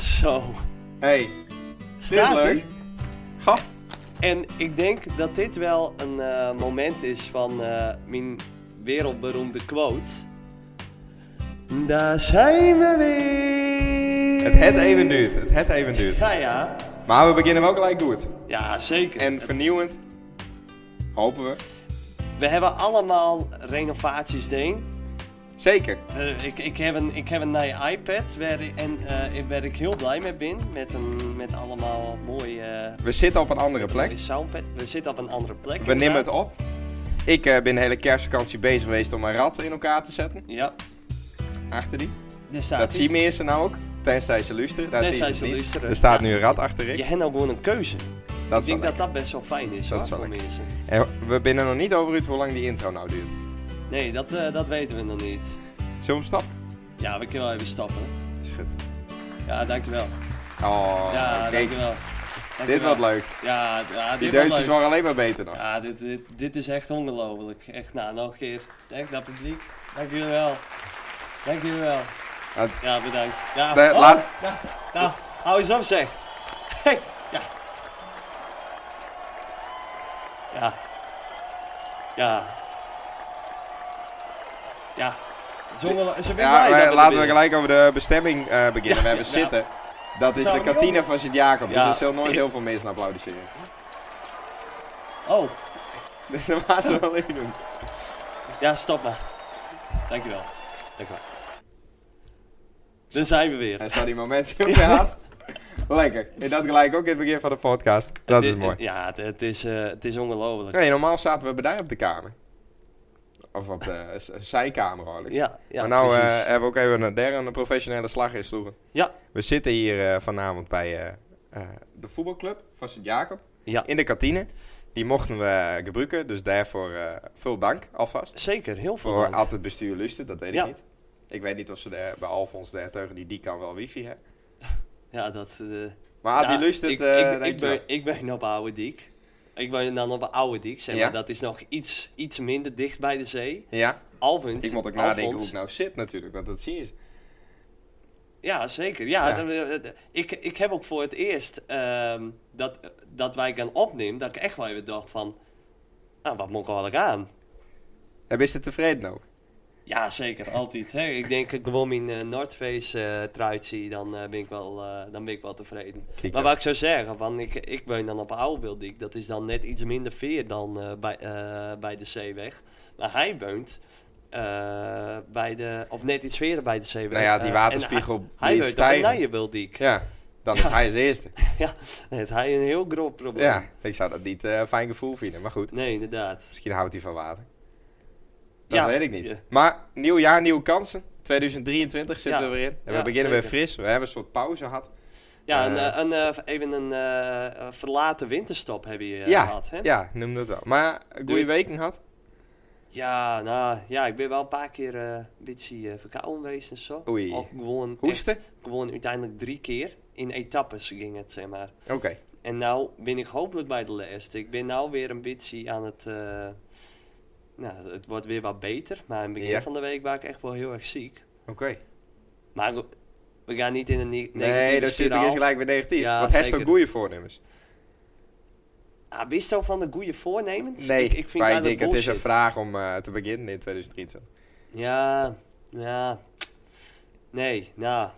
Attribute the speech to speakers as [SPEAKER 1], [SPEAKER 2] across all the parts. [SPEAKER 1] Zo,
[SPEAKER 2] Hey,
[SPEAKER 1] staat
[SPEAKER 2] leuk?
[SPEAKER 1] hij.
[SPEAKER 2] Gap.
[SPEAKER 1] En ik denk dat dit wel een eh, moment is van eh, mijn wereldberoemde quote. Daar zijn we weer.
[SPEAKER 2] Het het even duurt. Het het even duurt.
[SPEAKER 1] Ja, ja.
[SPEAKER 2] Maar we beginnen wel gelijk goed.
[SPEAKER 1] Ja, zeker.
[SPEAKER 2] En vernieuwend. Hopen we.
[SPEAKER 1] We hebben allemaal renovaties erin.
[SPEAKER 2] Zeker.
[SPEAKER 1] Eh, ik, ik, heb een, ik heb een nieuwe iPad waar, ik- en, eh, waar ik heel blij mee ben. Met, een, met allemaal mooie, eh,
[SPEAKER 2] We zitten op een andere plek.
[SPEAKER 1] mooie soundpad. We zitten op een andere plek.
[SPEAKER 2] We nemen het
[SPEAKER 1] inderdaad.
[SPEAKER 2] op. Ik eh, ben de hele kerstvakantie bezig geweest om mijn rat in elkaar te zetten.
[SPEAKER 1] Ja,
[SPEAKER 2] Achter die.
[SPEAKER 1] daar staat
[SPEAKER 2] Dat
[SPEAKER 1] ie.
[SPEAKER 2] zien mensen nou ook. Tenzij ze luisteren. Daar
[SPEAKER 1] Tenzij
[SPEAKER 2] zien ze
[SPEAKER 1] ze
[SPEAKER 2] het niet.
[SPEAKER 1] luisteren.
[SPEAKER 2] Er staat
[SPEAKER 1] Ja.
[SPEAKER 2] nu een rat achter ik.
[SPEAKER 1] Je hebt nou gewoon een keuze.
[SPEAKER 2] Dat
[SPEAKER 1] ik
[SPEAKER 2] is
[SPEAKER 1] denk
[SPEAKER 2] wel
[SPEAKER 1] dat dat best wel fijn is
[SPEAKER 2] Dat is
[SPEAKER 1] hoor,
[SPEAKER 2] wel
[SPEAKER 1] voor mensen.
[SPEAKER 2] lekker. En we binnen nog niet over uit hoe lang die intro nou duurt.
[SPEAKER 1] Nee, dat, eh, dat weten we nog niet.
[SPEAKER 2] Zullen we hem stappen?
[SPEAKER 1] Ja, we kunnen wel even stappen.
[SPEAKER 2] Is goed.
[SPEAKER 1] Ja, dankjewel.
[SPEAKER 2] Oh,
[SPEAKER 1] Ja,
[SPEAKER 2] kijk.
[SPEAKER 1] dankjewel.
[SPEAKER 2] Dit
[SPEAKER 1] Dankjewel.
[SPEAKER 2] wordt leuk.
[SPEAKER 1] Ja, ja
[SPEAKER 2] Die
[SPEAKER 1] dit wordt
[SPEAKER 2] deuntjes
[SPEAKER 1] leuk.
[SPEAKER 2] waren alleen maar beter dan.
[SPEAKER 1] Ja, dit, dit, dit is echt ongelooflijk. Echt, nou, nog een keer. Echt, dat publiek. Dank jullie wel. Dank jullie wel.
[SPEAKER 2] Want
[SPEAKER 1] Ja, bedankt. Ja,
[SPEAKER 2] Nee,
[SPEAKER 1] oh,
[SPEAKER 2] laat-
[SPEAKER 1] nou, nou, hou eens op zeg. Hey, ja. Ja. Ja. Ja. Zongen, ze ben
[SPEAKER 2] Ja,
[SPEAKER 1] blij
[SPEAKER 2] maar
[SPEAKER 1] dat
[SPEAKER 2] laten we
[SPEAKER 1] er
[SPEAKER 2] gelijk over de bestemming eh, beginnen.
[SPEAKER 1] Ja,
[SPEAKER 2] we hebben
[SPEAKER 1] ja.
[SPEAKER 2] zitten. Dat is
[SPEAKER 1] Zou
[SPEAKER 2] de
[SPEAKER 1] ik die
[SPEAKER 2] kantine
[SPEAKER 1] ook-
[SPEAKER 2] van Sint-Jacob.
[SPEAKER 1] Ja.
[SPEAKER 2] Dus er zullen nooit heel veel mensen applaudisseren.
[SPEAKER 1] binnen- Oh,
[SPEAKER 2] Dus dat was het alleen doen.
[SPEAKER 1] ja, stop maar. Dankjewel. Dankjewel. Daar zijn we weer.
[SPEAKER 2] En zo die momenten gehad. Lekker. En dat gelijk ook in het begin van de podcast. Dat is
[SPEAKER 1] Dit-
[SPEAKER 2] mooi.
[SPEAKER 1] Ja, het, het is, eh, het is ongelooflijk.
[SPEAKER 2] Nee, normaal zaten we bij daar op de kamer. Of op de s- zijkamer eigenlijk.
[SPEAKER 1] Ja, ja,
[SPEAKER 2] maar nou eh,
[SPEAKER 1] precies.
[SPEAKER 2] hebben we ook even een derde professionele slag in sloegen.
[SPEAKER 1] ja,
[SPEAKER 2] We zitten hier eh, vanavond bij eh, eh, de voetbalclub van Sint-Jacob.
[SPEAKER 1] ja,
[SPEAKER 2] In de kantine. Die mochten we gebruiken, dus daarvoor eh, veel dank alvast.
[SPEAKER 1] zeker. Heel veel
[SPEAKER 2] Voor
[SPEAKER 1] dank.
[SPEAKER 2] altijd bestuur lusten, dat weet
[SPEAKER 1] Ja.
[SPEAKER 2] ik niet. Ik weet niet of ze daar bij Alfons daar teugen, die, die kan wel wifi hebben.
[SPEAKER 1] Ja, dat... eh,
[SPEAKER 2] Maar had
[SPEAKER 1] ja,
[SPEAKER 2] die lust het,
[SPEAKER 1] ik,
[SPEAKER 2] eh,
[SPEAKER 1] ik,
[SPEAKER 2] denk
[SPEAKER 1] ik,
[SPEAKER 2] ik wel.
[SPEAKER 1] ben, ik ben op Oude Diek. Ik ben dan op Oude Diek, zeg maar.
[SPEAKER 2] Ja?
[SPEAKER 1] Dat is nog iets, iets minder dicht bij de zee.
[SPEAKER 2] Ja,
[SPEAKER 1] Alvens.
[SPEAKER 2] ik moet ook nadenken hoe
[SPEAKER 1] Alphons.
[SPEAKER 2] ik nou zit natuurlijk, want dat zie je.
[SPEAKER 1] Ja, zeker. Ja,
[SPEAKER 2] Ja.
[SPEAKER 1] eh, eh, Ik, ik heb ook voor het eerst ehm, dat, dat wij gaan opnemen, dat ik echt wel even dacht van... Nou, wat moet ik wel aan?
[SPEAKER 2] En ben je tevreden over?
[SPEAKER 1] Ja, zeker. Altijd. Hè? Ik denk eh, gewoon mijn eh, North Face eh truit zie, dan, eh, ben ik wel, eh, dan ben ik wel tevreden.
[SPEAKER 2] Kijk,
[SPEAKER 1] maar
[SPEAKER 2] ja.
[SPEAKER 1] wat ik zou zeggen, van, ik, ik ben dan op Oudebeelddiek. Dat is dan net iets minder veer dan eh, bij, eh, bij de Zeeweg. Maar hij woont eh, bij de... Of net iets veerder bij de Zeeweg.
[SPEAKER 2] Nou ja, die
[SPEAKER 1] Eh,
[SPEAKER 2] waterspiegel
[SPEAKER 1] en hij- Hij
[SPEAKER 2] liet
[SPEAKER 1] woont
[SPEAKER 2] stijgen.
[SPEAKER 1] op Nijenbeelddiek. Ja.
[SPEAKER 2] Ja, dan is hij als eerste.
[SPEAKER 1] dan heeft hij een heel groot probleem.
[SPEAKER 2] Ja, ik zou dat niet eh, een fijn gevoel vinden, maar goed.
[SPEAKER 1] Nee, inderdaad.
[SPEAKER 2] Misschien houdt hij van water. Dat
[SPEAKER 1] Ja,
[SPEAKER 2] weet ik niet.
[SPEAKER 1] ja.
[SPEAKER 2] Maar nieuw jaar, nieuwe kansen. 2023 zitten
[SPEAKER 1] Ja.
[SPEAKER 2] we weer in. En
[SPEAKER 1] Ja,
[SPEAKER 2] we beginnen weer
[SPEAKER 1] zeker.
[SPEAKER 2] fris. We hebben een soort pauze gehad.
[SPEAKER 1] Ja,
[SPEAKER 2] Eh.
[SPEAKER 1] een, eh, een, eh, even een eh, verlaten winterstop heb je eh,
[SPEAKER 2] ja,
[SPEAKER 1] gehad, hè?
[SPEAKER 2] ja, noem dat wel. Maar een goede
[SPEAKER 1] Doei.
[SPEAKER 2] weken had.
[SPEAKER 1] Ja, nou ja, ik ben wel een paar keer eh, een beetje eh, verkouden geweest en zo.
[SPEAKER 2] Oei.
[SPEAKER 1] Of gewoon
[SPEAKER 2] Hoesten?
[SPEAKER 1] echt- gewoon uiteindelijk drie keer in etappes ging het, zeg maar.
[SPEAKER 2] Oké.
[SPEAKER 1] En nou ben ik hopelijk bij de laatste. Ik ben nou weer een beetje aan het... eh, nou, het wordt weer wat beter. Maar in het begin
[SPEAKER 2] Ja.
[SPEAKER 1] van de week was ik echt wel heel erg ziek.
[SPEAKER 2] Oké.
[SPEAKER 1] Maar goed, we gaan niet in een ne- negatieve
[SPEAKER 2] Nee, dat zit ik
[SPEAKER 1] spiraal.
[SPEAKER 2] eerst gelijk weer negatief.
[SPEAKER 1] Ja,
[SPEAKER 2] Wat heeft
[SPEAKER 1] zeker.
[SPEAKER 2] ook goede voornemens?
[SPEAKER 1] Ah, wist zo van de goede voornemens?
[SPEAKER 2] Nee,
[SPEAKER 1] ik, ik vind
[SPEAKER 2] maar
[SPEAKER 1] dat
[SPEAKER 2] denk, het is een
[SPEAKER 1] bullshit.
[SPEAKER 2] vraag om eh, te beginnen in 2023.
[SPEAKER 1] Ja, ja. Nee, nou.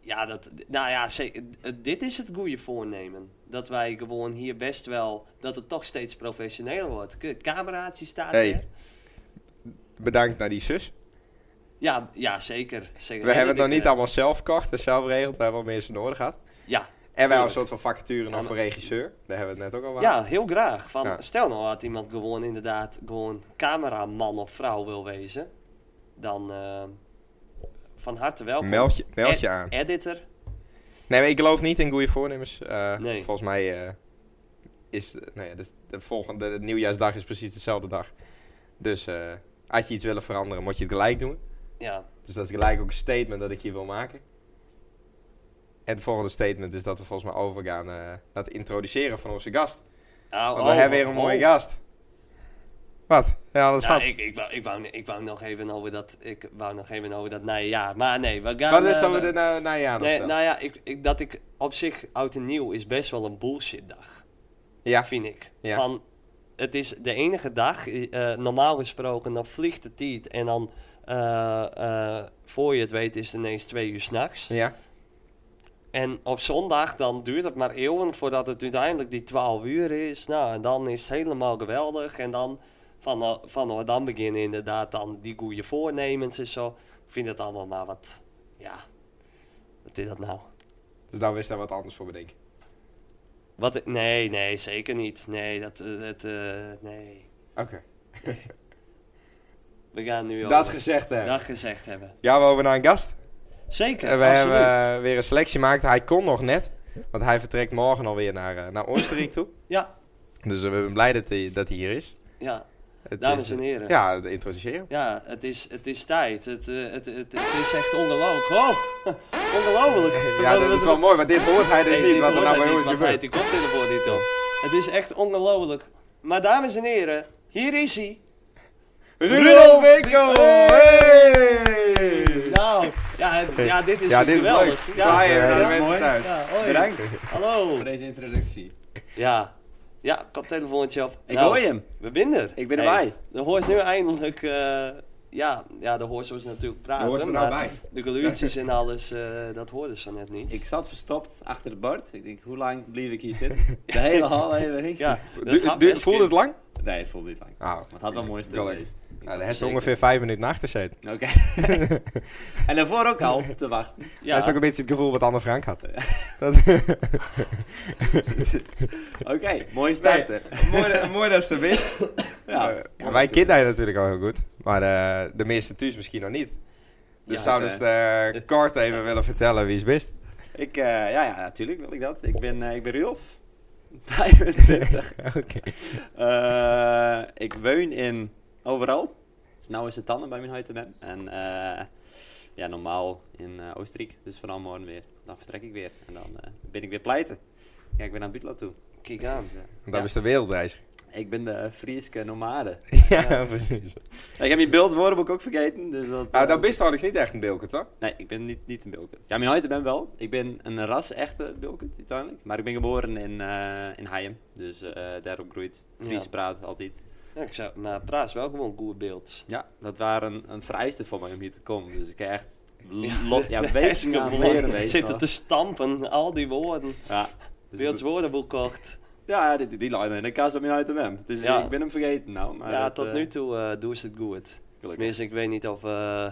[SPEAKER 1] Ja, dat, nou ja, zeker, d- dit is het goede voornemen. Dat wij gewoon hier best wel, dat het toch steeds professioneler wordt. K- Het cameraatje staat
[SPEAKER 2] Hey.
[SPEAKER 1] er.
[SPEAKER 2] Bedankt naar die zus.
[SPEAKER 1] Ja, ja, zeker. zeker.
[SPEAKER 2] We
[SPEAKER 1] Ja,
[SPEAKER 2] hebben het
[SPEAKER 1] dat
[SPEAKER 2] nog
[SPEAKER 1] ik,
[SPEAKER 2] niet
[SPEAKER 1] eh,
[SPEAKER 2] allemaal zelf gekocht en zelf geregeld. We hebben wel mensen nodig gehad.
[SPEAKER 1] Ja,
[SPEAKER 2] En wij hebben een
[SPEAKER 1] Tuurlijk.
[SPEAKER 2] soort van vacature nog
[SPEAKER 1] Ja,
[SPEAKER 2] voor regisseur. Daar hebben we het net ook al over.
[SPEAKER 1] ja, heel graag. Van,
[SPEAKER 2] Ja.
[SPEAKER 1] Stel nou dat iemand gewoon inderdaad gewoon cameraman of vrouw wil wezen. Dan eh, van harte welkom.
[SPEAKER 2] Meld je, meld
[SPEAKER 1] Ed-
[SPEAKER 2] je aan.
[SPEAKER 1] Editor.
[SPEAKER 2] Nee, maar ik geloof niet in goede voornemens. Eh,
[SPEAKER 1] Nee.
[SPEAKER 2] Volgens mij eh, is de- nou ja, de, de volgende de nieuwjaarsdag is precies dezelfde dag. Dus eh, als je iets wil veranderen, moet je het gelijk doen.
[SPEAKER 1] Ja,
[SPEAKER 2] Dus dat is gelijk ook een statement dat ik hier wil maken. En het volgende statement is dat we volgens mij overgaan eh, naar het introduceren van onze gast.
[SPEAKER 1] Nou,
[SPEAKER 2] Want we hebben weer een mooie
[SPEAKER 1] oh.
[SPEAKER 2] gast. Wat? Ja, dat is
[SPEAKER 1] Ja,
[SPEAKER 2] gaat.
[SPEAKER 1] ik, ik, wou, ik, wou, ik wou nog even over dat, ik wou nog even over dat najaar. Maar nee, we gaan...
[SPEAKER 2] Wat is
[SPEAKER 1] eh,
[SPEAKER 2] dan
[SPEAKER 1] we-
[SPEAKER 2] weer de na, najaar nog
[SPEAKER 1] Nee,
[SPEAKER 2] dan?
[SPEAKER 1] nou ja, ik, ik, dat ik op zich oud en nieuw is best wel een bullshit dag,
[SPEAKER 2] Ja,
[SPEAKER 1] vind ik.
[SPEAKER 2] Ja.
[SPEAKER 1] Van, het is de enige dag, eh, eh, normaal gesproken, dan vliegt de tijd en dan eh, eh, voor je het weet is het ineens twee uur s'nachts.
[SPEAKER 2] ja.
[SPEAKER 1] En op zondag dan duurt het maar eeuwen voordat het uiteindelijk die 12 uur is. Nou, en dan is het helemaal geweldig. En dan van, eh, van dan beginnen inderdaad dan die goede voornemens en zo. Ik vind het allemaal maar wat, ja, wat is dat nou?
[SPEAKER 2] Dus daar wist hij wat anders voor bedenken.
[SPEAKER 1] Wat, nee, nee, zeker niet. Nee, dat, eh, dat eh, nee.
[SPEAKER 2] Oké.
[SPEAKER 1] We gaan nu al
[SPEAKER 2] Dat gezegd hebben.
[SPEAKER 1] dat gezegd hebben.
[SPEAKER 2] Ja, we over naar een gast.
[SPEAKER 1] Zeker,
[SPEAKER 2] En we
[SPEAKER 1] absoluut.
[SPEAKER 2] hebben eh, weer een selectie gemaakt. Hij kon nog net, want hij vertrekt morgen alweer naar, eh, naar Oostenrijk toe.
[SPEAKER 1] Ja,
[SPEAKER 2] Dus we zijn blij dat hij, dat hij hier is.
[SPEAKER 1] ja,
[SPEAKER 2] Het
[SPEAKER 1] dames
[SPEAKER 2] is, eh,
[SPEAKER 1] en heren. Ja,
[SPEAKER 2] Ja, het introduceren.
[SPEAKER 1] het, is, het is tijd. Het, eh, het, het, het is echt ongelooflijk. Oh, ongelooflijk.
[SPEAKER 2] Ja, dat is wel mooi, want dit hoort hij dus
[SPEAKER 1] Nee,
[SPEAKER 2] niet,
[SPEAKER 1] dit
[SPEAKER 2] wat er
[SPEAKER 1] hoort
[SPEAKER 2] nou
[SPEAKER 1] hij
[SPEAKER 2] bij
[SPEAKER 1] niet,
[SPEAKER 2] ons
[SPEAKER 1] want hij heeft
[SPEAKER 2] gebeurt.
[SPEAKER 1] die koptelefoon niet op. Het is echt ongelooflijk. Maar dames en heren, hier is hij. Rudolf
[SPEAKER 2] Rudolf Winkel! Hey!
[SPEAKER 1] Nou, ja, het- ja dit is
[SPEAKER 2] Ja, dit is leuk.
[SPEAKER 1] geweldig. Ja,
[SPEAKER 2] Zwaaien
[SPEAKER 3] ja,
[SPEAKER 2] naar de
[SPEAKER 3] dat is
[SPEAKER 2] mensen
[SPEAKER 3] mooi.
[SPEAKER 2] thuis.
[SPEAKER 1] ja, hoi.
[SPEAKER 3] Bedankt
[SPEAKER 1] Hallo.
[SPEAKER 3] voor deze introductie.
[SPEAKER 1] Ja. Ja, koptelefoontje af.
[SPEAKER 3] Ik
[SPEAKER 1] Nou,
[SPEAKER 3] hoor je hem.
[SPEAKER 1] We winnen er.
[SPEAKER 3] Ik ben erbij.
[SPEAKER 1] De hoors nu eindelijk... eh, ja, ja, de hoors was natuurlijk praten.
[SPEAKER 3] De hoors er nou
[SPEAKER 1] maar
[SPEAKER 3] bij.
[SPEAKER 1] De geluidjes en alles, eh, dat hoorden ze net niet.
[SPEAKER 3] Ik zat verstopt achter het bord. Ik denk, hoe lang bleef ik hier zitten? De hele aflevering?
[SPEAKER 1] ja, dat
[SPEAKER 2] Du-
[SPEAKER 1] gaat
[SPEAKER 2] du-
[SPEAKER 1] best
[SPEAKER 2] Voelde
[SPEAKER 1] goed.
[SPEAKER 2] het lang?
[SPEAKER 3] Nee, het voelde niet lang.
[SPEAKER 2] Nou,
[SPEAKER 3] Maar het had wel mooi stuk
[SPEAKER 2] Kan ik.
[SPEAKER 3] geweest.
[SPEAKER 2] nou, daar
[SPEAKER 3] Zeker.
[SPEAKER 2] heeft hij ongeveer vijf minuten achter gezeten.
[SPEAKER 3] Oké. en daarvoor ook al op te wachten.
[SPEAKER 2] Dat is ook
[SPEAKER 1] Ja,
[SPEAKER 2] een beetje het gevoel wat Anne Frank had.
[SPEAKER 3] Oké, mooie start. hè?
[SPEAKER 2] mooi, mooi dat ze er wist. Eh,
[SPEAKER 3] Ja.
[SPEAKER 2] wij kennen hij natuurlijk al heel goed. Maar eh, de meeste thuis misschien nog niet. Dus
[SPEAKER 1] Ja,
[SPEAKER 2] zou
[SPEAKER 3] ik,
[SPEAKER 2] dus eh, kort even willen vertellen wie is best.
[SPEAKER 3] Ik, eh, ja, ja, natuurlijk wil ik dat. Ik ben, eh, ik ben Rudolf. 25.
[SPEAKER 2] Oké.
[SPEAKER 3] Eh, ik woon in overal. Dus nu is het tanden bij mijn huid te ben. En eh, ja, normaal in eh, Oostenrijk. Dus vanaf morgen weer. Dan vertrek ik weer. En dan eh, ben ik weer pleiten. Ja, ik ben naar Butland toe.
[SPEAKER 1] kijk aan.
[SPEAKER 3] Dus, eh,
[SPEAKER 2] Want
[SPEAKER 3] ja.
[SPEAKER 2] dat is de wereldreiziger.
[SPEAKER 3] Ik ben de Frieske nomade.
[SPEAKER 2] ja, precies.
[SPEAKER 3] ik heb mijn beeldwoordenboek ook vergeten. Dus dat,
[SPEAKER 2] Nou,
[SPEAKER 3] eh,
[SPEAKER 2] dat bist eigenlijk niet echt een bilkert, hoor.
[SPEAKER 3] Nee, ik ben niet, niet een Bilkert. Ja, mijn huid ben wel. Ik ben een ras-echte Bilkert, uiteindelijk. Maar ik ben geboren in, eh in Haiem. Dus eh daar opgegroeid. Fries
[SPEAKER 1] Ja.
[SPEAKER 3] praat altijd.
[SPEAKER 1] Ja, ik zou, maar praat is wel gewoon goed beeld.
[SPEAKER 3] Ja, dat waren een vereiste voor mij om hier te komen. Dus ik heb echt lo- ja,
[SPEAKER 1] Wees
[SPEAKER 3] weken aan leren
[SPEAKER 1] gewoon
[SPEAKER 3] weten.
[SPEAKER 1] zitten te stampen, al die woorden.
[SPEAKER 3] Ja, dus
[SPEAKER 1] Beelds
[SPEAKER 3] ik-
[SPEAKER 1] woordenboek kort.
[SPEAKER 3] ja die, die, die line in de kaas op mijn huid en hem. Dus
[SPEAKER 1] Ja.
[SPEAKER 3] ik ben hem vergeten nou. Maar
[SPEAKER 1] Ja,
[SPEAKER 3] dat,
[SPEAKER 1] tot
[SPEAKER 3] eh,
[SPEAKER 1] nu toe eh, doen ze het goed.
[SPEAKER 3] gelukkig.
[SPEAKER 1] Tenminste, ik weet niet of eh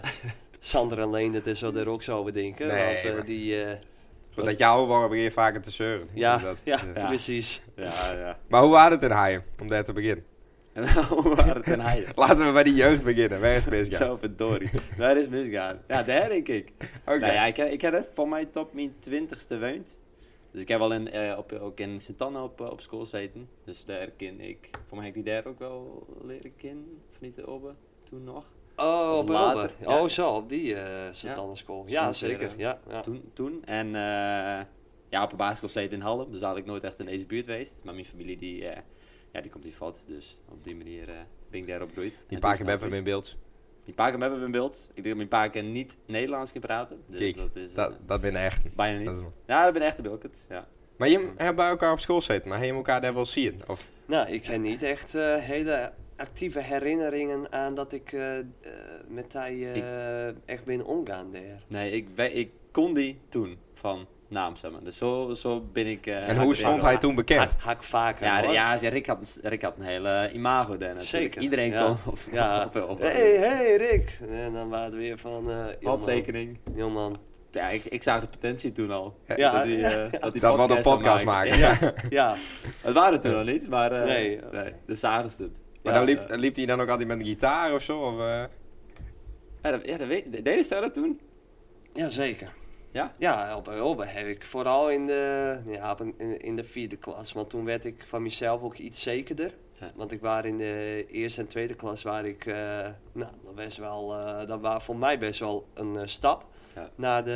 [SPEAKER 1] Sander en Leen het is wat er ook zo bedenken.
[SPEAKER 2] Nee,
[SPEAKER 1] want eh,
[SPEAKER 2] maar-
[SPEAKER 1] die... eh,
[SPEAKER 2] Goed, Dat jouw woorden begin vaker te zeuren.
[SPEAKER 1] ja,
[SPEAKER 2] Dus dat,
[SPEAKER 1] ja,
[SPEAKER 2] eh.
[SPEAKER 3] ja.
[SPEAKER 1] precies.
[SPEAKER 3] Ja, ja.
[SPEAKER 2] Maar hoe waren het in Haaien? Om daar te beginnen.
[SPEAKER 3] En hoe waren het in Haiem?
[SPEAKER 2] Laten we bij die jeugd beginnen. Waar is Bisca?
[SPEAKER 3] Zo verdorie. Daar is misgaan. Ja, daar denk ik.
[SPEAKER 2] Oké.
[SPEAKER 3] Nou ja, ik, heb- ik heb het voor mij tot mijn twintigste woont. Dus ik heb wel in, eh, op, ook in sint Anna op, eh, op school gezeten. Dus daar ken ik... Voor mij heb ik die daar ook wel leren kennen. Of niet de Obbe, toen nog.
[SPEAKER 1] Oh, op
[SPEAKER 3] Later,
[SPEAKER 1] Elber.
[SPEAKER 3] ja.
[SPEAKER 1] Oh, zo, op die eh Sint-Anneschool.
[SPEAKER 3] Ja.
[SPEAKER 1] Ja,
[SPEAKER 3] Dus moet
[SPEAKER 1] zeker.
[SPEAKER 3] weer,
[SPEAKER 1] Ja, ja.
[SPEAKER 3] Toen, toen. En eh, ja, op een basisschool steeds in Hallem. Dus daar had ik nooit echt in deze buurt geweest. Maar mijn familie, die, eh, ja, die komt hier vat. Dus op die manier eh, ben ik daar opgegroeid.
[SPEAKER 2] Die paar
[SPEAKER 3] En toen
[SPEAKER 2] keer
[SPEAKER 3] is het
[SPEAKER 2] hebben we in beeld.
[SPEAKER 3] Die paar keer hebben we in beeld. Ik denk dat mijn paar keer niet Nederlands kan praten. Dus
[SPEAKER 2] Kijk,
[SPEAKER 3] dat is... een-
[SPEAKER 2] Dat, dat ben echt.
[SPEAKER 3] Bijna niet.
[SPEAKER 2] Dat is wel-
[SPEAKER 3] Ja, dat ben echt de Bilkert. Ja.
[SPEAKER 2] Maar je hebt bij elkaar op school gezeten, maar heb je elkaar daar wel zien? Of
[SPEAKER 1] Nou, ik heb niet echt eh, hele actieve herinneringen aan dat ik eh, eh, met hij eh, echt ben omgaan daar.
[SPEAKER 3] Nee, ik, we- ik kon die toen van naam, zeg maar. Dus zo, zo ben ik... eh,
[SPEAKER 2] en
[SPEAKER 3] ben
[SPEAKER 2] hoe
[SPEAKER 3] ik
[SPEAKER 2] stond
[SPEAKER 3] wel-
[SPEAKER 2] hij toen bekend?
[SPEAKER 1] Haak, haak vaker,
[SPEAKER 3] Ja,
[SPEAKER 1] hoor.
[SPEAKER 3] ja, ja, Rick, had, een- Rick had een hele imago daar natuurlijk.
[SPEAKER 1] Zeker,
[SPEAKER 3] Iedereen
[SPEAKER 1] ja.
[SPEAKER 3] kon op,
[SPEAKER 1] Ja.
[SPEAKER 3] op, op, op-
[SPEAKER 1] Hey, hey Rick! En dan waren het weer van... eh jongen,
[SPEAKER 3] optekening.
[SPEAKER 1] jongen.
[SPEAKER 3] Ja, ik, ik zag de potentie toen al.
[SPEAKER 1] Ja,
[SPEAKER 3] dat die, eh, dat, die
[SPEAKER 2] Dat we een
[SPEAKER 3] zou
[SPEAKER 2] podcast maken.
[SPEAKER 3] Ja,
[SPEAKER 1] Ja,
[SPEAKER 3] het waren het toen al niet, maar eh
[SPEAKER 1] Nee.
[SPEAKER 3] nee, de zagen ze het.
[SPEAKER 2] Maar
[SPEAKER 3] ja,
[SPEAKER 2] dan liep,
[SPEAKER 3] eh,
[SPEAKER 2] liep hij dan ook altijd met een gitaar of zo? Of, eh?
[SPEAKER 3] ja, dat, ja, dat weet, de- deden ze dat toen?
[SPEAKER 1] ja zeker.
[SPEAKER 3] Ja?
[SPEAKER 1] Ja, op Europa heb ik vooral in de, ja, op een- in, in de vierde klas. Want toen werd ik van mezelf ook iets zekerder.
[SPEAKER 3] Ja.
[SPEAKER 1] Want ik was in de eerste en tweede klas waar ik, eh, nou, dat best wel, eh, dat was voor mij best wel een eh, stap
[SPEAKER 3] Ja.
[SPEAKER 1] naar de,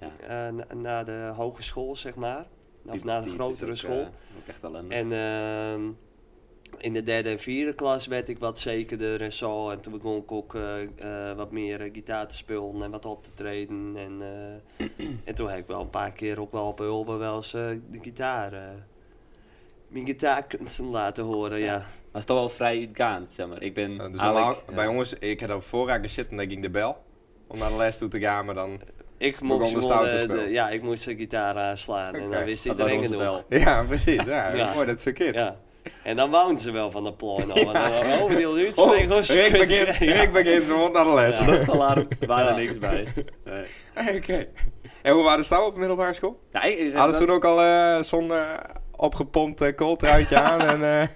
[SPEAKER 3] Ja.
[SPEAKER 1] eh, na- naar de hogeschool, zeg maar. Of
[SPEAKER 3] Die-
[SPEAKER 1] naar
[SPEAKER 3] die
[SPEAKER 1] de
[SPEAKER 3] is
[SPEAKER 1] grotere
[SPEAKER 3] ook,
[SPEAKER 1] school.
[SPEAKER 3] eh, ook echt al een...
[SPEAKER 1] En ehm, in de derde en vierde klas werd ik wat zekerder en zo. En toen begon ik ook eh, eh, wat meer eh, gitaar te spelen en wat op te treden. En, eh, en toen heb ik wel een paar keer ook wel op Hulbe wel eens eh, de gitaar... eh, mijn gitaarkunsten laten horen, ja.
[SPEAKER 3] Maar het is toch wel vrij uitgaand, zeg maar. Ik ben
[SPEAKER 2] Eh, dus normaal,
[SPEAKER 3] eigenlijk,
[SPEAKER 2] bij
[SPEAKER 3] Mm, ja.
[SPEAKER 2] jongens, ik had op voorraad gezeten en dan ging de bel. Om naar de les toe te gaan, maar dan...
[SPEAKER 1] Ik
[SPEAKER 2] Begon
[SPEAKER 1] moest,
[SPEAKER 2] de
[SPEAKER 1] gewoon,
[SPEAKER 2] stoute
[SPEAKER 1] eh,
[SPEAKER 2] spel.
[SPEAKER 1] de- ja, ik moest de gitaar aanslaan en
[SPEAKER 2] Oké,
[SPEAKER 1] dan wist
[SPEAKER 3] nou, Ah, dat was
[SPEAKER 1] iedereen
[SPEAKER 3] onze
[SPEAKER 1] genoeg.
[SPEAKER 3] bel.
[SPEAKER 2] Ja, precies. Ja,
[SPEAKER 1] Ja.
[SPEAKER 2] Mooi dat ze kind.
[SPEAKER 1] Ja. En dan woonden ze wel van de plan. Ja. Oh, we willen nu
[SPEAKER 2] Oh,
[SPEAKER 1] twee
[SPEAKER 2] Rick
[SPEAKER 1] rozen
[SPEAKER 2] begint, Rick begint, ze moet naar de
[SPEAKER 3] Ah,
[SPEAKER 2] les.
[SPEAKER 3] Luchtalarm, waar er
[SPEAKER 1] Ja.
[SPEAKER 3] niks bij. Nee.
[SPEAKER 2] Oké. En hoe waren de staan op de middelbare school?
[SPEAKER 3] Ja, ik- ik zeg
[SPEAKER 2] Hadden ze
[SPEAKER 3] dat-
[SPEAKER 2] toen ook al eh, zo'n eh, opgepompt uh, kooltruitje aan en eh,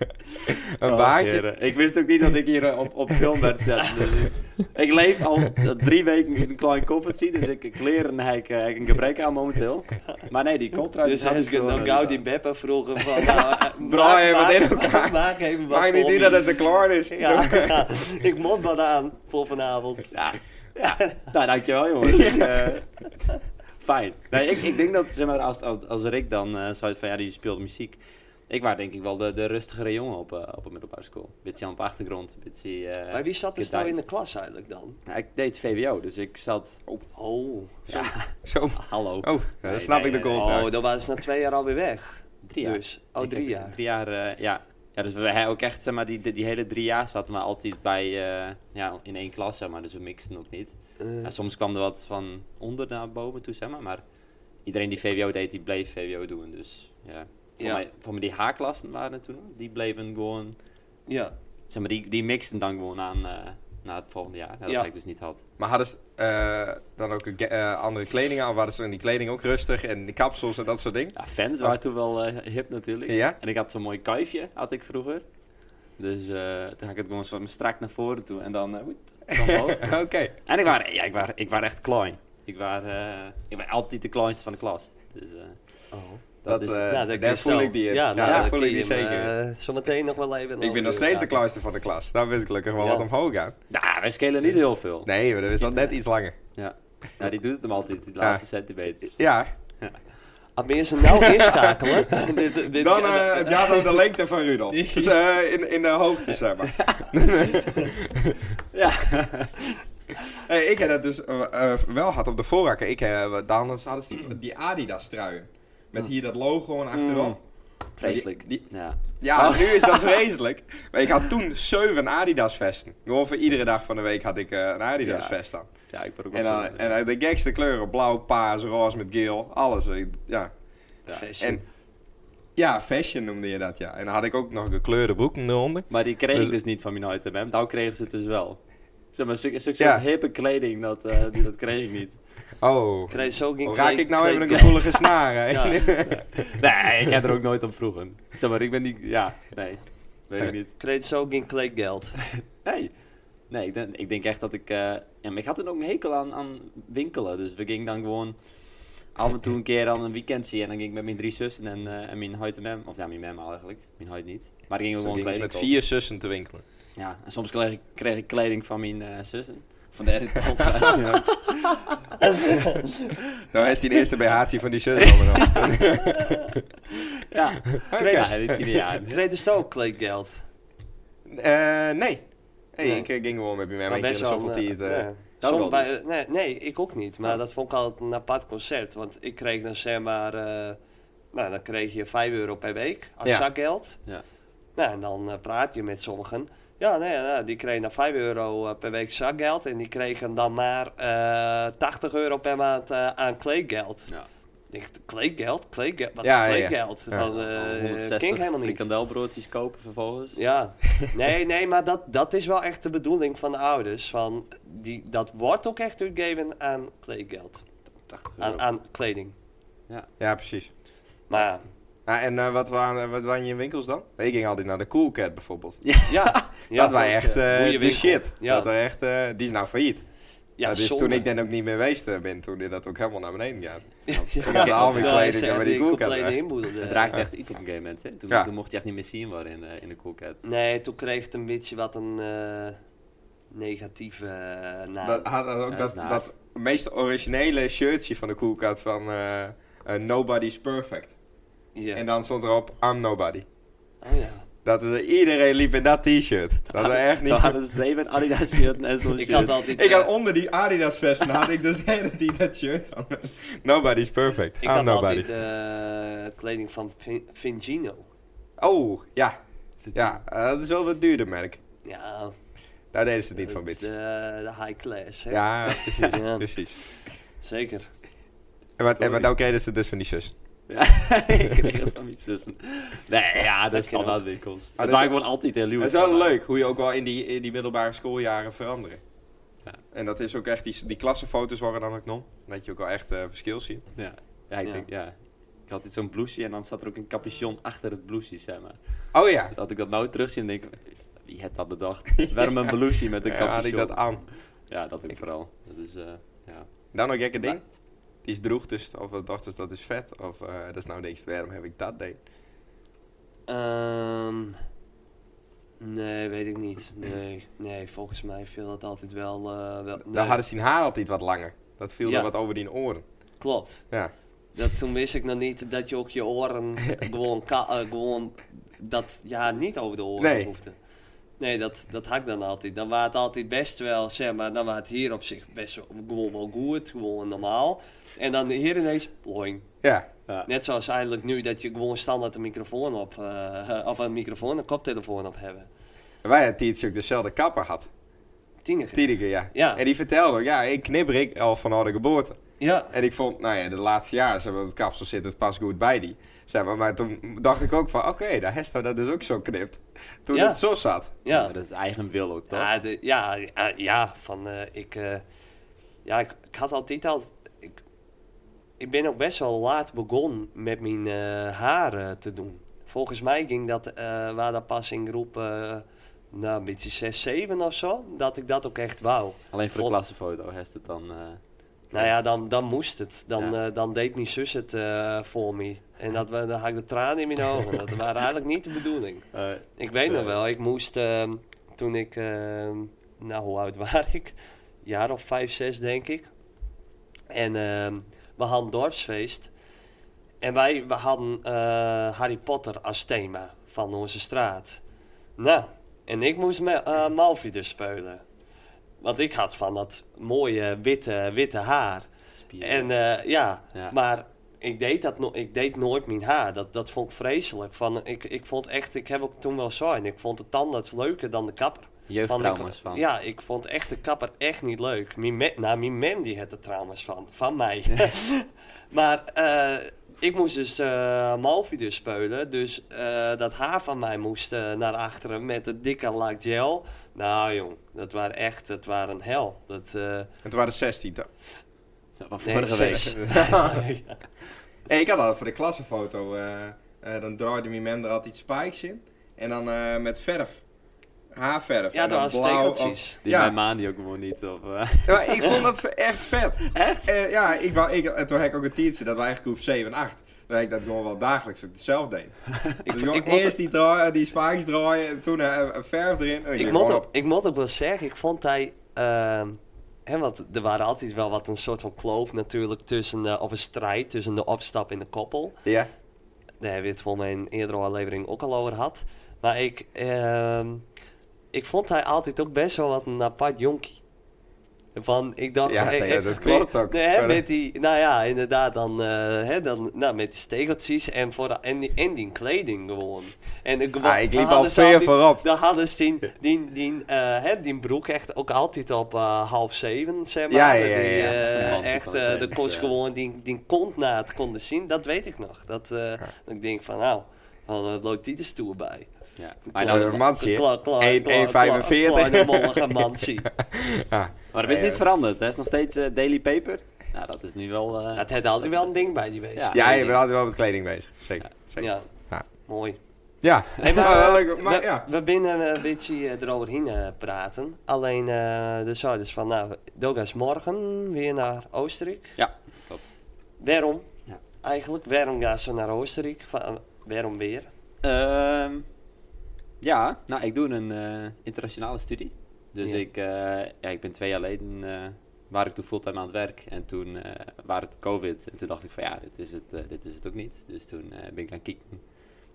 [SPEAKER 2] een
[SPEAKER 3] Oh,
[SPEAKER 2] baardje?
[SPEAKER 3] heren. Ik wist ook niet dat ik hier eh, op, op film werd gezet. Dus ik- ik leef al eh, drie weken in een klein koffertje, dus ik kleren heb ik, eh, heb ik een gebrek aan momenteel. Maar nee, die contract
[SPEAKER 1] Dus als ik dan gauw die Beppa vroegen van... nou, eh,
[SPEAKER 2] Brian,
[SPEAKER 1] maak-
[SPEAKER 2] wat in
[SPEAKER 1] maak-
[SPEAKER 2] elkaar.
[SPEAKER 1] Maak even wat
[SPEAKER 2] Maakt niet
[SPEAKER 1] pommies.
[SPEAKER 2] uit dat het te klaar is.
[SPEAKER 1] Ja, ja, ik mond wat aan voor vanavond.
[SPEAKER 3] Ja, ja. nou dankjewel jongens. Eh, fijn. Nee, ik, ik denk dat zeg maar, als, als, als Rick dan eh zei van ja, die speelt muziek. Ik was denk ik wel de, de rustigere jongen op, eh, op een middelbare school. Beetje aan op achtergrond, beetje... eh,
[SPEAKER 1] Maar wie zat dus nou in de
[SPEAKER 3] gedijst.
[SPEAKER 1] klas eigenlijk dan?
[SPEAKER 3] Ja, ik deed VWO, dus ik zat...
[SPEAKER 1] Oh,
[SPEAKER 2] Zo.
[SPEAKER 3] Hallo.
[SPEAKER 2] Oh, dan
[SPEAKER 3] Nee,
[SPEAKER 2] snap
[SPEAKER 3] nee,
[SPEAKER 2] ik de
[SPEAKER 3] nee, nee.
[SPEAKER 2] kooltruit.
[SPEAKER 1] oh dan waren ze na twee jaar alweer weg.
[SPEAKER 3] Drie jaar.
[SPEAKER 1] Dus, oh,
[SPEAKER 3] Ik
[SPEAKER 1] drie
[SPEAKER 3] heb
[SPEAKER 1] jaar.
[SPEAKER 3] Drie jaar, eh, ja. Ja, dus we hebben ook echt, zeg maar, die, die, die hele drie jaar zaten we altijd bij, eh, ja, in één klas, zeg maar, dus we mixten ook niet.
[SPEAKER 1] Eh,
[SPEAKER 3] Ja, soms kwam er wat van onder naar boven toe, zeg maar, maar iedereen die VWO deed, die bleef VWO doen, dus ja. Voor,
[SPEAKER 1] Ja.
[SPEAKER 3] Mij, voor mij die H-klassen waren er toen, die bleven gewoon,
[SPEAKER 1] ja,
[SPEAKER 3] zeg maar, die, die mixten dan gewoon aan eh, na het volgende jaar, Ja, dat
[SPEAKER 1] Ja.
[SPEAKER 3] heb ik dus niet had.
[SPEAKER 2] Maar hadden ze eh, dan ook een ge- eh, andere kleding aan? Of hadden ze in die kleding ook rustig en die kapsels en dat soort dingen?
[SPEAKER 3] Ja, fans waren toen wel eh, hip natuurlijk.
[SPEAKER 2] Ja?
[SPEAKER 3] En ik had zo'n mooi kuifje, had ik vroeger. Dus eh, toen had ik het gewoon zo strak naar voren toe en dan, eh, woet, kwam omhoog.
[SPEAKER 2] Oké.
[SPEAKER 3] En ik was ja, ik waar, ik waar echt klein. Ik was eh, ik waar altijd de kleinste van de klas. Dus, eh,
[SPEAKER 1] oh.
[SPEAKER 2] Dat,
[SPEAKER 3] dat, is,
[SPEAKER 2] eh,
[SPEAKER 1] Nou,
[SPEAKER 2] daar
[SPEAKER 1] kun je
[SPEAKER 2] voel
[SPEAKER 1] zo-
[SPEAKER 2] ik die in.
[SPEAKER 1] Ja,
[SPEAKER 2] Ja,
[SPEAKER 1] nou,
[SPEAKER 2] daar
[SPEAKER 1] dat
[SPEAKER 2] voel
[SPEAKER 1] kun
[SPEAKER 2] ik
[SPEAKER 1] je
[SPEAKER 2] die
[SPEAKER 1] hem,
[SPEAKER 2] zeker
[SPEAKER 1] eh, zometeen nog wel even.
[SPEAKER 2] Ik ben nog steeds de kleinste van de klas. Daar wist ik gelukkig wel
[SPEAKER 1] Ja.
[SPEAKER 2] wat omhoog aan.
[SPEAKER 3] nou, wij schelen niet heel veel.
[SPEAKER 2] Nee, maar dat is al net iets langer.
[SPEAKER 3] Ja. ja, die doet het hem altijd, die
[SPEAKER 2] Ja.
[SPEAKER 3] laatste centimeters.
[SPEAKER 2] Ja,
[SPEAKER 1] Als mensen nou inschakelen. dit, dit,
[SPEAKER 2] dan eh ja, dan de lengte van Rudolf. Dus eh, in, in de hoogte, zeg maar.
[SPEAKER 3] Ja.
[SPEAKER 2] Hey, ik heb dat dus eh, eh, wel had op de voorrakken. Ik, eh dan hadden ze die, die Adidas truien. Met hier dat logo gewoon achterop.
[SPEAKER 3] Vreselijk.
[SPEAKER 2] Die- die-
[SPEAKER 3] ja.
[SPEAKER 2] Ja, nu is dat vreselijk. Maar ik had toen zeven Adidas vesten. Gewoon voor iedere dag van de week had ik eh, een Adidas
[SPEAKER 3] Ja.
[SPEAKER 2] vest aan.
[SPEAKER 3] ja, ik ben ook wel
[SPEAKER 2] En, dan,
[SPEAKER 3] zo.
[SPEAKER 2] en dan de gekste kleuren. Blauw, paars, roze met geel. Alles. Ik- Ja.
[SPEAKER 3] Ja.
[SPEAKER 2] En, ja, fashion noemde je dat, ja. En dan had ik ook nog gekleurde broeken eronder.
[SPEAKER 3] Maar die kreeg
[SPEAKER 2] Dus-
[SPEAKER 3] ik dus niet van mijn HTMM, nou kregen ze het dus wel. Zeg maar, stuk, stuk
[SPEAKER 2] Ja.
[SPEAKER 3] soort hippe kleding, dat, eh, die, dat kreeg ik niet.
[SPEAKER 2] Oh.
[SPEAKER 1] Krijg je zo geen
[SPEAKER 2] Oh, raak
[SPEAKER 1] kle-
[SPEAKER 2] ik nou even
[SPEAKER 1] kle-
[SPEAKER 2] een gevoelige snaar, hè?
[SPEAKER 1] Ja.
[SPEAKER 3] Nee, ik heb er ook nooit om vroegen. Zeg maar, ik ben niet, ja, nee, weet ik niet.
[SPEAKER 1] Kreeg je zo geen kleedgeld.
[SPEAKER 3] Nee. Nee, ik denk, ik denk echt dat ik... eh, ja, maar ik had er ook een hekel aan, aan winkelen. Dus we gingen dan gewoon af en toe een keer aan een weekend zien. En dan ging ik met mijn drie zussen en, eh, en mijn huid en mem. Of ja, mijn mem eigenlijk. Mijn huid niet. Maar dan gingen we
[SPEAKER 2] Zo
[SPEAKER 3] gewoon
[SPEAKER 2] ging ze
[SPEAKER 3] kleding
[SPEAKER 2] met
[SPEAKER 3] kopen.
[SPEAKER 2] vier zussen te winkelen.
[SPEAKER 3] Ja, en soms kreeg, ik- kreeg ik kleding van mijn eh, zussen. Van de edit
[SPEAKER 2] Nou, hij is die de eerste BH'tje van die zus allemaal.
[SPEAKER 3] Ja, kreeg ja, dit jaar.
[SPEAKER 1] Kreeg je zo ook kleedgeld.
[SPEAKER 2] Eh, nee. Hey,
[SPEAKER 1] Nee.
[SPEAKER 2] Ik eh, ging gewoon met mijn maar ik
[SPEAKER 1] best
[SPEAKER 2] in de
[SPEAKER 1] wel,
[SPEAKER 2] zoveel
[SPEAKER 1] eh,
[SPEAKER 2] tijd, eh,
[SPEAKER 1] ja.
[SPEAKER 3] dat
[SPEAKER 1] Soms
[SPEAKER 3] wel
[SPEAKER 1] bij-
[SPEAKER 3] dus.
[SPEAKER 1] nee, nee, ik ook niet. Maar dat vond ik altijd een apart concept. Want ik kreeg dan zeg maar... eh, nou, dan kreeg je 5 euro per week als
[SPEAKER 2] Ja.
[SPEAKER 1] zakgeld.
[SPEAKER 3] Ja.
[SPEAKER 1] Nou, en dan eh, praat je met sommigen. Ja, nee, nou, die kregen dan 5 euro eh, per week zakgeld. En die kregen dan maar eh 80 euro per maand eh, aan kleedgeld.
[SPEAKER 3] Ja.
[SPEAKER 1] Ik dacht, kleedgeld? Kleedgeld? Wat
[SPEAKER 2] Ja,
[SPEAKER 1] is
[SPEAKER 2] ja, ja.
[SPEAKER 1] kleedgeld?
[SPEAKER 2] Ja.
[SPEAKER 1] Van, eh, ken ik helemaal niet.
[SPEAKER 3] frikandelbroodjes kopen vervolgens.
[SPEAKER 1] Ja, nee, nee, maar dat, dat is wel echt de bedoeling van de ouders. Van die, dat wordt ook echt uitgegeven aan kleedgeld,
[SPEAKER 3] 80 euro.
[SPEAKER 1] aan, aan kleding.
[SPEAKER 2] Ja, precies.
[SPEAKER 1] Maar
[SPEAKER 2] Ah, en eh, wat, waren, wat waren je winkels dan? Ik ging altijd naar de Cool Cat bijvoorbeeld.
[SPEAKER 1] ja, ja
[SPEAKER 2] dat was echt eh,
[SPEAKER 1] Goeie
[SPEAKER 2] de
[SPEAKER 1] winkel.
[SPEAKER 2] shit.
[SPEAKER 1] Ja.
[SPEAKER 2] Dat er echt, eh, die is nou failliet.
[SPEAKER 1] ja,
[SPEAKER 2] dat is
[SPEAKER 1] zonde.
[SPEAKER 2] toen ik dan ook niet meer geweest eh, ben, toen dat ook helemaal naar beneden gaat.
[SPEAKER 1] ja,
[SPEAKER 2] had al mijn
[SPEAKER 1] ja,
[SPEAKER 2] kleding
[SPEAKER 1] ze
[SPEAKER 2] en maar die
[SPEAKER 1] die
[SPEAKER 2] koelkast
[SPEAKER 1] complete
[SPEAKER 2] weg.
[SPEAKER 1] inboedel,
[SPEAKER 3] Het
[SPEAKER 1] eh.
[SPEAKER 3] raakte echt uit op een gegeven moment. Hè? Toen,
[SPEAKER 2] Ja.
[SPEAKER 3] toen mocht je echt niet meer zien waar in, eh, in de koelkast.
[SPEAKER 1] Nee, toen kreeg het een beetje wat een eh, negatieve eh, naam.
[SPEAKER 2] Dat had ook
[SPEAKER 3] Ja, dat
[SPEAKER 2] dat,
[SPEAKER 3] is naar.
[SPEAKER 2] dat meest originele shirtje van de Cool Cat van eh, eh, Nobody's Perfect.
[SPEAKER 1] ja.
[SPEAKER 2] En dan stond erop I'm Nobody.
[SPEAKER 1] Oh ja.
[SPEAKER 2] Dat is, eh, iedereen liep in dat t-shirt. Dat was echt niet
[SPEAKER 3] We hadden zeven Adidas shirten en zo'n
[SPEAKER 1] Ik
[SPEAKER 3] shirt.
[SPEAKER 1] had altijd,
[SPEAKER 2] Ik had
[SPEAKER 1] eh,
[SPEAKER 2] onder die Adidas vesten had ik dus de hele tijd dat shirt aan. Nobody's perfect.
[SPEAKER 1] ik
[SPEAKER 2] I'm
[SPEAKER 1] had
[SPEAKER 2] Oh, nobody.
[SPEAKER 1] altijd eh, kleding van Vin- Vingino.
[SPEAKER 2] Oh, ja. Ja, eh, dat is wel wat duurder merk.
[SPEAKER 1] Ja,
[SPEAKER 2] Daar deden ze het niet van
[SPEAKER 1] dat is,
[SPEAKER 2] bits.
[SPEAKER 1] eh, de high class. Hè?
[SPEAKER 2] Ja, precies.
[SPEAKER 1] Ja.
[SPEAKER 2] precies.
[SPEAKER 1] Zeker.
[SPEAKER 2] En maar, en maar
[SPEAKER 3] Sorry.
[SPEAKER 2] dan kregen ze het dus van die zus.
[SPEAKER 3] Ja, ik kreeg het van mijn zussen. Nee, ja, dat is
[SPEAKER 1] Lekker,
[SPEAKER 3] standaardwinkels.
[SPEAKER 2] Ah, dat
[SPEAKER 3] dat
[SPEAKER 2] is
[SPEAKER 3] waren
[SPEAKER 2] ook-
[SPEAKER 3] gewoon altijd heel nieuw.
[SPEAKER 2] Het is wel leuk hoe je ook wel in die, in die middelbare schooljaren veranderen.
[SPEAKER 3] Ja.
[SPEAKER 2] En dat is ook echt, die, die klassenfoto's waren dan ook non. Dat je ook wel echt eh, verschil ziet.
[SPEAKER 3] Ja, ja, ik,
[SPEAKER 1] Ja.
[SPEAKER 3] Denk, ja. ik had iets zo'n blouseje en dan zat er ook een capuchon achter het blouseje, zeg maar.
[SPEAKER 2] Oh ja.
[SPEAKER 3] Dus als ik dat nou terugzie, dan denk ik, wie had dat bedacht? Waarom een blouseje met een
[SPEAKER 2] Ja, had ik
[SPEAKER 3] capuchon?
[SPEAKER 2] dat aan.
[SPEAKER 3] Ja, dat ook vooral. Dat is, eh, ja.
[SPEAKER 2] Dan nog gekke ding. Die is droeg dus, of we dachten dus dat is vet. Of eh, dat is nou denk ik, waarom heb ik dat ding?
[SPEAKER 1] Ehm, nee, weet ik niet. Nee, nee volgens mij viel dat altijd wel... eh wel nee.
[SPEAKER 2] Daar hadden ze haar altijd wat langer. Dat viel
[SPEAKER 1] Ja.
[SPEAKER 2] dan wat over die oren.
[SPEAKER 1] Klopt.
[SPEAKER 2] Ja.
[SPEAKER 1] Dat, toen wist ik nog niet dat je ook je oren gewoon... ka- eh, gewoon dat je haar niet over de oren
[SPEAKER 2] Nee.
[SPEAKER 1] hoefde. Nee, dat, dat had ik dan altijd. Dan was het altijd best wel, zeg maar, dan was het hier op zich best wel, gewoon wel goed, gewoon normaal. En dan hier ineens, ploing.
[SPEAKER 2] Ja,
[SPEAKER 3] Ja.
[SPEAKER 1] Net zoals eigenlijk nu dat je gewoon standaard een microfoon op, eh, of een microfoon, een koptelefoon op hebben.
[SPEAKER 2] wij hadden Tietz ook dezelfde kapper had.
[SPEAKER 1] Tienige.
[SPEAKER 2] Tiedeke, ja.
[SPEAKER 1] Ja.
[SPEAKER 2] En die vertelde, ook, ja, ik knipper ik al van oude geboorte.
[SPEAKER 1] Ja,
[SPEAKER 2] En ik vond, nou ja, de laatste jaren, zeg maar, het kapsel zit het pas goed bij die. Zeg maar, maar toen dacht ik ook van, oké, daar Hesta dat dus ook zo knipt. Toen
[SPEAKER 1] Ja.
[SPEAKER 2] het zo zat.
[SPEAKER 1] ja.
[SPEAKER 3] Maar dat is eigen wil ook, toch?
[SPEAKER 1] Ja, de- ja, ja, ja, van eh, ik, eh, ja, ik, ik had altijd al, ik, ik ben ook best wel laat begonnen met mijn eh, haar eh, te doen. Volgens mij ging dat, eh waar dat pas in groep, eh, nou een beetje 6, 7 of zo, dat ik dat ook echt wou.
[SPEAKER 3] Alleen voor de
[SPEAKER 1] Vol-
[SPEAKER 3] klassenfoto heeft het dan... eh,
[SPEAKER 1] Nou ja, dan, dan moest het. Dan,
[SPEAKER 3] Ja.
[SPEAKER 1] eh, dan deed mijn zus het eh, voor me. En dat, wa- dan had ik de tranen in mijn ogen. Dat waren eigenlijk niet de bedoeling.
[SPEAKER 3] eh,
[SPEAKER 1] Ik weet nog
[SPEAKER 3] Ja.
[SPEAKER 1] wel, ik moest ehm, toen ik, ehm, nou hoe oud was ik? Een jaar of vijf, zes denk ik. En ehm, we hadden dorpsfeest. En wij we hadden eh, Harry Potter als thema van onze straat. Nou, en ik moest me, eh, Malfi dus spelen. Want ik had van dat mooie witte, witte haar.
[SPEAKER 3] spieren.
[SPEAKER 1] En eh, ja,
[SPEAKER 3] Ja.
[SPEAKER 1] maar ik deed, dat no- ik deed nooit mijn haar. Dat, dat vond ik vreselijk. Van, ik, ik vond echt, ik heb ook toen wel zo. En ik vond de tandarts leuker dan de kapper.
[SPEAKER 3] Jeugdtrauma's van.
[SPEAKER 1] Ik, ja, ik vond echt de kapper echt niet leuk. Mijn me- nou, mijn mem die had er trauma's van. Van mij. maar eh, ik moest dus eh Malfi dus speulen. Dus eh, dat haar van mij moest eh, naar achteren met de dikke lak gel. Nou jong, dat waren echt, dat waren een hel. Dat... eh,
[SPEAKER 2] En toen waren het 16 toch?
[SPEAKER 3] Van
[SPEAKER 1] nee,
[SPEAKER 3] vorige
[SPEAKER 1] zes.
[SPEAKER 3] week.
[SPEAKER 1] Ja.
[SPEAKER 2] Hey, ik had al voor de klassenfoto. eh, eh, dan draaide mijn mem er altijd spikes in. En dan eh, met verf. Haarverf.
[SPEAKER 1] Ja,
[SPEAKER 2] En dan
[SPEAKER 1] dat was
[SPEAKER 2] blauw of-
[SPEAKER 1] tegeltjes.
[SPEAKER 3] Die
[SPEAKER 2] Ja.
[SPEAKER 3] mijn maan die ook gewoon niet. Of, eh,
[SPEAKER 2] Ja, maar ik vond dat ve- echt vet.
[SPEAKER 3] Echt?
[SPEAKER 2] Eh, ja, ik wou, ik, en toen had ik ook een tientje, dat was echt groep 7 en 8. Dat ik dat gewoon wel dagelijks ook hetzelfde deed. Ik, dus gewoon
[SPEAKER 1] ik vond
[SPEAKER 2] eerst die, draai, die spaakjes draaien, en toen eh, verf erin. En
[SPEAKER 1] Ik
[SPEAKER 2] ging
[SPEAKER 1] moet,
[SPEAKER 2] gewoon
[SPEAKER 1] ook, ik moet ook wel zeggen, ik vond hij... ehm, hè, want er waren altijd wel wat een soort van kloof natuurlijk tussen... eh, of een strijd tussen de opstap en de koppel.
[SPEAKER 2] Ja.
[SPEAKER 1] Daar hebben we het voor mijn eerdere aflevering ook al over gehad. Maar ik... ehm, ik vond hij altijd ook best wel wat een apart jonkie. Van, ik dacht...
[SPEAKER 2] Ja,
[SPEAKER 1] eh,
[SPEAKER 2] nee,
[SPEAKER 1] eh,
[SPEAKER 2] dat klopt
[SPEAKER 1] met-
[SPEAKER 2] ook.
[SPEAKER 1] nee, hè,
[SPEAKER 2] Maar eh, dat-
[SPEAKER 1] met die, nou ja, inderdaad, dan, eh, hè, dan nou, met die stegeltjes en, voor de, en, die, en die kleding gewoon. En, ik
[SPEAKER 2] Ah, ik liep al ver voorop.
[SPEAKER 1] dan hadden ze die, die, die, eh, hè, die broek echt ook altijd op eh, half zeven, zeg maar.
[SPEAKER 2] Ja, ja, ja,
[SPEAKER 1] Die,
[SPEAKER 2] ja.
[SPEAKER 1] eh,
[SPEAKER 3] Ja, want ze
[SPEAKER 1] echt,
[SPEAKER 3] kon
[SPEAKER 1] eh,
[SPEAKER 3] het
[SPEAKER 1] de
[SPEAKER 3] niet,
[SPEAKER 1] kost
[SPEAKER 3] ja.
[SPEAKER 1] gewoon die, die kontnaad konden zien, dat weet ik nog. Dat, eh, dat ik denk van, nou, van het loopt die de stoer bij. eh,
[SPEAKER 3] ja. Maar, nou,
[SPEAKER 2] Kleine
[SPEAKER 3] dan-
[SPEAKER 2] man. mansje, nou, hè?
[SPEAKER 1] Kla- kla-
[SPEAKER 2] Eén-
[SPEAKER 1] kla-
[SPEAKER 2] één
[SPEAKER 1] kla-
[SPEAKER 2] 45.
[SPEAKER 1] Kleine mollige mansie.
[SPEAKER 2] Ah.
[SPEAKER 3] maar dat is
[SPEAKER 2] Ja,
[SPEAKER 3] niet
[SPEAKER 2] ja.
[SPEAKER 3] veranderd. Er is nog steeds eh, Daily Paper. Nou, dat is nu wel. eh,
[SPEAKER 1] Dat had altijd wel een ding bij die wezen.
[SPEAKER 2] ja, je
[SPEAKER 1] ja.
[SPEAKER 2] bent altijd wel met kleding bezig. Zeker. zeker. Ja.
[SPEAKER 1] Ja. mooi.
[SPEAKER 2] Ja.
[SPEAKER 1] Hey, maar,
[SPEAKER 2] Ja,
[SPEAKER 1] eh,
[SPEAKER 2] leuk, maar
[SPEAKER 1] we,
[SPEAKER 2] ja.
[SPEAKER 1] we binnen een beetje eh, eroverheen eh, praten. Alleen, eh dus, zo, dus van, nou, Doga's morgen weer naar Oostenrijk.
[SPEAKER 3] Ja, klopt.
[SPEAKER 1] Waarom?
[SPEAKER 3] Ja.
[SPEAKER 1] Eigenlijk, waarom gaan ze naar Oostenrijk? Van, eh, waarom weer?
[SPEAKER 3] Ehm, ja, nou, ik doe een eh, internationale studie. Dus
[SPEAKER 1] Ja.
[SPEAKER 3] ik, eh, ja, ik ben twee jaar geleden. eh, waar ik toen fulltime aan het werk. En toen eh waren het COVID. En toen dacht ik van ja, dit is het, eh, dit is het ook niet. Dus toen eh, ben ik gaan kijken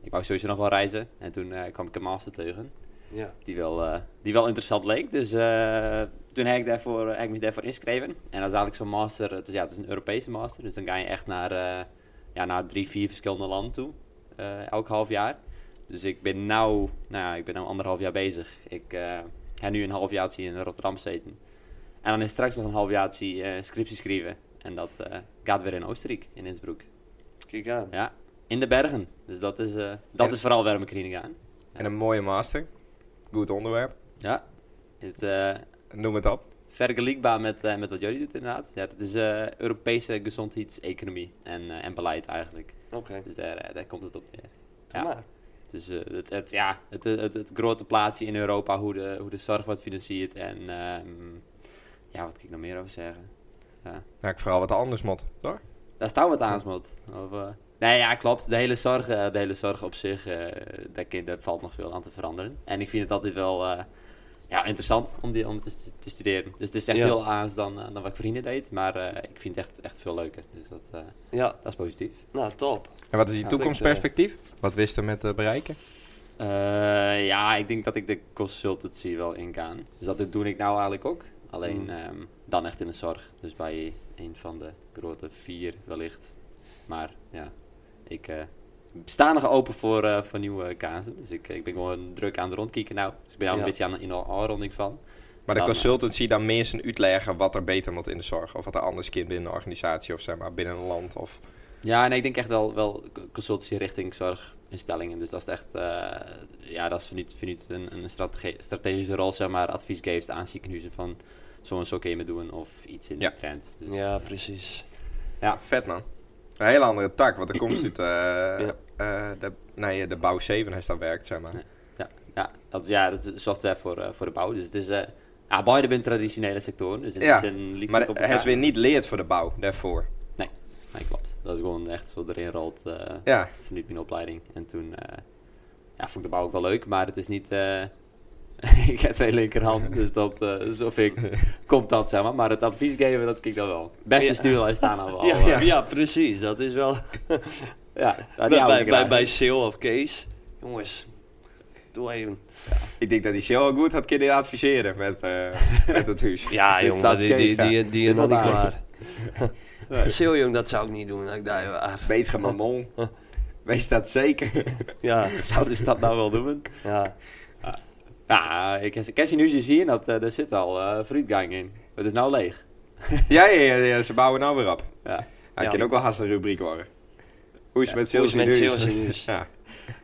[SPEAKER 3] Ik wou sowieso nog wel reizen. En toen eh, kwam ik een master tegen.
[SPEAKER 1] Ja.
[SPEAKER 3] Die wel, eh, die wel interessant leek. Dus eh, toen heb ik, daarvoor, heb ik me daarvoor ingeschreven. En dan zat ik zo'n master. Het is, ja, het is een Europese master. Dus dan ga je echt naar, eh, ja, naar drie, vier verschillende landen toe. eh, elk half jaar. Dus ik ben nu nou ja, ik ben nou anderhalf jaar bezig. Ik eh, ga nu een halfjaartje in Rotterdam zitten. En dan is straks nog een halfjaartje eh, scriptie schrijven. En dat eh, gaat weer in Oostenrijk, in Innsbruck.
[SPEAKER 1] Kijk aan.
[SPEAKER 3] Ja, in de bergen. Dus dat is, eh, dat
[SPEAKER 2] En-
[SPEAKER 3] is vooral waar mijn kringen aan.
[SPEAKER 2] En een mooie master. Goed onderwerp.
[SPEAKER 3] Ja, het, eh,
[SPEAKER 2] Noem het op.
[SPEAKER 3] vergelijkbaar met, eh, met wat jullie doen inderdaad. Ja, het is eh, Europese gezondheidseconomie en, eh, en beleid eigenlijk.
[SPEAKER 1] Oké.
[SPEAKER 3] Dus daar, eh, daar komt het op neer.
[SPEAKER 1] Doe maar.
[SPEAKER 3] Dus eh, het, het, ja, het, het, het grote plaatsje in Europa, hoe de, hoe de zorg wordt financierd en ehm, ja, wat kan ik nog meer over zeggen?
[SPEAKER 2] Nou, ik vooral wat anders, mot. Toch?
[SPEAKER 3] Daar staat wat aan, Smot. Of, eh, Nee, ja, klopt. De hele zorg, eh, de hele zorg op zich, eh, daar, kan- daar valt nog veel aan te veranderen. En ik vind het altijd wel eh, ja, interessant om, die, om te, stu- te studeren. Dus het is echt
[SPEAKER 1] Ja.
[SPEAKER 3] heel anders dan, eh, dan wat ik vrienden deed. Maar eh, ik vind het echt, echt veel leuker. Dus dat, eh,
[SPEAKER 1] Ja,
[SPEAKER 3] dat is positief.
[SPEAKER 1] nou top.
[SPEAKER 2] En wat is die
[SPEAKER 3] Ja,
[SPEAKER 2] toekomstperspectief? Wat wist er met eh, bereiken?
[SPEAKER 3] Eh, ja, ik denk dat ik de consultancy wel ingaan. Dus dat doe ik nou eigenlijk ook. Alleen
[SPEAKER 1] Mm.
[SPEAKER 3] ehm, dan echt in de zorg. Dus bij een van de grote vier wellicht. Maar ja, ik eh, sta nog open voor, eh, voor nieuwe kazen. Dus ik, ik ben gewoon druk aan het rondkijken nou. Dus ik ben al
[SPEAKER 1] Ja.
[SPEAKER 3] een beetje aan de in- aanronding van.
[SPEAKER 2] Maar de
[SPEAKER 3] Dan, eh,
[SPEAKER 2] consultancy dan mensen uitleggen wat er beter moet in de zorg. Of wat er anders kind binnen een organisatie of zeg maar binnen een land. Of...
[SPEAKER 3] Ja, en ik denk echt wel, wel consultancy richting zorginstellingen. Dus dat is echt, eh, ja, dat is vanuit, vanuit een, een strate- strategische rol, zeg maar, advies geeft aan ziekenhuizen van zo en zo kun je me doen of iets in
[SPEAKER 2] Ja.
[SPEAKER 3] die trend. Dus,
[SPEAKER 1] Ja, precies.
[SPEAKER 3] Ja.
[SPEAKER 2] Vet man. Een hele andere tak, want er komt uit eh,
[SPEAKER 1] Ja.
[SPEAKER 2] eh, de, nee, de bouw 7 is daar werkt, zeg maar.
[SPEAKER 3] Ja. ja, dat, is- ja, dat is software voor, eh, voor de bouw. Dus het is, eh ja, beide zijn traditionele sectoren. Dus in
[SPEAKER 2] Ja,
[SPEAKER 3] die zin liep
[SPEAKER 2] Maar
[SPEAKER 3] het op
[SPEAKER 2] hij is
[SPEAKER 3] elkaar.
[SPEAKER 2] weer niet leerd voor de bouw, daarvoor.
[SPEAKER 3] Nee, klopt. Dat is gewoon echt zo erin rolt eh,
[SPEAKER 2] Ja,
[SPEAKER 3] vanuit mijn opleiding. En toen eh, ja, vond ik de bouw ook wel leuk, maar het is niet. eh, ik heb twee linkerhanden, dus dat, eh zo vind ik, komt dat zeg maar. Maar het advies geven, dat kijk ik dan wel. Beste
[SPEAKER 1] Ja.
[SPEAKER 3] stuurlijst staan al wel.
[SPEAKER 1] ja,
[SPEAKER 3] eh,
[SPEAKER 1] ja. ja, precies. Dat is wel...
[SPEAKER 3] ja, ja, die
[SPEAKER 1] bij,
[SPEAKER 3] hou ik
[SPEAKER 1] bij, bij,
[SPEAKER 3] graag.
[SPEAKER 1] Sale of Kees. Jongens, doe even.
[SPEAKER 2] ik denk dat hij zo goed had kunnen adviseren met, eh, met het huis.
[SPEAKER 1] Ja,
[SPEAKER 3] Dit
[SPEAKER 1] jongen,
[SPEAKER 3] staat
[SPEAKER 1] die, die,
[SPEAKER 2] scheef,
[SPEAKER 1] die, die is nog
[SPEAKER 2] Wat
[SPEAKER 1] niet
[SPEAKER 2] aardig.
[SPEAKER 1] klaar. Sale, jong, dat zou ik niet doen. Ik daar waar.
[SPEAKER 2] Weet je, mamon. Wees dat zeker.
[SPEAKER 1] Ja,
[SPEAKER 3] Zou dus dat nou wel doen?
[SPEAKER 1] ja.
[SPEAKER 3] Ja, ik ik heb ze nu eens zien, dat, eh, daar zit al eh fruitgang in. Het is nou leeg.
[SPEAKER 2] ja, ja, ja, ja, ze bouwen nou weer op.
[SPEAKER 3] Ja.
[SPEAKER 2] Hij
[SPEAKER 1] Ja.
[SPEAKER 2] kan ook wel haast een rubriek worden. Hoe is het met
[SPEAKER 1] hoe is
[SPEAKER 2] Sales
[SPEAKER 1] het met
[SPEAKER 2] News?
[SPEAKER 1] Sales News?
[SPEAKER 2] Ja.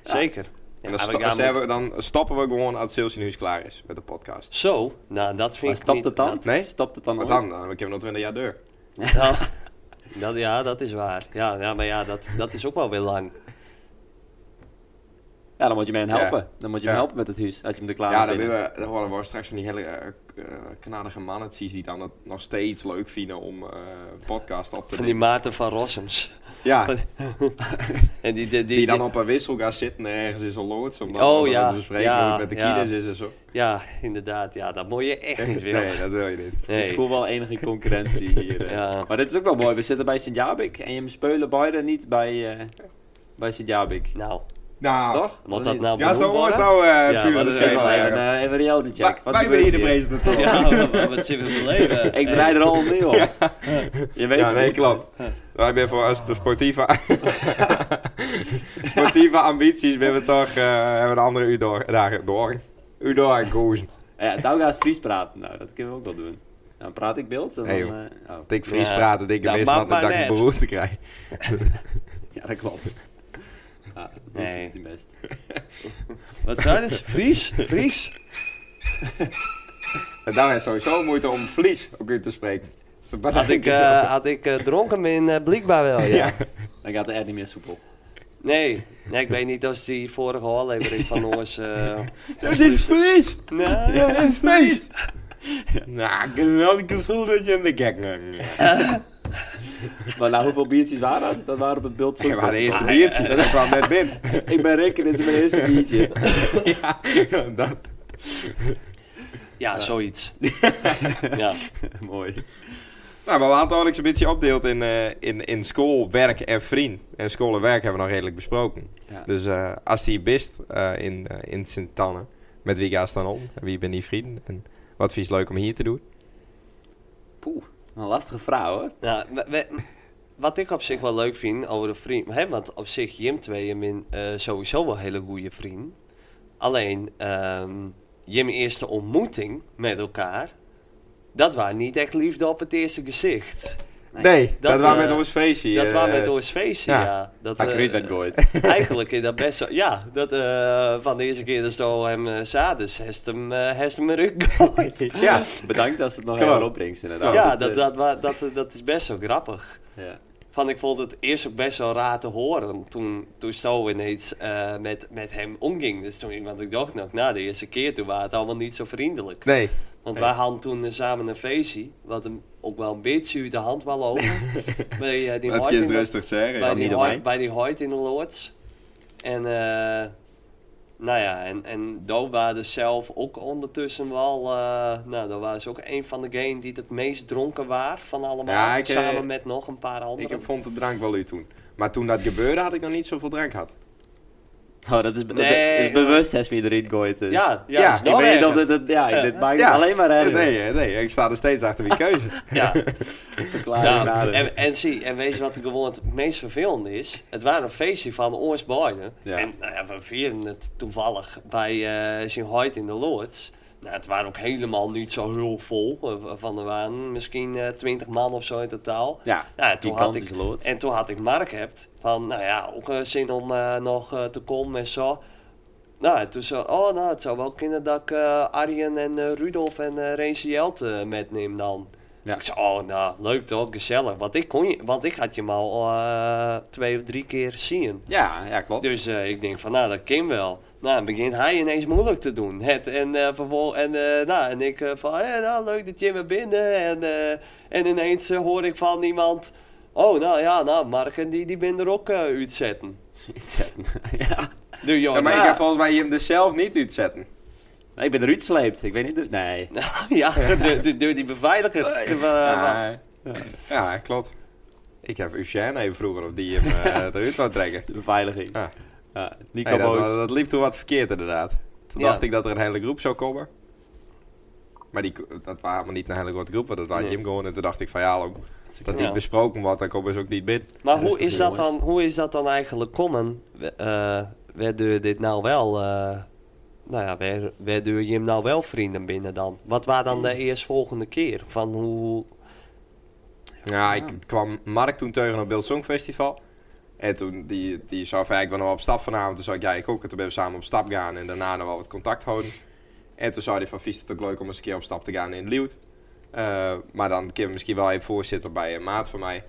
[SPEAKER 1] Zeker.
[SPEAKER 2] En
[SPEAKER 1] Ja,
[SPEAKER 2] dan,
[SPEAKER 1] we
[SPEAKER 2] sto-
[SPEAKER 1] gaan
[SPEAKER 2] zijn we- dan stoppen we gewoon als Sales News klaar is met de podcast.
[SPEAKER 1] Zo, nou dat vind
[SPEAKER 3] Maar
[SPEAKER 1] ik
[SPEAKER 3] stapt
[SPEAKER 1] niet...
[SPEAKER 3] het dan?
[SPEAKER 1] dat-
[SPEAKER 2] Nee?
[SPEAKER 3] Stapt het dan
[SPEAKER 2] Wat
[SPEAKER 3] al?
[SPEAKER 2] dan? Dan- Ik heb nog 20 jaar deur.
[SPEAKER 1] Ja, nou, dat, ja, dat is waar. Ja, ja maar ja, dat, dat is ook wel weer lang.
[SPEAKER 3] Ja, dan moet je mee hem
[SPEAKER 2] Ja.
[SPEAKER 3] helpen. Dan moet je hem
[SPEAKER 2] Ja.
[SPEAKER 3] helpen met het huis, als je hem er klaar
[SPEAKER 2] ja,
[SPEAKER 3] hebt
[SPEAKER 2] dan,
[SPEAKER 3] binnen.
[SPEAKER 2] willen we, dan horen we straks van die hele eh, k- eh, knadige mannetjes die dan het nog steeds leuk vinden om eh, een podcast op te
[SPEAKER 1] Van die
[SPEAKER 2] nemen.
[SPEAKER 1] Maarten van Rossums.
[SPEAKER 2] Ja,
[SPEAKER 1] van- En die, die, die-
[SPEAKER 2] die dan
[SPEAKER 1] die-
[SPEAKER 2] op een wissel gaat zitten en ergens in zo'n loods. Om dan
[SPEAKER 1] Oh,
[SPEAKER 2] om dan
[SPEAKER 1] ja,
[SPEAKER 2] te bespreken
[SPEAKER 1] ja,
[SPEAKER 2] hoe het met de
[SPEAKER 1] ja.
[SPEAKER 2] kines is en zo.
[SPEAKER 1] Ja, inderdaad. Ja, dat moet je echt niet willen.
[SPEAKER 2] Nee, dat wil je niet.
[SPEAKER 1] Nee.
[SPEAKER 3] Ik voel wel enige concurrentie hier. eh.
[SPEAKER 1] Ja.
[SPEAKER 3] Maar dit is ook wel mooi. We zitten bij Sint-Jabik en je speulen beide niet bij, eh, bij Sint-Jabik.
[SPEAKER 1] Nou,
[SPEAKER 2] Nou,
[SPEAKER 3] Toch?
[SPEAKER 1] wat dat nou
[SPEAKER 2] ja, zo
[SPEAKER 1] bedoeld
[SPEAKER 2] was
[SPEAKER 1] worden?
[SPEAKER 2] nou eh, het
[SPEAKER 1] Ja,
[SPEAKER 2] vuur
[SPEAKER 1] maar
[SPEAKER 2] aan de
[SPEAKER 1] dat is
[SPEAKER 2] schenen.
[SPEAKER 1] wel
[SPEAKER 3] Even,
[SPEAKER 2] leggen.
[SPEAKER 3] eh, even een reality check.
[SPEAKER 2] Wij-
[SPEAKER 3] Wat
[SPEAKER 2] Wij
[SPEAKER 3] gebeurt
[SPEAKER 2] ben hier de
[SPEAKER 3] hier?
[SPEAKER 2] presentator.
[SPEAKER 1] Ja, Nou, wat- wat zit we te leven?
[SPEAKER 3] Ik draai er al opnieuw op. Je weet
[SPEAKER 2] Ja,
[SPEAKER 3] het
[SPEAKER 2] nee,
[SPEAKER 3] niet.
[SPEAKER 2] klopt. Wij zijn voor als de sportieve, sportieve ambities ben we toch, eh, hebben we een andere u door, daar, door, u door gekozen.
[SPEAKER 3] Ja, nou gaat Fries praten. Nou, dat kunnen we ook wel doen. Dan praat ik beeld en dan...
[SPEAKER 2] Nee,
[SPEAKER 3] eh, oh.
[SPEAKER 2] Dat ik Fries
[SPEAKER 1] Ja,
[SPEAKER 2] praten, dat ik
[SPEAKER 1] dat
[SPEAKER 2] wist
[SPEAKER 1] mag
[SPEAKER 2] dat
[SPEAKER 1] maar
[SPEAKER 2] dat ik een
[SPEAKER 1] net.
[SPEAKER 2] beroerte krijg.
[SPEAKER 3] Ja, dat klopt. Ja,
[SPEAKER 1] Nee.
[SPEAKER 3] nee. is het best.
[SPEAKER 1] Wat zijn het? Fries? Fries?
[SPEAKER 2] En daar is sowieso moeite om Fries ook in te spreken. Dus dat
[SPEAKER 1] Had ik,
[SPEAKER 2] is-
[SPEAKER 1] eh, had ik eh, dronken ben, eh, blijkbaar wel, ja.
[SPEAKER 2] Ja.
[SPEAKER 3] Dan gaat het echt niet meer soepel.
[SPEAKER 1] Nee. nee, ik weet niet of die vorige aflevering van ons... eh
[SPEAKER 2] Dat is Fries!
[SPEAKER 1] nee,
[SPEAKER 2] Dat is Fries! Nou, ik heb wel het gevoel dat je in de gek bent.
[SPEAKER 3] Maar nou, hoeveel biertjes waren dat? Dat waren op het beeld zo.
[SPEAKER 2] Ja, maar de eerste biertje, dat kwam net binnen.
[SPEAKER 3] Ik ben Rick en dit is mijn eerste biertje.
[SPEAKER 2] Ja, dat.
[SPEAKER 1] Ja, zoiets. ja.
[SPEAKER 3] Mooi.
[SPEAKER 2] Nou, maar we hadden al eens een beetje opdeeld in, eh, in, in school, werk en vriend. En school en werk hebben we nog redelijk besproken.
[SPEAKER 3] Ja.
[SPEAKER 2] Dus eh, als die bist eh, in, eh, in Sint-Tanne, met wie ga je dan om? En wie ben die vrienden? En wat vind je het leuk om hier te doen?
[SPEAKER 3] Poeh, een lastige vrouw hoor.
[SPEAKER 1] Nou, we- we- wat ik op zich wel leuk vind over de vriend... Hè, want op zich Jim 2 en Min eh, sowieso wel hele goede vriend. Alleen, ehm Jim eerste ontmoeting met elkaar... Dat waren niet echt liefde op het eerste gezicht.
[SPEAKER 2] Nee,
[SPEAKER 3] Nee,
[SPEAKER 2] dat,
[SPEAKER 1] dat,
[SPEAKER 2] waren
[SPEAKER 1] eh,
[SPEAKER 2] met ons feestje.
[SPEAKER 1] Dat
[SPEAKER 2] eh,
[SPEAKER 1] waren met ons feestje,
[SPEAKER 2] ja.
[SPEAKER 1] ja. Dat,
[SPEAKER 3] Hij
[SPEAKER 1] eh,
[SPEAKER 3] kruidt dat gooit.
[SPEAKER 1] Eigenlijk is dat best wel... Ja, dat, eh, van de eerste keer dat ze hem eh, zaten, ze heeft hem, eh, heeft hem een ruk gegooid.
[SPEAKER 2] Ja,
[SPEAKER 3] Bedankt als het nog
[SPEAKER 2] Kom
[SPEAKER 3] helemaal
[SPEAKER 2] op.
[SPEAKER 3] opbrengt inderdaad.
[SPEAKER 1] Ja, dat,
[SPEAKER 3] eh,
[SPEAKER 1] dat, wa- dat, eh, dat is best wel grappig.
[SPEAKER 3] ja.
[SPEAKER 1] Van, ik vond het eerst ook best wel raar te horen toen, toen zo ineens eh, met, met hem omging. Dus toen, want ik dacht nog, nou, de eerste keer toen waren het allemaal niet zo vriendelijk.
[SPEAKER 2] nee,
[SPEAKER 1] Want wij hadden toen eh, samen een feestje, wat hem ook wel een beetje uit de hand wel over. bij, eh, die
[SPEAKER 2] dat
[SPEAKER 1] Martin,
[SPEAKER 2] is rustig zeggen.
[SPEAKER 1] bij
[SPEAKER 2] ja.
[SPEAKER 1] die,
[SPEAKER 3] niet
[SPEAKER 1] hoi-
[SPEAKER 3] omheen.
[SPEAKER 1] bij die Hoyt in de Lords. En eh, nou ja, en, en daar waren ze zelf ook ondertussen wel. eh, nou, daar waren ze ook een van de games die het meest dronken waren van allemaal.
[SPEAKER 2] Ja, ik, eh,
[SPEAKER 1] samen met nog een paar
[SPEAKER 2] Ik
[SPEAKER 1] anderen.
[SPEAKER 2] heb- vond de drank wel u toen. Maar toen dat gebeurde had ik nog niet zoveel drank gehad.
[SPEAKER 3] Oh, dat is, be- dat
[SPEAKER 1] Nee,
[SPEAKER 3] is bewust, heeft me erin gooit. Dus.
[SPEAKER 1] Ja, ja,
[SPEAKER 2] Ja,
[SPEAKER 1] is
[SPEAKER 2] ik
[SPEAKER 1] nog
[SPEAKER 3] Ik weet niet
[SPEAKER 1] erger.
[SPEAKER 3] of dit, dit- ja, dit maakt
[SPEAKER 2] Ja.
[SPEAKER 3] het alleen maar
[SPEAKER 2] Nee,
[SPEAKER 3] erger.
[SPEAKER 2] nee, nee, ik sta er steeds achter die keuze.
[SPEAKER 1] Ja,
[SPEAKER 3] Verklaring
[SPEAKER 1] ja.
[SPEAKER 3] nader.
[SPEAKER 1] En, en zie, en weet je wat gewoon het meest vervelende is? Het waren een feestje van ons beiden.
[SPEAKER 3] Ja.
[SPEAKER 1] En nou ja, we vierden het toevallig bij eh zijn Hoyt in de Lords. Nou, het waren ook helemaal niet zo heel vol. eh, Van er waren misschien eh, twintig man of zo in totaal.
[SPEAKER 3] Ja,
[SPEAKER 1] Nou, en toen had
[SPEAKER 3] gigantisch
[SPEAKER 1] ik,
[SPEAKER 3] lood.
[SPEAKER 1] en toen had ik Mark hebt van, nou ja, ook eh, zin om eh, nog eh, te komen en zo. Nou, en toen zo, oh nou, het zou wel kunnen dat ik eh, Arjen en eh, Rudolf en eh Rezi Jelte metneem dan.
[SPEAKER 3] Ja.
[SPEAKER 1] Ik zei, oh nou, leuk toch, gezellig. Want ik, kon je, want ik had je maar al eh, twee of drie keer zien.
[SPEAKER 3] Ja, ja, klopt.
[SPEAKER 1] Dus eh, ik denk van, nou, dat kan wel. Nou, dan begint hij ineens moeilijk te doen. Het, en, eh, vervol- en, eh, nou, en ik eh, van, eh, nou, leuk dat je me binnen. En, eh, en ineens eh, hoor ik van iemand... Oh, nou ja, nou, Mark en die, die ben er ook eh, uitzetten.
[SPEAKER 3] ja.
[SPEAKER 1] Nu, joh,
[SPEAKER 2] Ja, maar
[SPEAKER 1] nou,
[SPEAKER 2] ik heb volgens mij hem er zelf niet uitzetten.
[SPEAKER 3] Nee, ik ben eruit gesleept. Ik weet niet... hoe- Nee.
[SPEAKER 1] ja, de, de, de- die beveiliger. Eh, wa-
[SPEAKER 2] Ja, ja, klopt. Ik heb Eugène even vroeger of die hem eh eruit wou trekken.
[SPEAKER 3] De beveiliging.
[SPEAKER 2] Ja.
[SPEAKER 3] Ja. Nico
[SPEAKER 2] Nee, dat,
[SPEAKER 3] Boos.
[SPEAKER 2] dat liep toen wat verkeerd inderdaad. Toen
[SPEAKER 1] Ja.
[SPEAKER 2] dacht ik dat er een hele groep zou komen. Maar die, dat waren helemaal niet een hele grote groep, want dat waren
[SPEAKER 1] Nee.
[SPEAKER 2] Jim gewoon. En toen dacht ik van ja, hallo, dat
[SPEAKER 1] Ja.
[SPEAKER 2] niet besproken wordt, dan komen ze ook niet binnen.
[SPEAKER 1] maar
[SPEAKER 3] Ja,
[SPEAKER 1] hoe
[SPEAKER 3] rustig,
[SPEAKER 1] is, dat
[SPEAKER 3] jongens.
[SPEAKER 1] dan, hoe is dat dan eigenlijk komen? eh waardoor dit nou wel... eh, nou ja, waar- waardoor je hem nou wel vrienden binnen dan? Wat waren dan de eerstvolgende keer? Van hoe...
[SPEAKER 2] Ja, ik kwam Mark toen tegen op Beeld Songfestival. En toen, die, die zou van, ja, ik wil nog wel op stap vanavond. Toen zei ik, ja, ik ook. En toen ben we samen op stap gaan en daarna nog wel wat contact houden. En toen zei hij van, vies het ook leuk om eens een keer op stap te gaan in Liewt. Eh, maar dan kunnen we misschien wel even voorzitten bij een maat van mij.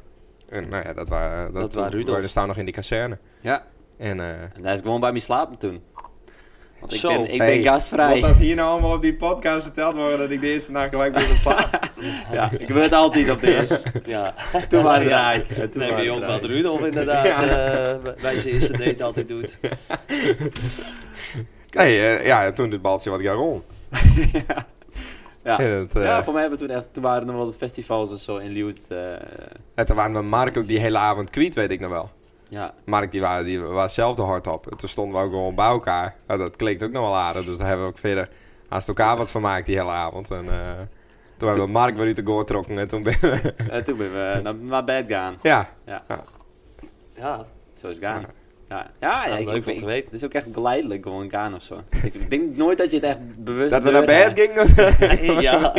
[SPEAKER 2] En nou ja, dat waren...
[SPEAKER 1] Dat waren Rudolf.
[SPEAKER 2] We staan nog in die kazerne.
[SPEAKER 3] Ja.
[SPEAKER 2] En eh
[SPEAKER 3] En daar is gewoon bij me slapen toen. Want ik
[SPEAKER 1] Zo.
[SPEAKER 3] ben, ik
[SPEAKER 2] Hey,
[SPEAKER 3] ben gastvrij.
[SPEAKER 2] wordt dat hier nou allemaal op die podcast verteld worden dat ik de eerste nacht gelijk ben slapen?
[SPEAKER 3] Ja, ik ben het altijd op de eerste.
[SPEAKER 1] Ja,
[SPEAKER 3] Toen waren we
[SPEAKER 1] Ja.
[SPEAKER 3] rijk. En toen
[SPEAKER 1] Nee,
[SPEAKER 3] waren
[SPEAKER 1] maar
[SPEAKER 3] we
[SPEAKER 1] ook
[SPEAKER 3] rijk.
[SPEAKER 1] wat Rudolf inderdaad eh, bij- bij zijn eerste date altijd doet.
[SPEAKER 2] nee, eh, ja, en toen dit baltje wat gaan rollen.
[SPEAKER 3] Ja.
[SPEAKER 2] En het, eh,
[SPEAKER 3] Ja, voor mij hebben we toen echt... Toen waren er nog wel wat festivals en zo in Liewt. eh,
[SPEAKER 2] en toen waren we Mark ook die hele avond kwiet, weet ik nog wel.
[SPEAKER 3] ja.
[SPEAKER 2] Mark die waren, die waren zelf de hard op. En toen stonden we ook gewoon bij elkaar. Nou, dat klinkt ook nog wel aardig. Dus daar hebben we ook verder naast elkaar wat van gemaakt die hele avond. En eh, toen hebben we Mark weer uit de goal getrokken. En toen ben we...
[SPEAKER 3] En Eh, toen ben we naar, naar bed gaan.
[SPEAKER 2] ja.
[SPEAKER 1] Ja,
[SPEAKER 3] Zo is het gaan. Ja, ja,
[SPEAKER 1] Ja,
[SPEAKER 3] ik,
[SPEAKER 1] leuk
[SPEAKER 3] ik,
[SPEAKER 1] om
[SPEAKER 3] ik-
[SPEAKER 1] te weten.
[SPEAKER 3] Het is ook echt geleidelijk gewoon gaan of zo. ik, ik denk nooit dat je het echt bewust...
[SPEAKER 2] Dat we naar
[SPEAKER 3] doorgaat.
[SPEAKER 2] bed gingen.
[SPEAKER 1] Ja.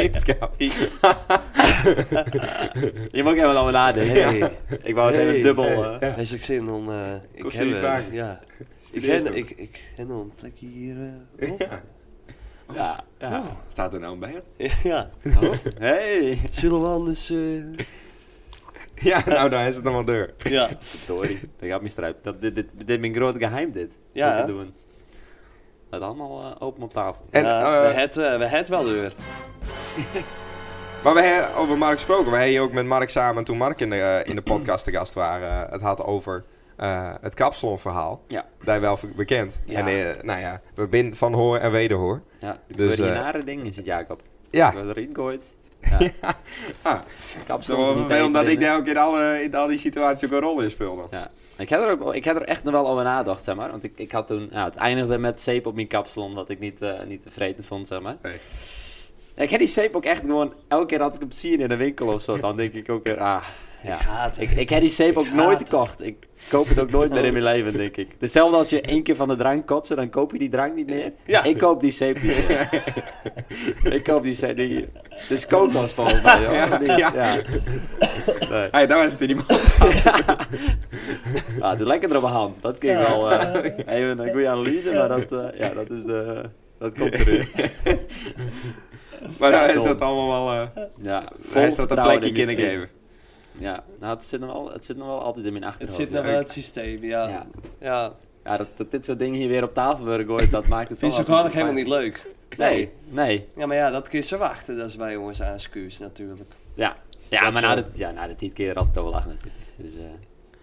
[SPEAKER 3] Je mag ook even over nadenken.
[SPEAKER 1] Hey.
[SPEAKER 3] Ik wou het
[SPEAKER 1] Hey.
[SPEAKER 3] even dubbel...
[SPEAKER 2] Hey.
[SPEAKER 3] eh,
[SPEAKER 2] Ja.
[SPEAKER 1] hij is ook zin om... eh, ik
[SPEAKER 2] Kost
[SPEAKER 1] heb,
[SPEAKER 2] jullie
[SPEAKER 1] eh,
[SPEAKER 2] vragen?
[SPEAKER 1] ja. ik,
[SPEAKER 2] Studeer
[SPEAKER 1] ken,
[SPEAKER 2] eens
[SPEAKER 1] ik, ik ken hem omdat ik hier... eh, op-
[SPEAKER 3] Ja, ja.
[SPEAKER 2] Staat er nou een bed?
[SPEAKER 1] ja,
[SPEAKER 3] Hey.
[SPEAKER 1] zullen we anders... eh,
[SPEAKER 2] Ja, nou, daar is het allemaal deur.
[SPEAKER 1] ja.
[SPEAKER 3] Sorry, dat gaat me struip. Dat, dit, dit, dit is mijn groot geheim, dit.
[SPEAKER 1] Ja,
[SPEAKER 3] Wat
[SPEAKER 1] hè?
[SPEAKER 3] we doen. Dat allemaal eh, open op tafel.
[SPEAKER 2] En,
[SPEAKER 1] Ja,
[SPEAKER 2] eh,
[SPEAKER 1] we het, eh, we het wel deur.
[SPEAKER 2] Maar we hebben over Mark gesproken. We hebben ook met Mark samen, toen Mark in de, eh, in de podcast te gast waren, eh, het had over eh, het kapsalonverhaal.
[SPEAKER 3] Ja.
[SPEAKER 2] Daar wel bekend.
[SPEAKER 3] Ja.
[SPEAKER 2] En eh, nou ja, we zijn van hoor en wederhoor.
[SPEAKER 3] Ja, de
[SPEAKER 2] Dus,
[SPEAKER 3] dus,
[SPEAKER 2] eh,
[SPEAKER 3] ding is het, Jacob.
[SPEAKER 2] Ja,
[SPEAKER 3] Ik was erin gegooid.
[SPEAKER 2] Ah,
[SPEAKER 3] Kapsel
[SPEAKER 2] dat was
[SPEAKER 3] is niet
[SPEAKER 2] wel omdat
[SPEAKER 3] tegen
[SPEAKER 2] ik
[SPEAKER 3] te
[SPEAKER 2] daar ook in, alle, in al die situaties ook een rol in speelde.
[SPEAKER 3] Ja. Ik heb, er ook, ik heb er echt nog wel over nagedacht, zeg maar. Want ik, ik had toen... Ja, het eindigde met zeep op mijn kapsel, omdat ik niet, eh, niet tevreden vond, zeg maar.
[SPEAKER 2] Nee.
[SPEAKER 3] Ik heb die zeep ook echt gewoon... Elke keer dat ik hem zie in de winkel of zo, dan denk ik ook weer... Ah, ja.
[SPEAKER 1] Ik haat het.
[SPEAKER 3] Ik, ik heb die zeep ook
[SPEAKER 1] haat
[SPEAKER 3] nooit
[SPEAKER 1] het.
[SPEAKER 3] gekocht. Ik koop het ook nooit meer in mijn leven, denk ik. Hetzelfde als je één keer van de drank kotsen, dan koop je die drank niet meer.
[SPEAKER 1] Ja.
[SPEAKER 3] Ik koop die zeep niet meer. ik koop die zeep niet meer. Dus kook was volgens mij, joh.
[SPEAKER 2] Ja,
[SPEAKER 3] Ja.
[SPEAKER 2] ja.
[SPEAKER 3] Nee.
[SPEAKER 2] Hey, daar was het in die
[SPEAKER 3] Ah, het is lekker op mijn hand. Dat klinkt
[SPEAKER 1] Ja.
[SPEAKER 3] wel eh, even een goede analyse, maar dat, eh, ja, dat is de... Dat komt erin.
[SPEAKER 2] Maar daar is
[SPEAKER 3] dom.
[SPEAKER 2] dat allemaal wel... eh,
[SPEAKER 3] Ja, vol
[SPEAKER 2] daar is dat een
[SPEAKER 3] vertrouwen
[SPEAKER 2] plekje
[SPEAKER 3] in
[SPEAKER 2] kunnen
[SPEAKER 3] die
[SPEAKER 2] geven.
[SPEAKER 3] vriend. Ja, nou, het zit nog wel, het zit nog wel altijd in mijn
[SPEAKER 1] Het
[SPEAKER 3] achterhoofd.
[SPEAKER 1] zit nou wel in het systeem, ja.
[SPEAKER 3] Ja.
[SPEAKER 1] Ja.
[SPEAKER 3] Ja, dat, dat dit soort dingen hier weer op tafel worden gooid, dat maakt het
[SPEAKER 1] Vind ze
[SPEAKER 3] wel
[SPEAKER 1] gewoon nog
[SPEAKER 3] altijd
[SPEAKER 1] helemaal
[SPEAKER 3] fijn.
[SPEAKER 1] niet leuk.
[SPEAKER 3] Nee, nee.
[SPEAKER 1] Ja, maar ja, dat kun je ze wachten. Dat is bij jongens aan scuus natuurlijk.
[SPEAKER 3] Ja, ja
[SPEAKER 2] Dat,
[SPEAKER 3] maar na
[SPEAKER 2] eh,
[SPEAKER 3] de, ja, na de tien keer had het al wel lachen natuurlijk. Dus, eh,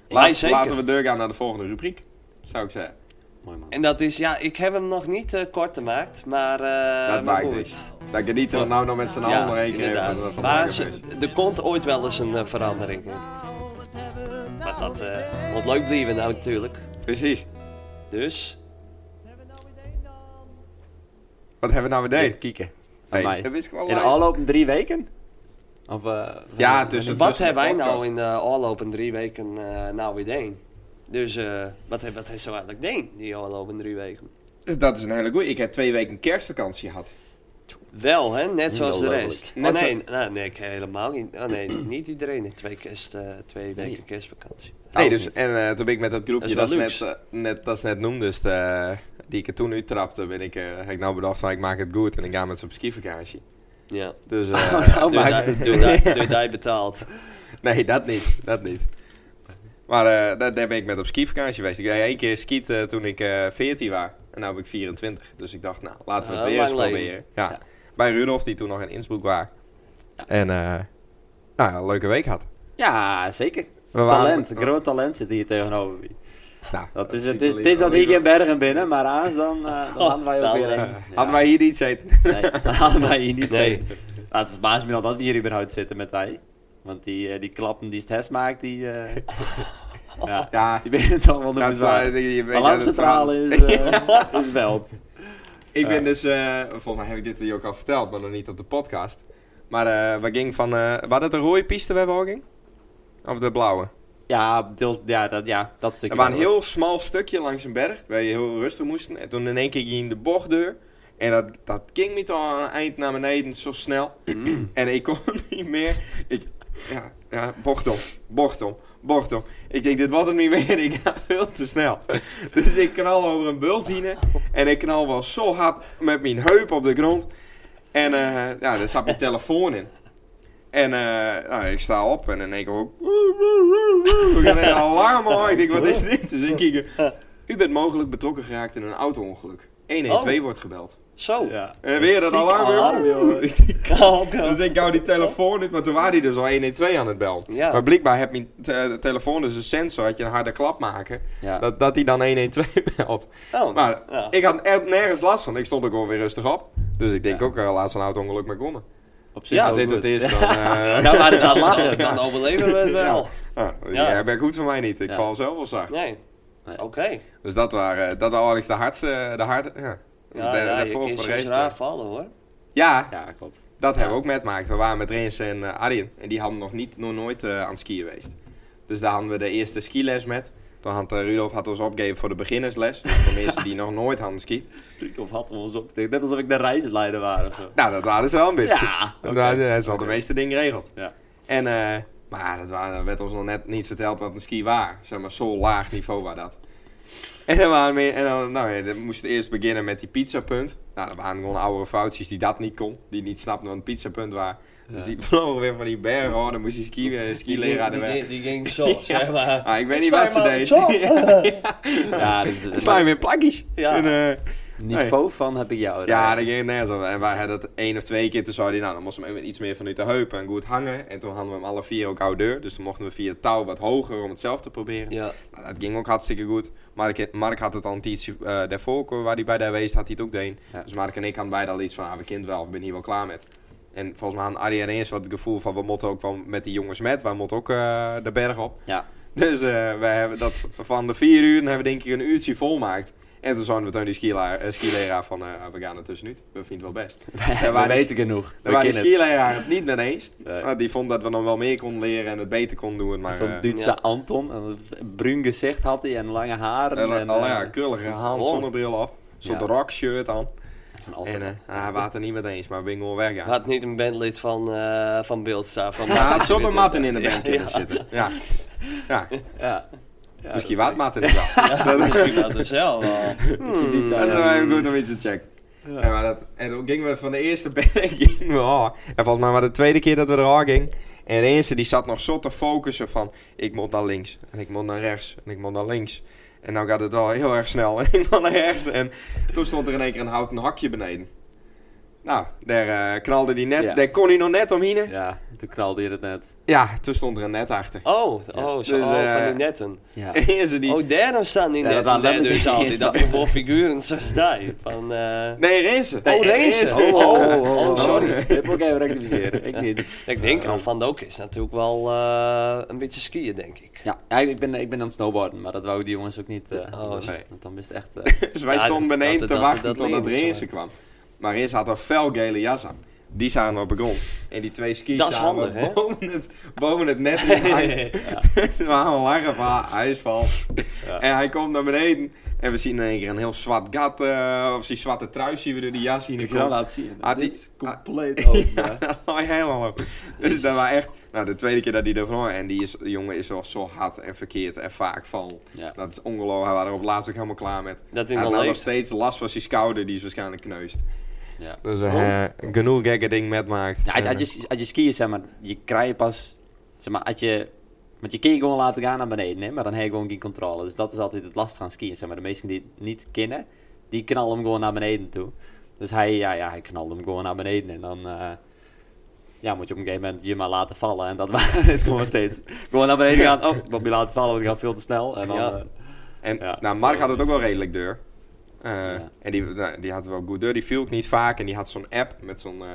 [SPEAKER 1] Nee,
[SPEAKER 2] Laat,
[SPEAKER 1] zeker.
[SPEAKER 2] laten we doorgaan naar de volgende rubriek, zou ik zeggen.
[SPEAKER 3] mooi man.
[SPEAKER 1] En dat is, ja, ik heb hem nog niet eh, kort gemaakt, maar... eh,
[SPEAKER 2] dat
[SPEAKER 1] maar
[SPEAKER 2] maakt
[SPEAKER 1] goed.
[SPEAKER 2] niks. Daar genieten we nou nog met z'n allen
[SPEAKER 1] Ja,
[SPEAKER 2] nog één keer van.
[SPEAKER 1] inderdaad.
[SPEAKER 2] van
[SPEAKER 1] Maar
[SPEAKER 2] Lagerfeest.
[SPEAKER 1] ze- er komt ooit wel eens een eh, verandering in. Maar dat eh moet leuk blijven nou natuurlijk.
[SPEAKER 2] Precies.
[SPEAKER 1] Dus,
[SPEAKER 2] Wat hebben we nou weer deed?
[SPEAKER 3] kieken. Van
[SPEAKER 2] Hey,
[SPEAKER 3] mij.
[SPEAKER 2] dat wist ik wel.
[SPEAKER 3] In de
[SPEAKER 2] lang.
[SPEAKER 3] afgelopen drie weken? Of, eh,
[SPEAKER 2] Ja, tussen-
[SPEAKER 1] wat
[SPEAKER 2] tussen de
[SPEAKER 1] hebben wij
[SPEAKER 2] podcast.
[SPEAKER 1] nou in de afgelopen drie weken eh, nou weer deen? Dus, eh, wat, heb- wat heeft zo eigenlijk deen, die afgelopen drie weken?
[SPEAKER 2] Dat is een hele goeie. Ik heb twee weken kerstvakantie gehad.
[SPEAKER 1] Wel, hè? Net zoals de
[SPEAKER 3] Ongelooflijk.
[SPEAKER 1] rest.
[SPEAKER 2] Net
[SPEAKER 1] oh, nee, nou, nee, ik helemaal niet. Oh, nee, niet iedereen heeft twee, kerst, eh, twee weken
[SPEAKER 3] Nee.
[SPEAKER 1] kerstvakantie. Oh,
[SPEAKER 2] Nee,
[SPEAKER 3] ook
[SPEAKER 2] dus,
[SPEAKER 3] niet.
[SPEAKER 2] en eh, toen ben ik met dat groepje
[SPEAKER 1] Dat
[SPEAKER 2] dat,
[SPEAKER 1] is
[SPEAKER 2] ze
[SPEAKER 1] wel
[SPEAKER 2] net, eh, net, dat ze net noemde, dus, eh, die ik er toen uittrapte, ben ik, eh, heb ik nou bedacht van ik maak het goed en ik ga met ze op skivakantie.
[SPEAKER 1] Ja.
[SPEAKER 2] Dus eh,
[SPEAKER 3] Oh,
[SPEAKER 1] Door
[SPEAKER 3] maar
[SPEAKER 1] die-
[SPEAKER 3] ik-
[SPEAKER 1] door die- door die betaald.
[SPEAKER 2] nee, dat niet. Dat niet. Maar eh, daar, daar ben ik met op skivakantie geweest. Ik ben één keer skiet toen ik eh 14 was en nu ben ik 24. Dus ik dacht, nou, laten we het
[SPEAKER 1] Ah,
[SPEAKER 2] weer eens
[SPEAKER 1] lang leven.
[SPEAKER 2] proberen. Ja.
[SPEAKER 3] Ja.
[SPEAKER 2] Bij Rudolf, die toen nog in Innsbruck was. En eh, nou, ja, een leuke week had.
[SPEAKER 3] Ja, zeker.
[SPEAKER 2] We waren-
[SPEAKER 3] Talent, groot talent zit hier tegenover me.
[SPEAKER 2] Nou,
[SPEAKER 3] Dat is,
[SPEAKER 2] ik
[SPEAKER 3] het is,
[SPEAKER 2] wil
[SPEAKER 3] het is
[SPEAKER 2] hier-
[SPEAKER 3] dat ik in Bergen binnen, maar aans dan, eh, dan hadden wij ook
[SPEAKER 1] dan,
[SPEAKER 3] weer
[SPEAKER 1] eh,
[SPEAKER 3] een.
[SPEAKER 2] Oh, Hadden wij hier iets eten?
[SPEAKER 3] Nee, dat hadden wij hier niet
[SPEAKER 1] Nee.
[SPEAKER 3] zitten. Nou, het verbaast me wel dat we hier überhaupt zitten met hij. Want die, eh, die klappen die Stes maakt, die, eh, ja,
[SPEAKER 2] Ja,
[SPEAKER 3] die ben je toch wel de
[SPEAKER 2] Nou,
[SPEAKER 3] bezwaar.
[SPEAKER 2] het is waar, je- je weet
[SPEAKER 3] Alarmcentrale
[SPEAKER 2] dat
[SPEAKER 3] is,
[SPEAKER 2] het verhaal.
[SPEAKER 3] eh is wel.
[SPEAKER 2] Ik ben dus, eh, volgens mij heb ik dit hier ook al verteld, maar nog niet op de podcast. Maar eh we ging van, eh was dat de rode piste waar we ook ging? Of de blauwe?
[SPEAKER 3] Ja, deels, ja, dat, ja, dat stukje.
[SPEAKER 2] Er was een
[SPEAKER 3] wel.
[SPEAKER 2] heel smal stukje langs een berg, waar je heel rustig moest. En toen in één keer ging de bochtdeur. En dat, dat ging niet al aan het eind naar beneden, zo snel. en ik kon niet meer. Ik, ja, ja, bocht om, bocht om, bocht om. Ik denk, dit wordt het niet meer. Ik ga veel te snel. dus ik knal over een bult heen. En ik knal wel zo hard met mijn heup op de grond. En eh, ja, daar zat mijn telefoon in. En eh, nou, ik sta op en in één keer ook... Ik had een alarm al. Ik denk, wat is dit? Dus ik kijk... U bent mogelijk betrokken geraakt in een auto-ongeluk. 112
[SPEAKER 1] Oh.
[SPEAKER 2] wordt gebeld.
[SPEAKER 1] Zo.
[SPEAKER 3] Ja.
[SPEAKER 2] En Eh, weer dat
[SPEAKER 1] Ziek alarm,
[SPEAKER 2] alarm.
[SPEAKER 1] joh.
[SPEAKER 2] Ik denk,
[SPEAKER 1] Oh,
[SPEAKER 2] dus ik hou die telefoon niet, maar toen waren die dus al 112 aan het bel.
[SPEAKER 1] Ja.
[SPEAKER 2] Maar blijkbaar heb mijn te- telefoon dus een sensor, had je een harde klap maken,
[SPEAKER 3] Ja.
[SPEAKER 2] dat, dat die dan 112 belt.
[SPEAKER 1] Oh,
[SPEAKER 2] eh, Maar
[SPEAKER 1] ja.
[SPEAKER 2] ik had echt nergens last van, ik stond ook gewoon weer rustig op. Dus ik denk
[SPEAKER 3] Ja.
[SPEAKER 2] ook, eh, laat zo'n auto-ongeluk maar komen.
[SPEAKER 3] Op zich
[SPEAKER 2] Ja,
[SPEAKER 3] wel
[SPEAKER 2] dit
[SPEAKER 3] goed.
[SPEAKER 2] het is, dan... eh,
[SPEAKER 3] Ja, maar dat is aan lachen.
[SPEAKER 1] Dan overleven we het wel.
[SPEAKER 2] ja,
[SPEAKER 1] Ja.
[SPEAKER 2] ja, ben goed voor mij niet, ik
[SPEAKER 3] Ja.
[SPEAKER 2] val zelf wel zacht.
[SPEAKER 1] Nee.
[SPEAKER 3] Nee.
[SPEAKER 1] Oké.
[SPEAKER 2] Dus dat waren, dat waren eigenlijk de hardste, eh, de hard, ja.
[SPEAKER 1] Ja,
[SPEAKER 2] de,
[SPEAKER 1] ja,
[SPEAKER 2] de
[SPEAKER 1] je
[SPEAKER 2] voor- eh,
[SPEAKER 1] kunt
[SPEAKER 2] voor
[SPEAKER 1] soms
[SPEAKER 2] race.
[SPEAKER 1] raar vallen hoor.
[SPEAKER 2] Ja,
[SPEAKER 3] Ja, klopt.
[SPEAKER 2] dat hebben we ook metmaakt. We waren met Rens en eh, Arjen. En die hadden nog, niet, nog nooit eh, aan het skiën geweest. Dus daar hadden we de eerste skiles met. Toen had eh, Rudolf had ons opgegeven voor de beginnersles. Dus voor mensen die nog nooit hadden skiet.
[SPEAKER 3] Of had we ons op. Net alsof ik de reisleider was of zo.
[SPEAKER 2] Nou, dat waren ze wel een beetje.
[SPEAKER 3] Ja, oké.
[SPEAKER 2] Dat is wel de meeste dingen geregeld.
[SPEAKER 3] Ja.
[SPEAKER 2] En, eh, maar dat waren, werd ons nog net niet verteld wat een ski waar. Zeg maar, zo laag niveau waar dat. En dan, waren we, en dan, nou, ja, dan moest het eerst beginnen met die pizzapunt. Nou, dat waren gewoon oude foutjes die dat niet kon. Die niet snapten wat een pizzapunt was. Dus die vlogen weer van die berg. Oh, dan moest die ski, eh, skileraar er
[SPEAKER 1] die,
[SPEAKER 2] weg.
[SPEAKER 1] die, die ging zo, zeg maar.
[SPEAKER 2] Ah, ik weet niet
[SPEAKER 1] Sta
[SPEAKER 2] wat
[SPEAKER 1] je
[SPEAKER 2] ze
[SPEAKER 1] maar
[SPEAKER 2] deed.
[SPEAKER 1] zo?
[SPEAKER 3] Ja, dat is-
[SPEAKER 2] Dan sla je weer plakjes.
[SPEAKER 1] Ja.
[SPEAKER 2] En, eh,
[SPEAKER 3] Niveau van heb ik jou.
[SPEAKER 2] ja, dat ging nergens over. En wij hadden dat één of twee keer. Toen zei hij, nou, dan moesten we hem iets meer vanuit de heupen en goed hangen. En toen hadden we hem alle vier ook oudeur. Dus dan mochten we via het touw wat hoger om het zelf te proberen.
[SPEAKER 1] Ja.
[SPEAKER 2] Nou, dat ging ook hartstikke goed. Mark, Mark had het al een tijdje eh, daarvoor, waar hij bij daar wees, had hij het ook deen.
[SPEAKER 3] Ja.
[SPEAKER 2] nou, Dus Mark en ik hadden beide al iets van, ah, we kind wel, we zijn hier wel klaar met. En volgens mij had Arjen eerst wat het gevoel van we moeten ook wel met die jongens met. Wij moeten ook eh, de berg op.
[SPEAKER 3] Ja.
[SPEAKER 2] Dus eh we hebben dat van de vier uur hebben we denk ik een uurtje volmaakt. En toen zouden we toen die skila- eh, skileraar van eh, we gaan er tussenuit. We vinden het wel best.
[SPEAKER 3] We,
[SPEAKER 2] waren die-
[SPEAKER 3] weten genoeg. We
[SPEAKER 2] Daar waren die
[SPEAKER 3] kennen het.
[SPEAKER 2] skileraar het niet mee eens.
[SPEAKER 3] Nee.
[SPEAKER 2] Maar die vond dat we dan wel meer konden leren en het beter konden doen. Maar,
[SPEAKER 3] Zo'n
[SPEAKER 2] eh,
[SPEAKER 3] Duitse
[SPEAKER 1] ja.
[SPEAKER 3] Anton, een bruin gezicht had hij en lange haren.
[SPEAKER 2] En,
[SPEAKER 3] en,
[SPEAKER 2] al
[SPEAKER 3] eh,
[SPEAKER 2] ja, krullige
[SPEAKER 3] dat is
[SPEAKER 2] hand,
[SPEAKER 3] lang.
[SPEAKER 2] zonnebril op. Zo'n
[SPEAKER 3] Ja.
[SPEAKER 2] rockshirt aan.
[SPEAKER 3] Zo'n Anton.
[SPEAKER 2] En eh, hij was het er niet mee eens, maar we gingen gewoon weg. Ja.
[SPEAKER 1] Had niet een bandlid van, eh van Beeldstar. Van
[SPEAKER 2] Hij had zomaar matten in de
[SPEAKER 1] Ja,
[SPEAKER 2] bank kunnen
[SPEAKER 1] ja.
[SPEAKER 2] zitten. Ja. Ja,
[SPEAKER 3] ja. Ja,
[SPEAKER 2] misschien
[SPEAKER 3] dat-
[SPEAKER 2] wat matten niet wel.
[SPEAKER 1] Ja, misschien wel dus wel. maar-
[SPEAKER 3] niet zo-
[SPEAKER 2] Dat is wel even goed om iets te checken. En, maar dat, en toen gingen we van de eerste bank gingen we aan. En volgens mij was het de tweede keer dat we er aan gingen. En de eerste die zat nog zo te focussen van... Ik moet naar links. En ik moet naar rechts. En ik moet naar links. En nou gaat het al heel erg snel. En ik moet naar rechts. En toen stond er in één keer een houten hakje beneden. Nou, daar eh, knalde hij net.
[SPEAKER 3] Ja.
[SPEAKER 2] Daar kon hij nog net omheen.
[SPEAKER 3] Ja, toen knalde hij het net.
[SPEAKER 2] Ja, toen stond er een net achter.
[SPEAKER 1] Oh, oh, zo,
[SPEAKER 2] Dus,
[SPEAKER 1] oh, van
[SPEAKER 2] eh,
[SPEAKER 1] die netten.
[SPEAKER 3] Ja.
[SPEAKER 2] En de eerste die...
[SPEAKER 1] Oh, daarom staan die
[SPEAKER 3] Ja,
[SPEAKER 1] netten
[SPEAKER 3] dat- dat-
[SPEAKER 1] daar
[SPEAKER 3] dat-
[SPEAKER 1] dus
[SPEAKER 3] dat-
[SPEAKER 1] altijd.
[SPEAKER 3] is
[SPEAKER 1] Dat
[SPEAKER 3] dat-
[SPEAKER 1] je voor figuren zoals die. Van, eh,
[SPEAKER 2] Nee, Rensen.
[SPEAKER 1] Nee, Oh, Rensen. Oh,
[SPEAKER 2] Rensen.
[SPEAKER 1] oh, oh,
[SPEAKER 3] eh, Oh, sorry.
[SPEAKER 1] sorry.
[SPEAKER 3] Ik heb ook even rectificeren. Ik niet.
[SPEAKER 1] Ik denk aan Van Dook is natuurlijk wel eh, een beetje skiën, denk ik.
[SPEAKER 3] Ja, ja, ik, ben, ik ben aan het snowboarden, maar dat wou die jongens ook niet. eh, anders.
[SPEAKER 2] nee.
[SPEAKER 3] Want dan is het echt... eh,
[SPEAKER 2] Dus wij
[SPEAKER 1] Ja,
[SPEAKER 2] stonden
[SPEAKER 1] dat-
[SPEAKER 2] beneden
[SPEAKER 1] dat-
[SPEAKER 2] te
[SPEAKER 1] dat-
[SPEAKER 2] wachten
[SPEAKER 1] dat- dat
[SPEAKER 2] totdat
[SPEAKER 1] leren ze
[SPEAKER 2] Rensen kwam. Maar Rensen had een felgele jas aan. Die zagen we op de grond. En die twee skis
[SPEAKER 1] Dat is
[SPEAKER 2] zagen we
[SPEAKER 1] handig, hè?
[SPEAKER 2] boven, het, boven het net in hangen. Dus we gaan lachen van, ah, hij is vals. En hij komt naar beneden. En we zien in één keer een heel zwart gat. eh, of die zwarte trui zien we door die jas zien.
[SPEAKER 3] ik
[SPEAKER 2] komen.
[SPEAKER 3] zal laten zien.
[SPEAKER 2] Ah, die-
[SPEAKER 3] dit is compleet open.
[SPEAKER 2] Ja,
[SPEAKER 3] hè.
[SPEAKER 2] oh, helemaal op. Dus dat was echt... Nou, de tweede keer dat die ervan... En die, is, die jongen is wel zo hard en verkeerd en vaak van...
[SPEAKER 3] Ja.
[SPEAKER 2] Dat is ongelooflijk. Hij was er op laatst ook helemaal klaar met.
[SPEAKER 1] Dat hij
[SPEAKER 2] hij
[SPEAKER 1] nog
[SPEAKER 2] had nou nog
[SPEAKER 1] leeft.
[SPEAKER 2] steeds last van zijn schouder. Die is waarschijnlijk kneust.
[SPEAKER 3] Ja.
[SPEAKER 2] Dus eh, genoeg gekke ding met maakt.
[SPEAKER 3] Ja, als, als Nou, je, als je skiën, zeg maar, je krijgt pas, zeg maar, als je, want je kan je gewoon laten gaan naar beneden, hè, maar dan heb je gewoon geen controle. Dus dat is altijd het lastige aan skiën, zeg maar. De meesten die het niet kennen, die knallen hem gewoon naar beneden toe. Dus hij, ja, ja, hij knalde hem gewoon naar beneden en dan, eh, ja, moet je op een gegeven moment je maar laten vallen. En dat waren het gewoon steeds. Gewoon naar beneden gaan, oh, ik moet je laten vallen, want ik ga veel te snel. En dan,
[SPEAKER 1] Ja.
[SPEAKER 3] eh,
[SPEAKER 2] En
[SPEAKER 3] Ja.
[SPEAKER 2] nou, Mark had het ook wel redelijk deur. Eh,
[SPEAKER 3] Ja.
[SPEAKER 2] En die, nou, die had het wel goed deur. Die viel ook niet vaak. En die had zo'n app met zo'n... eh,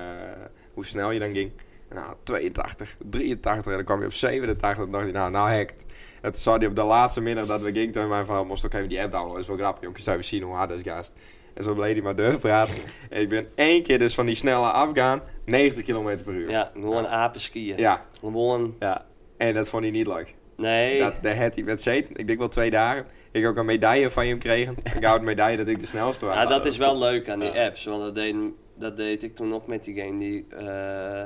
[SPEAKER 2] hoe snel je dan ging. En nou, 82, 83. En dan kwam je op 87. En dacht hij, nou, nou hackt. En toen zou hij op de laatste middag dat we gingen... Toen mij van, moest ook even die app downloaden. is wel grappig. Jongens, zou even zien hoe hard dat is, gast. En zo bleef hij maar deur praten. en ik ben één keer dus van die snelle afgaan. 90 km per uur.
[SPEAKER 1] Ja, gewoon apen skiën.
[SPEAKER 2] Ja.
[SPEAKER 1] Gewoon,
[SPEAKER 3] ja.
[SPEAKER 2] En dat vond hij niet leuk.
[SPEAKER 1] nee.
[SPEAKER 2] Dat, daar had hij met zeten. Ik denk wel twee dagen. Ik ook een medaille van je hem kregen. Een gouden medaille dat ik de snelste was.
[SPEAKER 1] ja, dat is wel leuk aan die
[SPEAKER 3] Ja.
[SPEAKER 1] apps. Want dat deed, dat deed ik toen ook met die game. Die eh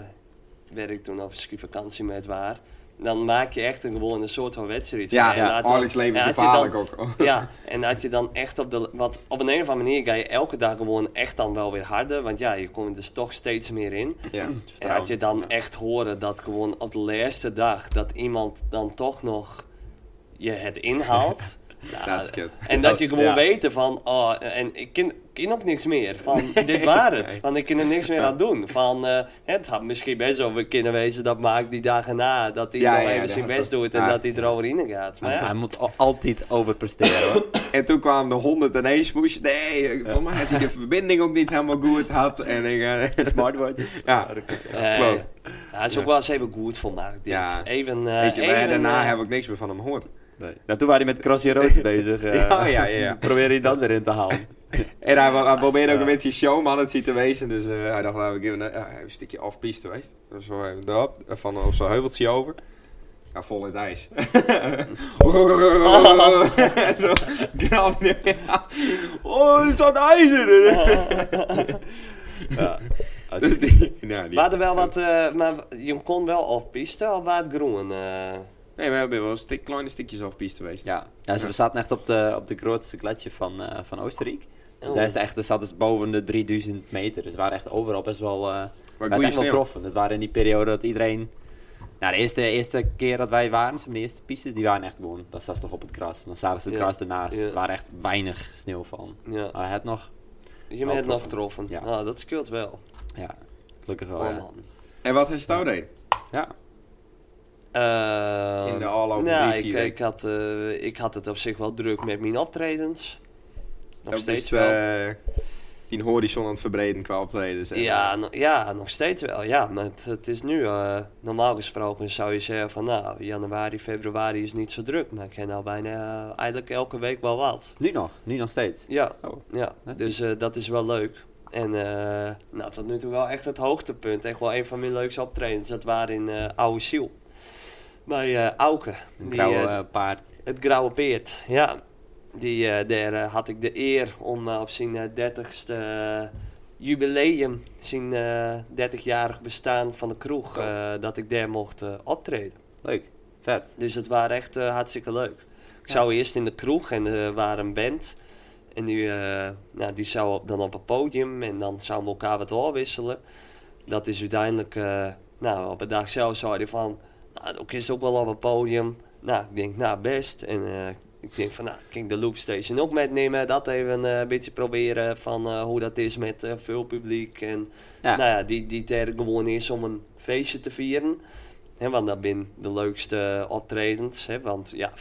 [SPEAKER 1] werd ik toen op een skivakantie met waar. Dan maak je echt een, gewoon een soort van wedstrijd.
[SPEAKER 2] Ja,
[SPEAKER 1] En
[SPEAKER 2] ja.
[SPEAKER 1] laat dan-
[SPEAKER 2] Alex
[SPEAKER 1] ja, als je
[SPEAKER 2] levensgevaarlijk
[SPEAKER 1] dan-
[SPEAKER 2] ook.
[SPEAKER 1] Ja, en had je dan echt op de. Want op een of andere manier ga je elke dag gewoon echt dan wel weer harder. Want ja, je komt dus toch steeds meer in.
[SPEAKER 2] Ja.
[SPEAKER 1] En had je dan echt horen dat gewoon op de laatste dag dat iemand dan toch nog je het inhaalt. Ja,
[SPEAKER 2] Dat is kut.
[SPEAKER 1] En dat je gewoon
[SPEAKER 3] Ja.
[SPEAKER 1] weet van, oh, en ik ken, ken ook niks meer van, dit waren het. Want ik kan er niks meer aan doen. Van, eh, het had misschien best wel kunnen wezen dat Maak die dagen na, dat hij
[SPEAKER 2] Ja,
[SPEAKER 1] nog
[SPEAKER 2] ja,
[SPEAKER 1] even
[SPEAKER 2] dat
[SPEAKER 1] zijn
[SPEAKER 2] had
[SPEAKER 1] best
[SPEAKER 2] wel-
[SPEAKER 1] doet en
[SPEAKER 2] ja.
[SPEAKER 1] dat hij eroverheen gaat. Maar
[SPEAKER 3] Hij
[SPEAKER 1] Nou ja,
[SPEAKER 3] moet al- altijd overpresteren, hoor.
[SPEAKER 2] En toen kwamen de 100 en eens moest je- Nee, volgens mij had hij de verbinding ook niet helemaal goed had. En ik... eh,
[SPEAKER 3] Smartwatch.
[SPEAKER 2] Ja.
[SPEAKER 1] eh,
[SPEAKER 2] klopt.
[SPEAKER 1] ja, hij is ook wel eens even goed voor Maak, dit.
[SPEAKER 2] Ja.
[SPEAKER 1] Even, eh,
[SPEAKER 2] Weet je, maar
[SPEAKER 1] even,
[SPEAKER 2] daarna
[SPEAKER 1] eh,
[SPEAKER 2] heb ik niks meer van hem gehoord.
[SPEAKER 3] Nee. Nou, toen waren hij met Crossy Rood bezig. eh.
[SPEAKER 2] Ja, ja, ja.
[SPEAKER 3] Probeer hij dat weer in te halen.
[SPEAKER 2] En hij, wa- hij probeerde ook een beetje showman het zien te wezen. Dus eh, hij dacht, laten we even een, ja, een stukje off-piste geweest. Dus zo even erop, eh, van op zo'n heuveltje over. Ja, vol in het ijs. zo knalde hij. Oh, er zat ijs in.
[SPEAKER 3] Ja.
[SPEAKER 2] Dus die, nou, die,
[SPEAKER 1] Waar er wel wat, eh, maar je kon wel op piste of waar het groen? eh?
[SPEAKER 2] Nee, we hebben wel een stik, kleine stukjes off-piste geweest.
[SPEAKER 3] ja. ja, ze zaten echt op de, op de grootste gletsjer van, eh, van Oostenrijk. Dus
[SPEAKER 1] Oh.
[SPEAKER 3] daar is echt, er zat dus boven de 3000 meter. Dus we waren echt overal best wel, eh we
[SPEAKER 2] goeie
[SPEAKER 3] waren echt wel
[SPEAKER 2] sneeuw.
[SPEAKER 3] troffen. Het waren in die periode dat iedereen... Nou, de eerste, eerste keer dat wij waren, zeg maar, de eerste pistes, die waren echt gewoon... Dat zat toch op het gras. Dan zaten ze het
[SPEAKER 1] Ja.
[SPEAKER 3] gras ernaast.
[SPEAKER 1] Ja.
[SPEAKER 3] Er waren echt weinig sneeuw van.
[SPEAKER 1] ja,
[SPEAKER 3] Maar het nog...
[SPEAKER 1] je
[SPEAKER 3] wel
[SPEAKER 1] bent nog
[SPEAKER 3] troffen.
[SPEAKER 1] getroffen.
[SPEAKER 3] Ja.
[SPEAKER 1] Nou, dat scheelt wel.
[SPEAKER 2] Oh,
[SPEAKER 3] Ja, gelukkig wel,
[SPEAKER 1] Oh
[SPEAKER 3] ja.
[SPEAKER 1] man.
[SPEAKER 2] En wat nou, hij stout deed.
[SPEAKER 3] Ja,
[SPEAKER 1] Eh,
[SPEAKER 2] In de afgelopen
[SPEAKER 1] nou,
[SPEAKER 2] drie,
[SPEAKER 1] ik,
[SPEAKER 2] vier
[SPEAKER 1] ik, had, eh, ik had het op zich wel druk met mijn optredens. Nog
[SPEAKER 2] Dat
[SPEAKER 1] steeds
[SPEAKER 2] is,
[SPEAKER 1] wel.
[SPEAKER 2] eh, die horizon aan het verbreden qua optredens. En,
[SPEAKER 1] Ja, no- ja, nog steeds wel. Ja, maar het, het is nu, eh, normaal gesproken zou je zeggen van nou, januari, februari is niet zo druk. Maar ik ken nou bijna eh, eigenlijk elke week wel wat.
[SPEAKER 3] Nu nog, nu nog steeds.
[SPEAKER 1] Ja,
[SPEAKER 2] Oh.
[SPEAKER 1] ja.
[SPEAKER 3] Dat
[SPEAKER 1] dus eh, dat is wel leuk. En eh, nou, tot nu toe wel echt het hoogtepunt. Echt wel een van mijn leukste optredens. Dat waren in eh Oude Ziel. Bij eh Auken.
[SPEAKER 3] Een
[SPEAKER 1] Die,
[SPEAKER 3] grauwe
[SPEAKER 1] eh,
[SPEAKER 3] eh, paard.
[SPEAKER 1] het Grauwe Peert, ja. Die, eh, daar eh, had ik de eer om eh, op zijn eh, 30ste eh, jubileum, zijn eh 30-jarig bestaan van de kroeg, eh, dat ik daar mocht eh, optreden.
[SPEAKER 3] Leuk, vet.
[SPEAKER 1] Dus het was echt eh, hartstikke leuk. Ik zou eerst in de kroeg en er waren een band. En die, eh, nou, die zou op- dan op een podium en dan zouden we elkaar wat doorwisselen. Dat is uiteindelijk, eh, nou, op de dag zelf zei hij van, nou, ook is ook wel op een podium. Nou, ik denk, nou, best. En eh, ik denk van, nou, ik ging de loopstation ook metnemen. Dat even eh, een beetje proberen van eh, hoe dat is met eh, veel publiek. En
[SPEAKER 3] Ja.
[SPEAKER 1] nou ja, die, die ter gewoon is om een feestje te vieren. Hè, want dat zijn de leukste optredens. Hè, want ja,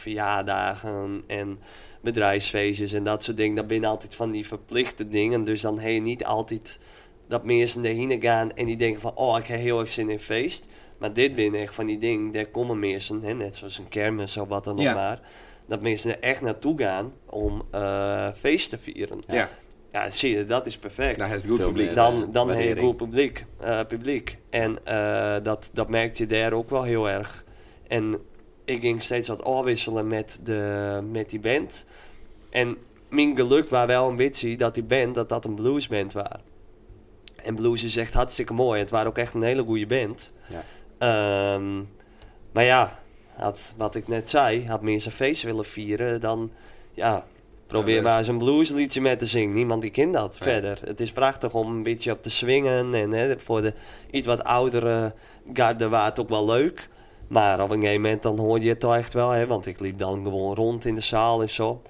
[SPEAKER 1] verjaardagen en bedrijfsfeestjes en dat soort dingen. Dat zijn altijd van die verplichte dingen. Dus dan heb je niet altijd dat mensen erheen gaan en die denken van... Oh, ik heb heel erg zin in feest. Maar dit ben echt van die dingen, daar komen mensen. Hè, net zoals een kermis of wat dan ook
[SPEAKER 2] Ja.
[SPEAKER 1] maar. Dat mensen er echt naartoe gaan om eh, feest te vieren.
[SPEAKER 2] eh, ja,
[SPEAKER 1] Ja, zie je, dat is perfect.
[SPEAKER 2] daar is eh, het goed
[SPEAKER 3] Veel
[SPEAKER 2] publiek.
[SPEAKER 3] meer.
[SPEAKER 1] Dan, dan heb je
[SPEAKER 3] waardering.
[SPEAKER 1] een goed publiek. eh, publiek. En eh, dat, dat merkte je daar ook wel heel erg. En ik ging steeds wat afwisselen met, de, met die band. En mijn geluk was wel een beetje dat die band, dat dat een bluesband was. En blues is echt hartstikke mooi. Het waren ook echt een hele goede band.
[SPEAKER 3] Ja.
[SPEAKER 1] Ehm, maar ja, had, wat ik net zei, had mensen een feest willen vieren, dan ja, probeer
[SPEAKER 2] Ja, dat is-
[SPEAKER 1] maar eens een bluesliedje met te zingen. Niemand die kent dat
[SPEAKER 2] Nee.
[SPEAKER 1] verder. Het is prachtig om een beetje op te swingen en hè, voor de iets wat oudere garde was het ook wel leuk. Maar op een gegeven moment dan hoor je het toch echt wel, hè, want ik liep dan gewoon rond in de zaal en zo.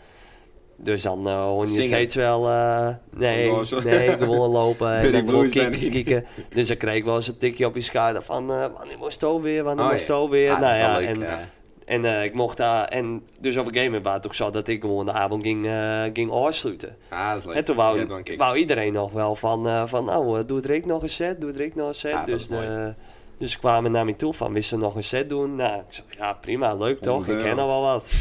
[SPEAKER 1] Dus dan eh, hoor je
[SPEAKER 2] Zingen.
[SPEAKER 1] steeds wel, eh, nee,
[SPEAKER 2] Gewoon zo.
[SPEAKER 1] nee, gewoon lopen
[SPEAKER 2] Weer
[SPEAKER 1] en
[SPEAKER 2] die
[SPEAKER 1] dan gewoon
[SPEAKER 2] blues
[SPEAKER 1] kieken,
[SPEAKER 2] band in.
[SPEAKER 1] kieken. Dus dan kreeg ik wel eens een tikje op je schouder van, eh, wanneer was het weer, wanneer
[SPEAKER 2] Oh,
[SPEAKER 1] was het
[SPEAKER 2] ja.
[SPEAKER 1] weer.
[SPEAKER 3] Ah, dat
[SPEAKER 1] nou
[SPEAKER 3] is wel
[SPEAKER 1] ja,
[SPEAKER 3] leuk,
[SPEAKER 1] en,
[SPEAKER 3] ja.
[SPEAKER 1] en eh, ik mocht daar, en dus op een gegeven moment was het ook zo dat ik gewoon de avond ging, eh, ging afsluiten.
[SPEAKER 2] Ah, dat is leuk.
[SPEAKER 1] En toen
[SPEAKER 2] Je
[SPEAKER 1] wou,
[SPEAKER 2] hebt wel een kick.
[SPEAKER 1] wou iedereen nog wel van, eh, van nou, eh, doe het Rick nog een set, doe het Rick nog een set.
[SPEAKER 2] Ah,
[SPEAKER 3] Ja, dat
[SPEAKER 1] dus,
[SPEAKER 3] is mooi.
[SPEAKER 1] eh, dus ze kwamen naar me toe van, wist ze nog een set doen? Nou, ik zei, ja prima, leuk toch, ik
[SPEAKER 2] Honderd
[SPEAKER 1] ken al
[SPEAKER 2] euro.
[SPEAKER 1] wel wat.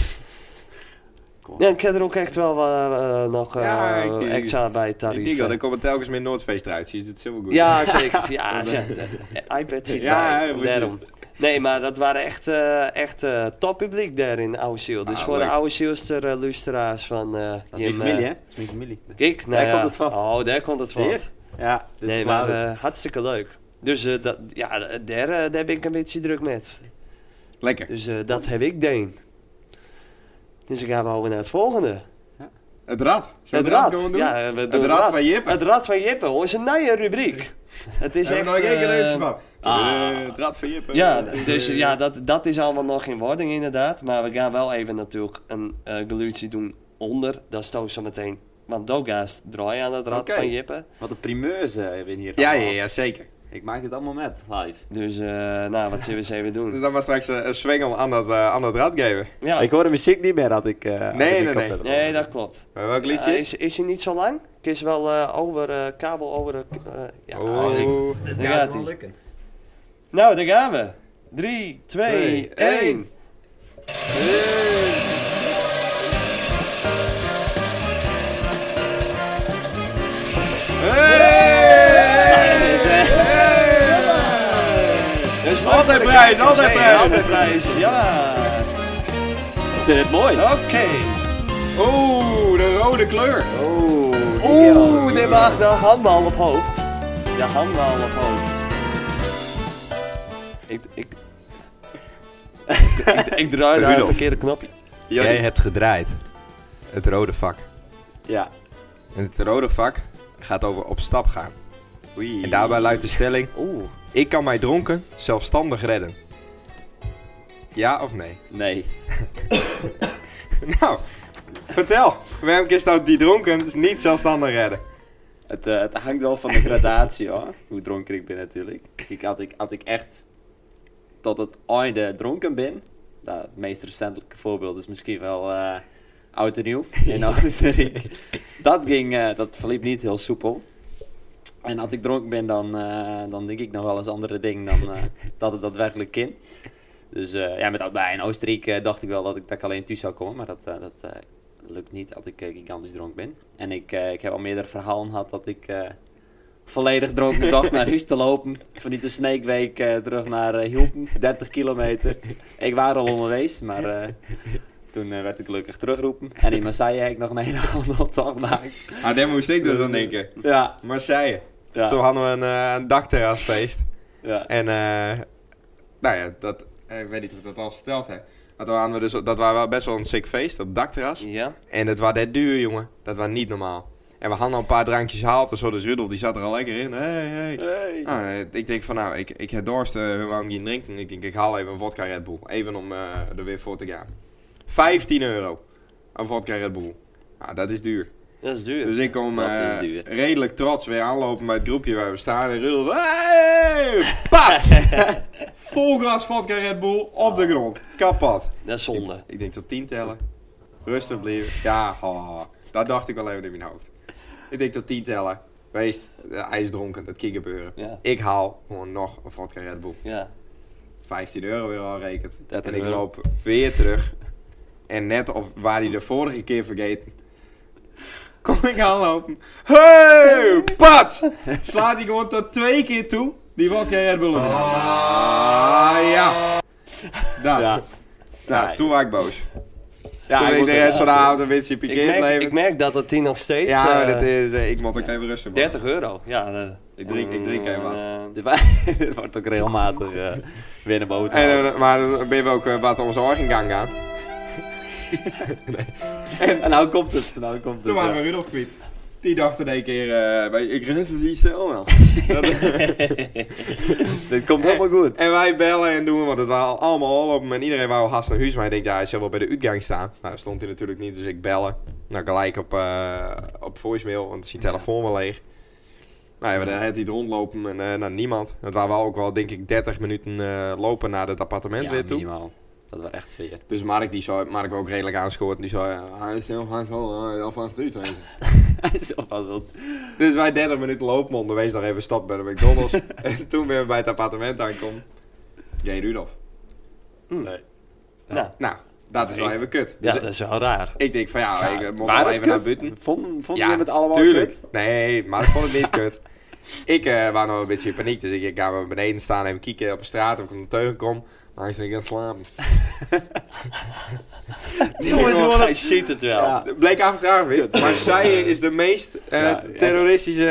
[SPEAKER 3] Cool.
[SPEAKER 1] Ja, ik heb er ook echt wel eh, eh, nog eh,
[SPEAKER 2] Ja, ik- ik-
[SPEAKER 1] extra bij
[SPEAKER 2] Ik
[SPEAKER 1] tarief. eh.
[SPEAKER 2] denk dat er komen telkens meer Noordfeest eruit. Je ziet het zo wel goed.
[SPEAKER 1] Ja, zeker. Ja, ja, de- iPad zit
[SPEAKER 2] eh, Ja,
[SPEAKER 1] bij,
[SPEAKER 2] ja, precies.
[SPEAKER 1] daarom. Nee, maar dat waren echt, eh echt eh, toppubliek daar in Oude Ziel. Dus
[SPEAKER 2] Ah,
[SPEAKER 1] voor
[SPEAKER 2] leuk.
[SPEAKER 1] de Oude Zielster eh, luisteraars van eh
[SPEAKER 3] Dat is mijn familie, hè? Dat is mijn familie.
[SPEAKER 1] Kijk, nou
[SPEAKER 3] Daar
[SPEAKER 1] ja.
[SPEAKER 3] komt het van.
[SPEAKER 1] Oh, daar komt het van.
[SPEAKER 3] Zie je? Ja, dus
[SPEAKER 1] Nee,
[SPEAKER 3] ik
[SPEAKER 1] maar
[SPEAKER 3] laat het.
[SPEAKER 1] eh, hartstikke leuk. Dus eh, dat, ja, daar, eh, daar ben ik een beetje druk met.
[SPEAKER 2] Lekker.
[SPEAKER 1] Dus eh, dat heb ik deen. Dus ik ga over naar het volgende.
[SPEAKER 2] Het rad. Zullen we
[SPEAKER 1] Het rad.
[SPEAKER 2] gewoon doen?
[SPEAKER 1] Ja, eh, we doen
[SPEAKER 2] rad van Jippe.
[SPEAKER 1] Het rad van Jippe. Hoor, is een nieuwe rubriek. Het is
[SPEAKER 2] Daar
[SPEAKER 1] echt...
[SPEAKER 2] hebben we nog één keer
[SPEAKER 1] eh,
[SPEAKER 2] een van.
[SPEAKER 3] ah.
[SPEAKER 2] Eh, Het rad van Jippe.
[SPEAKER 1] Ja,
[SPEAKER 2] Eh,
[SPEAKER 1] dus ja, dat, dat is allemaal nog in wording inderdaad. Maar we gaan wel even natuurlijk een eh geluidje doen onder. Dat stoot zo meteen. Want Doga's draai aan het rad
[SPEAKER 2] Oké.
[SPEAKER 1] van Jippe.
[SPEAKER 3] Wat een primeurs eh, hebben we hier.
[SPEAKER 2] Ja, ja,
[SPEAKER 3] allemaal.
[SPEAKER 2] ja, zeker.
[SPEAKER 3] Ik maak dit allemaal met, live.
[SPEAKER 1] Dus eh, nou, wat zullen we eens even
[SPEAKER 2] Dus
[SPEAKER 1] doen?
[SPEAKER 2] dan maar straks eh, een zwengel aan dat, eh, aan dat rad geven.
[SPEAKER 1] Ja,
[SPEAKER 3] Ik hoor de muziek niet meer, had ik... eh, had
[SPEAKER 2] nee,
[SPEAKER 3] ik op
[SPEAKER 2] nee.
[SPEAKER 3] telefoon.
[SPEAKER 1] nee, dat klopt.
[SPEAKER 2] Maar welk liedje
[SPEAKER 1] Eh,
[SPEAKER 2] is?
[SPEAKER 1] is, is hij niet zo lang? Het is wel eh, over eh, kabel over... de k- eh, ja, eh,
[SPEAKER 2] Oh.
[SPEAKER 4] Het
[SPEAKER 1] Daar
[SPEAKER 4] gaat
[SPEAKER 1] gaat-ie.
[SPEAKER 4] wel lukken.
[SPEAKER 1] Nou, daar gaan we. 3, 2,
[SPEAKER 2] Twee,
[SPEAKER 1] 1.
[SPEAKER 2] één.
[SPEAKER 1] Dus
[SPEAKER 2] Altijd prijs, altijd prijs.
[SPEAKER 1] Altijd prijs, ja.
[SPEAKER 3] Ik vind het mooi.
[SPEAKER 1] Oké.
[SPEAKER 2] Oeh, de rode kleur.
[SPEAKER 3] Oh,
[SPEAKER 1] Oeh, dit mag de handbal op hoofd. De handbal op hoofd. Ik, ik, ik, ik draai daar een
[SPEAKER 2] Rudolf.
[SPEAKER 1] verkeerde knopje.
[SPEAKER 2] Jordi,
[SPEAKER 4] hebt gedraaid.
[SPEAKER 2] het rode vak.
[SPEAKER 3] Ja.
[SPEAKER 2] En het rode vak gaat over op stap gaan.
[SPEAKER 3] Oei.
[SPEAKER 2] En daarbij luidt de stelling...
[SPEAKER 1] Oeh.
[SPEAKER 2] Ik kan mij dronken zelfstandig redden. Ja of nee?
[SPEAKER 3] Nee.
[SPEAKER 2] Nou, vertel. Waarom is nou die dronken dus niet zelfstandig redden?
[SPEAKER 3] Het, eh, het hangt wel van de gradatie, hoor. Hoe dronken ik ben, natuurlijk. Ik, had, ik, had ik echt tot het einde dronken ben... Nou, het meest recentelijke voorbeeld is misschien wel eh oud en nieuw in Oostenrijk. dat, ging, eh, dat verliep niet heel soepel. En als ik dronken ben, dan, eh, dan denk ik nog wel eens andere dingen dan eh, dat het daadwerkelijk kan. Dus eh, ja, met, bij in Oostenrijk eh, dacht ik wel dat ik, dat ik alleen thuis zou komen, maar dat, eh, dat eh, lukt niet als ik eh, gigantisch dronken ben. En ik, eh, ik heb al meerdere verhalen gehad dat ik eh, volledig dronken dacht naar huis te lopen. Vanuit de Sneekweek eh, terug naar eh Hielpen, 30 kilometer. Ik was al onderwees, maar eh, toen eh, werd ik gelukkig teruggeroepen. En in Marseille heb ik nog een hele andere tocht gemaakt.
[SPEAKER 2] Ah, daar moest ik dus aan denken.
[SPEAKER 3] Ja,
[SPEAKER 2] Marseille.
[SPEAKER 3] ja,
[SPEAKER 2] Toen hadden we een, eh, een dagterrasfeest.
[SPEAKER 3] ja.
[SPEAKER 2] En, eh, nou ja, dat, eh, ik weet niet of ik dat al eens verteld heb. Maar toen hadden we dus, dat was wel best wel een sick feest op het dakterras.
[SPEAKER 1] Ja?
[SPEAKER 2] En het was dat duur, jongen. Dat was niet normaal. En we hadden al een paar drankjes gehaald en zo. Dus Rudolf, die zat er al lekker in. Hey, hey.
[SPEAKER 3] Hey.
[SPEAKER 2] Nou, eh, ik denk van nou, ik, ik heb dorst, eh, waarom geen drinken? Ik denk, ik haal even een vodka Red Bull. Even om eh, er weer voor te gaan. 15 euro. Een vodka Red Bull. Nou, dat is duur.
[SPEAKER 1] Dat is duur.
[SPEAKER 2] Dus ik kom
[SPEAKER 3] Dat
[SPEAKER 2] eh,
[SPEAKER 3] is duur.
[SPEAKER 2] redelijk trots weer aanlopen bij het groepje waar we staan. En Rudolf, hey! Pat! Vol glas vodka Red Bull op de grond. Kapot.
[SPEAKER 1] Dat is zonde.
[SPEAKER 2] Ik denk tot 10 tellen. Rustig blijven. Ja, oh, dat dacht ik al even in mijn hoofd. Ik denk tot 10 tellen. Wees, eh, hij is dronken, dat kan gebeuren.
[SPEAKER 1] Ja.
[SPEAKER 2] Ik haal gewoon nog een vodka Red Bull.
[SPEAKER 1] Ja.
[SPEAKER 2] 15 euro weer al rekent.
[SPEAKER 3] 30
[SPEAKER 2] En ik
[SPEAKER 3] euro.
[SPEAKER 2] loop weer terug. En net of waar hij de vorige keer vergeten. Kom ik aanlopen. Hey, pats! Slaat hij gewoon tot twee keer toe. Die vodka Red Bull. op. Ah, ja. Dat.
[SPEAKER 3] Ja.
[SPEAKER 2] Nou, toen was ik boos.
[SPEAKER 3] Ja,
[SPEAKER 2] Toen
[SPEAKER 3] ik
[SPEAKER 2] ik
[SPEAKER 3] moet
[SPEAKER 2] de
[SPEAKER 3] er-
[SPEAKER 2] rest van de avond een beetje
[SPEAKER 1] Ik
[SPEAKER 2] pikeerd
[SPEAKER 1] merk,
[SPEAKER 2] bleef.
[SPEAKER 1] ik merk dat het hier nog steeds...
[SPEAKER 2] Ja,
[SPEAKER 1] eh,
[SPEAKER 2] dat is, eh, ik moet ook even rusten. man.
[SPEAKER 1] 30 euro. Ja, eh,
[SPEAKER 2] Ik drink- ik drink even wat.
[SPEAKER 1] eh,
[SPEAKER 3] Dit wa- Dit wordt ook regelmatig eh weer naar boven
[SPEAKER 2] En,
[SPEAKER 3] gehaald.
[SPEAKER 2] eh, maar dan ben je ook eh, wat onze gang gaan.
[SPEAKER 3] En nou komt het, nou komt
[SPEAKER 2] Toen
[SPEAKER 3] het.
[SPEAKER 2] waren we
[SPEAKER 3] ja.
[SPEAKER 2] Rudolf kwijt. Die dacht in één keer, eh, wij- ik ren het niet zo wel.
[SPEAKER 3] Dit komt helemaal goed.
[SPEAKER 2] En wij bellen en doen, want het waren allemaal oorlopen en iedereen wou haast naar huis. Maar ik denk, ja, hij zal wel bij de uitgang staan. Nou, stond hij natuurlijk niet, dus ik bellen. Nou, gelijk op, eh, op voicemail, want zijn telefoon wel leeg. Nou ja, dan had hij het rondlopen en eh, naar niemand. Het waren wel ook wel, denk ik, 30 minuten eh, lopen naar het appartement weer toe.
[SPEAKER 3] minimaal. Dat was echt veel.
[SPEAKER 2] Dus Mark, die zou, Mark ook redelijk aanscoort. Die zou, ja, hij is heel vaak al, hij is heel vaak uit, weet je.
[SPEAKER 3] Hij is al van wild.
[SPEAKER 2] Dus wij 30 minuten lopen onderwees nog even stap bij de McDonald's. en toen ben we bij het appartement aankomen. Jij Rudolf. Hm.
[SPEAKER 3] Nee.
[SPEAKER 1] nou,
[SPEAKER 2] Nou, dat is wel even kut. Dus
[SPEAKER 1] ja, dat is wel raar.
[SPEAKER 2] ik denk van ja, ik moet
[SPEAKER 3] Waren
[SPEAKER 2] wel
[SPEAKER 3] het
[SPEAKER 2] even
[SPEAKER 3] kut?
[SPEAKER 2] naar buiten.
[SPEAKER 3] Vond, vond
[SPEAKER 2] Ja,
[SPEAKER 3] je het allemaal
[SPEAKER 2] tuurlijk.
[SPEAKER 3] kut?
[SPEAKER 2] Nee, maar ik vond het niet kut. Ik eh was nog een beetje in paniek, dus ik, ik ga maar beneden staan en kieken op de straat of ik hem tegenkom. Maar hij is ik aan het slapen.
[SPEAKER 1] Jongens, jongen, hij ziet het wel.
[SPEAKER 3] Ja.
[SPEAKER 2] Bleek achteraf weer. Maar zij is de meest eh,
[SPEAKER 3] Ja,
[SPEAKER 2] terroristische...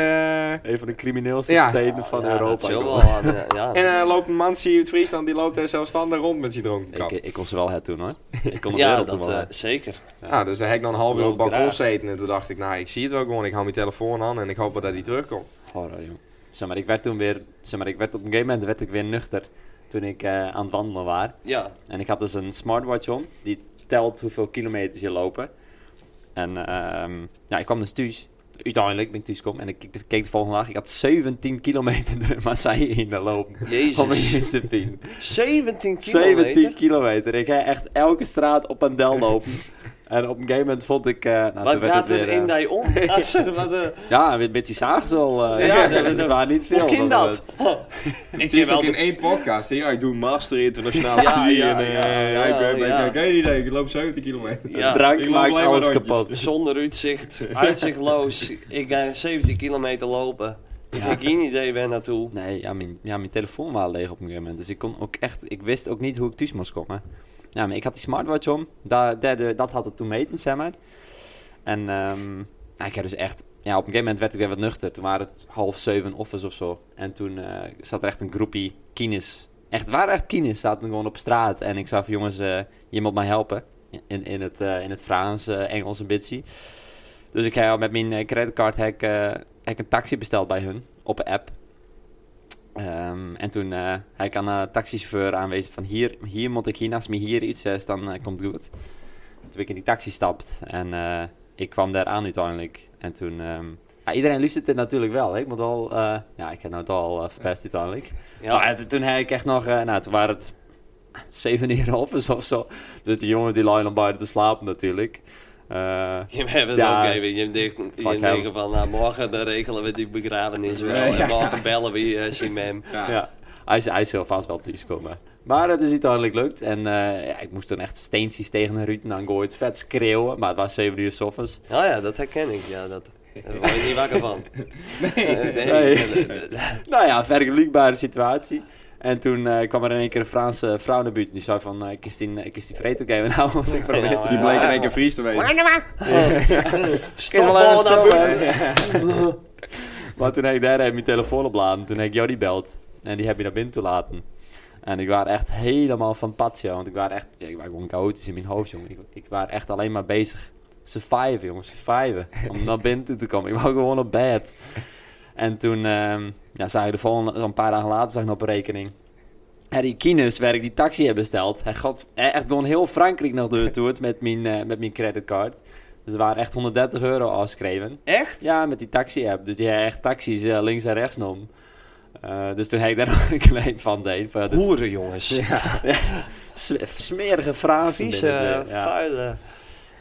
[SPEAKER 2] eh,
[SPEAKER 3] Een van de crimineelste
[SPEAKER 2] Ja.
[SPEAKER 3] steden van
[SPEAKER 1] Ja, dat
[SPEAKER 3] Europa.
[SPEAKER 1] is heel
[SPEAKER 3] joh.
[SPEAKER 1] wel aan, eh, ja.
[SPEAKER 2] En eh, loopt een man zie je uit Friesland, die loopt er zelfstandig rond met zijn dronken kap.
[SPEAKER 3] Ik, ik kon ze wel het toen hoor. Ik kon het
[SPEAKER 1] ja,
[SPEAKER 3] wereld toen
[SPEAKER 1] dat
[SPEAKER 3] wel.
[SPEAKER 1] eh,
[SPEAKER 3] hè.
[SPEAKER 1] zeker.
[SPEAKER 2] Nou, dus daar heb ik dan een half uur op het balkon
[SPEAKER 1] Graag.
[SPEAKER 2] gezeten. En toen dacht ik, nou, ik zie het wel gewoon. Ik hou mijn telefoon aan en ik hoop wel dat hij terugkomt.
[SPEAKER 3] Horror, joh. Zeg maar, ik werd toen weer... Zeg maar, ik werd op een gegeven moment werd ik weer nuchter. Toen ik eh, aan het wandelen was.
[SPEAKER 1] Ja,
[SPEAKER 3] En ik had dus een smartwatch om, die telt hoeveel kilometers je lopen. En ehm, ja, ik kwam dus thuis. Uiteindelijk ben ik thuis gekomen en ik keek de, keek de volgende dag. Ik had 17 kilometer door Marseille in de lopen. Om een
[SPEAKER 1] jezus.
[SPEAKER 3] eens te vinden.
[SPEAKER 1] 17 kilometer?
[SPEAKER 3] 17 kilometer. Ik ging echt elke straat op en del lopen. en op een gegeven moment vond ik... eh, nou, toen
[SPEAKER 1] Wat
[SPEAKER 3] werd
[SPEAKER 1] gaat
[SPEAKER 3] het
[SPEAKER 1] er
[SPEAKER 3] weer,
[SPEAKER 1] in
[SPEAKER 3] eh,
[SPEAKER 1] die om? Dat is, eh, wat, eh,
[SPEAKER 3] Ja, een beetje zaagzel. eh
[SPEAKER 1] Ja,
[SPEAKER 3] ja,
[SPEAKER 1] dat-
[SPEAKER 3] dat waren niet veel.
[SPEAKER 1] Hoe ging
[SPEAKER 3] Dat-
[SPEAKER 1] dat? Oh. Huh. Ik
[SPEAKER 2] Het is
[SPEAKER 1] heb wel
[SPEAKER 2] ook in
[SPEAKER 1] de...
[SPEAKER 2] één podcast. hè. Ja, ik doe master internationale
[SPEAKER 1] Ja,
[SPEAKER 2] studie.
[SPEAKER 1] ja,
[SPEAKER 2] en, eh,
[SPEAKER 1] ja,
[SPEAKER 2] ja, ik ben,
[SPEAKER 1] ja,
[SPEAKER 2] ik
[SPEAKER 1] ja.
[SPEAKER 2] heb geen idee. Ik loop 70 kilometer.
[SPEAKER 1] Ja.
[SPEAKER 2] Ik
[SPEAKER 3] Drank
[SPEAKER 2] loop
[SPEAKER 3] maakt
[SPEAKER 2] alleen maar
[SPEAKER 3] alles
[SPEAKER 2] rondjes.
[SPEAKER 3] kapot.
[SPEAKER 1] Zonder uitzicht, uitzichtloos. Ik ga 17 kilometer lopen. Ik heb geen idee waar naartoe.
[SPEAKER 3] Nee, ja mijn, ja, mijn telefoon was leeg op een gegeven moment. Dus ik kon ook echt, ik wist ook niet hoe ik thuis moest komen. Ja, maar ik had die smartwatch om. Daar, daar, de- dat had het toen meten, zeg maar. En ehm, ja, ik heb dus echt, ja, op een gegeven moment werd ik weer wat nuchter. Toen waren het half zeven office of zo. En toen eh, zat er echt een groepie kines. Echt, het waren echt kines. Zaten gewoon op straat. En ik zei van, jongens, eh, je moet mij helpen. In, in, het, eh, in het Frans, eh, Engels een beetje. Dus ik heb met mijn eh, creditcard heb ik, eh, heb ik een taxi besteld bij hun. Op een app. Ehm, en toen eh hij kan een taxichauffeur aanwezen van hier, hier moet ik hier naast me hier iets is, dan eh, komt het goed. Toen ik in die taxi stapt en eh, ik kwam daar aan uiteindelijk. En toen, ehm, ja, iedereen luistert het natuurlijk wel. hè. Ik moet al, eh, ja, ik heb nou het al eh, verpest uiteindelijk.
[SPEAKER 1] Ja,
[SPEAKER 3] Maar toen heb ik echt nog, eh, nou toen waren het 7 uur of zo. Dus die jongen die lag dan buiten te slapen natuurlijk. Eh,
[SPEAKER 1] Je hebt het
[SPEAKER 3] Ja.
[SPEAKER 1] ook even. Je denkt, je
[SPEAKER 3] hem.
[SPEAKER 1] denkt van, nou, morgen dan regelen we die begrafenis wel.
[SPEAKER 2] Nee, ja.
[SPEAKER 1] En morgen bellen we eh, Simem.
[SPEAKER 2] Ja.
[SPEAKER 3] ja. Hij, is- hij is heel vast wel thuiskomen. Maar het is uiteindelijk gelukt. En eh, ja, ik moest dan echt steentjes tegen de ruiten aan gooien. Vet schreeuwen. Maar het was 7 uur 's ochtends.
[SPEAKER 1] Oh ja, dat herken ik. Ja, dat, daar word je niet wakker van. Eh, nee.
[SPEAKER 3] Nee.
[SPEAKER 1] eh, eh,
[SPEAKER 3] Nou ja, vergelijkbare situatie. En toen eh, kwam er in één keer een Franse vrouw naar buiten. Die zei van, eh, ik is die, ik is die vreet ook even nou. Want ik probeer
[SPEAKER 1] Ja,
[SPEAKER 3] het
[SPEAKER 2] Die
[SPEAKER 1] maar-
[SPEAKER 2] bleek in één keer Fries te weten.
[SPEAKER 1] Stop
[SPEAKER 3] wel even
[SPEAKER 1] al naar
[SPEAKER 3] stoppen.
[SPEAKER 1] buiten.
[SPEAKER 3] Maar toen heb ik daar even mijn telefoon opladen. Toen heb ik jou die belt. En die heb je naar binnen toe laten. En ik was echt helemaal van pad, joh. Want ik was echt... ja, ik was gewoon chaotisch in mijn hoofd, jongen. Ik, ik was echt alleen maar bezig. Surviven, jongen. Surviven. Om naar binnen toe te komen. Ik wou gewoon op bed. En toen ehm ja, zag ik de volgende... Een paar dagen later zag ik nog op rekening. En die kines waar ik die taxi heb besteld. Hij gaat echt gewoon heel Frankrijk nog door toert met mijn, eh, met mijn creditcard. Dus er waren echt 130 euro afgeschreven.
[SPEAKER 1] Echt?
[SPEAKER 3] Ja, met die taxi-app. Dus die had echt taxis eh, links en rechts nam. Eh, dus toen heb ik daar nog een klein van deed. Van de
[SPEAKER 1] Hoeren, jongens.
[SPEAKER 3] s- smerige frazen.
[SPEAKER 1] Vieze, Ah.
[SPEAKER 3] binnen de- ja.
[SPEAKER 1] vuile.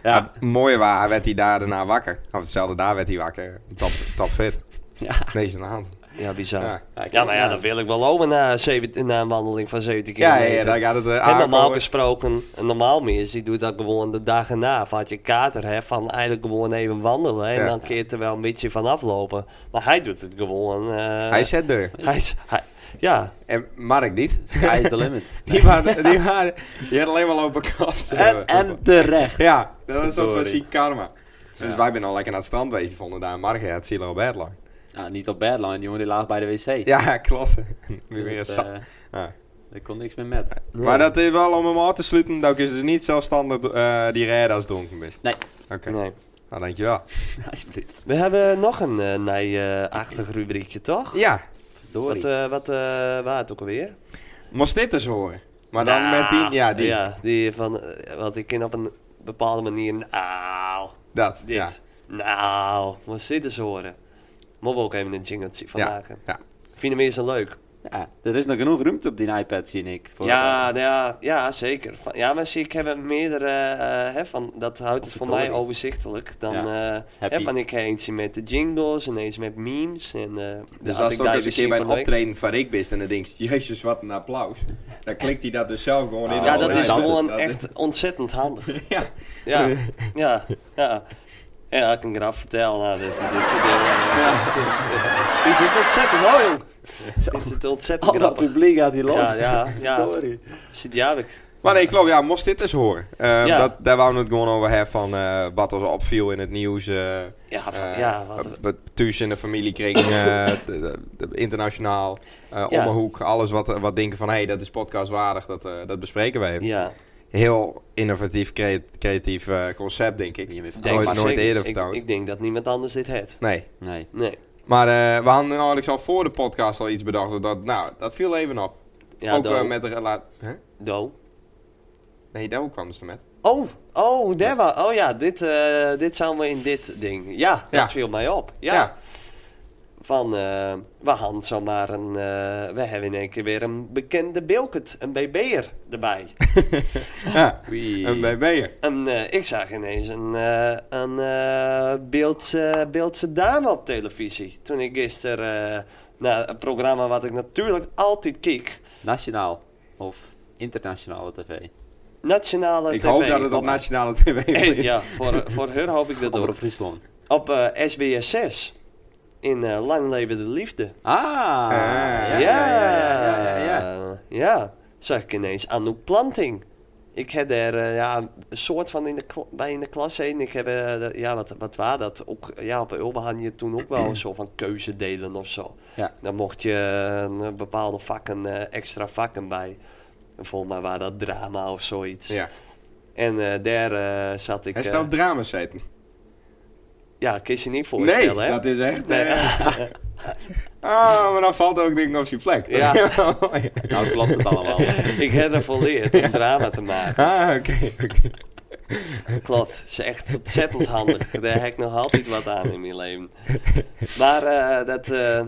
[SPEAKER 3] Ja.
[SPEAKER 2] Mooi waar, hij werd hij daar daarna wakker. Of hetzelfde daar werd hij wakker. Top, top fit.
[SPEAKER 3] Ja.
[SPEAKER 2] Niks aan de hand.
[SPEAKER 1] Ja, bizar.
[SPEAKER 2] Ja,
[SPEAKER 1] Ja, maar ja, dat wil ik wel lopen na, 17 na een wandeling van 17
[SPEAKER 2] ja,
[SPEAKER 1] kilometer.
[SPEAKER 2] ja, ja, daar gaat het eh,
[SPEAKER 1] En normaal
[SPEAKER 2] aankomen.
[SPEAKER 1] gesproken, een normaal mens die doet dat gewoon de dag erna. Of als je kater hebt, van eigenlijk gewoon even wandelen. En
[SPEAKER 2] Ja.
[SPEAKER 1] dan kun je er wel een beetje van aflopen. Maar hij doet het gewoon. eh,
[SPEAKER 2] Hij zet deur.
[SPEAKER 1] hij is- hij- ja.
[SPEAKER 2] En Mark niet.
[SPEAKER 3] Sky is the limit.
[SPEAKER 2] Die, waren, die, waren, die had alleen maar lopen kasten.
[SPEAKER 3] en, en terecht.
[SPEAKER 2] Ja, dat was een soort van
[SPEAKER 3] Verdorie.
[SPEAKER 2] ziek karma. Dus
[SPEAKER 3] Ja.
[SPEAKER 2] wij zijn al lekker naar het strand bezig vonden daar. Mark had zielig op bed lang.
[SPEAKER 3] Nou, niet op Badline, die jongen die lag bij de wc.
[SPEAKER 2] Ja, klopt. Weer weer een
[SPEAKER 3] dat,
[SPEAKER 2] sap.
[SPEAKER 3] eh,
[SPEAKER 2] Ja.
[SPEAKER 3] daar kon niks meer met.
[SPEAKER 2] Maar dat is wel om hem af te sluiten. Dat is dus niet zelfstandig eh die rijden als dronken bent.
[SPEAKER 3] Nee.
[SPEAKER 2] Oké,
[SPEAKER 1] Nee.
[SPEAKER 2] nou dankjewel.
[SPEAKER 3] Alsjeblieft.
[SPEAKER 1] We hebben nog een eh nij-achtig rubriekje, toch?
[SPEAKER 2] Ja,
[SPEAKER 3] Verdorie.
[SPEAKER 1] Wat, eh wat eh waar het ook alweer?
[SPEAKER 2] moest dit eens horen. Maar dan
[SPEAKER 1] Nou,
[SPEAKER 2] met die, ja, die,
[SPEAKER 1] Ja, die van, eh, want ik ken op een bepaalde manier, nou,
[SPEAKER 2] dat,
[SPEAKER 1] dit,
[SPEAKER 2] ja.
[SPEAKER 1] nou, moet dit eens horen. Moeten we ook even een jingletje van
[SPEAKER 2] Ja,
[SPEAKER 1] maken.
[SPEAKER 2] ja.
[SPEAKER 1] Vinden mensen leuk?
[SPEAKER 3] ja, er is nog genoeg ruimte op die iPad, zie ik. Voor, eh,
[SPEAKER 1] Ja, nou ja, ja, zeker. Van- ja, maar zie, ik heb er meerdere, eh, hè, van, dat houdt het voor
[SPEAKER 3] verdorie.
[SPEAKER 1] mij overzichtelijk. Dan,
[SPEAKER 3] Ja,
[SPEAKER 1] eh,
[SPEAKER 3] happy.
[SPEAKER 1] hè, van ik heb eentje met de jingles en eentje met memes. En, eh,
[SPEAKER 2] Dus
[SPEAKER 1] had ik
[SPEAKER 2] als het ook
[SPEAKER 1] daar
[SPEAKER 2] eens een keer
[SPEAKER 1] gezien
[SPEAKER 2] bij
[SPEAKER 1] van
[SPEAKER 2] een
[SPEAKER 1] de week.
[SPEAKER 2] optreden van Rick bent en dan denk je, jezus wat een applaus. Dan klikt hij dat dus zelf gewoon in.
[SPEAKER 3] Ja,
[SPEAKER 1] Ah. Ja,
[SPEAKER 2] als
[SPEAKER 1] dat
[SPEAKER 3] nee,
[SPEAKER 1] is
[SPEAKER 3] dat-
[SPEAKER 1] gewoon
[SPEAKER 2] dat-
[SPEAKER 1] echt ontzettend handig.
[SPEAKER 2] Ja.
[SPEAKER 1] Ja, ja, ja. Ja, ik kan graf vertellen. Nou, dit, dit soort dingen. Ja. Is het ontzettend mooi, jong. Dit is het ontzettend
[SPEAKER 3] Al dat
[SPEAKER 1] grappig.
[SPEAKER 3] publiek gaat hier los.
[SPEAKER 1] Ja, ja, ja.
[SPEAKER 3] Verdorie.
[SPEAKER 1] Zit jaarlijk.
[SPEAKER 2] Maar nee, klopt. Ja, moest dit eens horen. Eh,
[SPEAKER 1] Ja.
[SPEAKER 2] dat, daar wouden we het gewoon over hebben van eh, wat ons opviel in het nieuws. eh,
[SPEAKER 1] Ja, van,
[SPEAKER 2] eh,
[SPEAKER 1] ja, wat...
[SPEAKER 2] wat thuis in de familiekring, eh, t- t- t- internationaal, eh om
[SPEAKER 1] Ja.
[SPEAKER 2] de hoek. Alles wat, eh, wat denken van, hé, hey, dat is podcastwaardig, dat, eh, dat bespreken wij even.
[SPEAKER 1] Ja,
[SPEAKER 2] Heel innovatief, crea- creatief eh, concept, denk ik.
[SPEAKER 3] Niet meer van-
[SPEAKER 1] denk
[SPEAKER 2] Nooit-
[SPEAKER 1] maar
[SPEAKER 2] nooit
[SPEAKER 1] zeker.
[SPEAKER 2] eerder
[SPEAKER 1] Ik-
[SPEAKER 2] vertoond.
[SPEAKER 1] Ik, denk dat niemand anders dit heeft.
[SPEAKER 2] Nee.
[SPEAKER 3] Nee.
[SPEAKER 1] Nee.
[SPEAKER 2] Maar eh, we hadden eigenlijk al voor de podcast al iets bedacht. Dat, nou, dat viel even op.
[SPEAKER 1] Ja,
[SPEAKER 2] ook
[SPEAKER 1] Do.
[SPEAKER 2] eh, met de relatie... Huh?
[SPEAKER 1] Do.
[SPEAKER 2] Nee, daar kwam dus met.
[SPEAKER 1] Oh, oh, daar wa- Oh ja, dit, eh dit zijn we in dit ding. Ja, dat
[SPEAKER 2] Ja.
[SPEAKER 1] viel mij op. Ja.
[SPEAKER 2] Ja.
[SPEAKER 1] Van, eh we hadden zomaar een... eh, we hebben in één keer weer een bekende Bilkert, een BB'er erbij.
[SPEAKER 2] Ja,
[SPEAKER 3] Wie?
[SPEAKER 2] een BB'er.
[SPEAKER 1] En eh, ik zag ineens een, eh, een eh, Beeldse, Beeldse dame op televisie. Toen ik gisteren eh, naar een programma wat ik natuurlijk altijd kijk.
[SPEAKER 3] Nationaal of internationale tv?
[SPEAKER 1] Nationale
[SPEAKER 2] Ik
[SPEAKER 1] TV.
[SPEAKER 2] hoop dat het op nationale tv
[SPEAKER 1] Eh,
[SPEAKER 2] is.
[SPEAKER 1] Ja, voor, voor haar hoop ik dat
[SPEAKER 3] Over op
[SPEAKER 1] ook.
[SPEAKER 3] Friesland.
[SPEAKER 1] Op eh, SBS 6. In eh, Lang Leven de Liefde.
[SPEAKER 3] Ah,
[SPEAKER 2] Ah,
[SPEAKER 3] ja,
[SPEAKER 1] Ja,
[SPEAKER 3] ja, ja, ja, ja, ja.
[SPEAKER 1] Ja, zag ik ineens Anouk Planting. Ik heb er eh, ja, een soort van in de kla- bij in de klas heen. Ik heb, eh, dat- ja, wat, wat was dat? Ook, ja, op Ulbe had je toen ook wel een soort van keuze delen of zo.
[SPEAKER 3] Ja.
[SPEAKER 1] Dan mocht je een, eh, bepaalde vakken, eh, extra vakken bij. En Volgens mij was dat drama of zoiets.
[SPEAKER 2] Ja.
[SPEAKER 1] En eh, daar eh, zat ik...
[SPEAKER 2] Hij
[SPEAKER 1] eh,
[SPEAKER 2] staat op dramas zitten.
[SPEAKER 1] ja, kun je je niet
[SPEAKER 2] Nee,
[SPEAKER 1] voorstellen, hè?
[SPEAKER 2] dat is echt...
[SPEAKER 1] Nee.
[SPEAKER 2] eh, ah, maar dan valt ook denk ik op zijn plek.
[SPEAKER 1] Ja.
[SPEAKER 3] Nou klopt het allemaal.
[SPEAKER 1] ik heb ervoor leerd om drama te maken.
[SPEAKER 2] ah, oké. oké.
[SPEAKER 1] Klopt, ze is echt ontzettend handig. Daar heb ik nog altijd wat aan in mijn leven. Maar eh, dat, eh,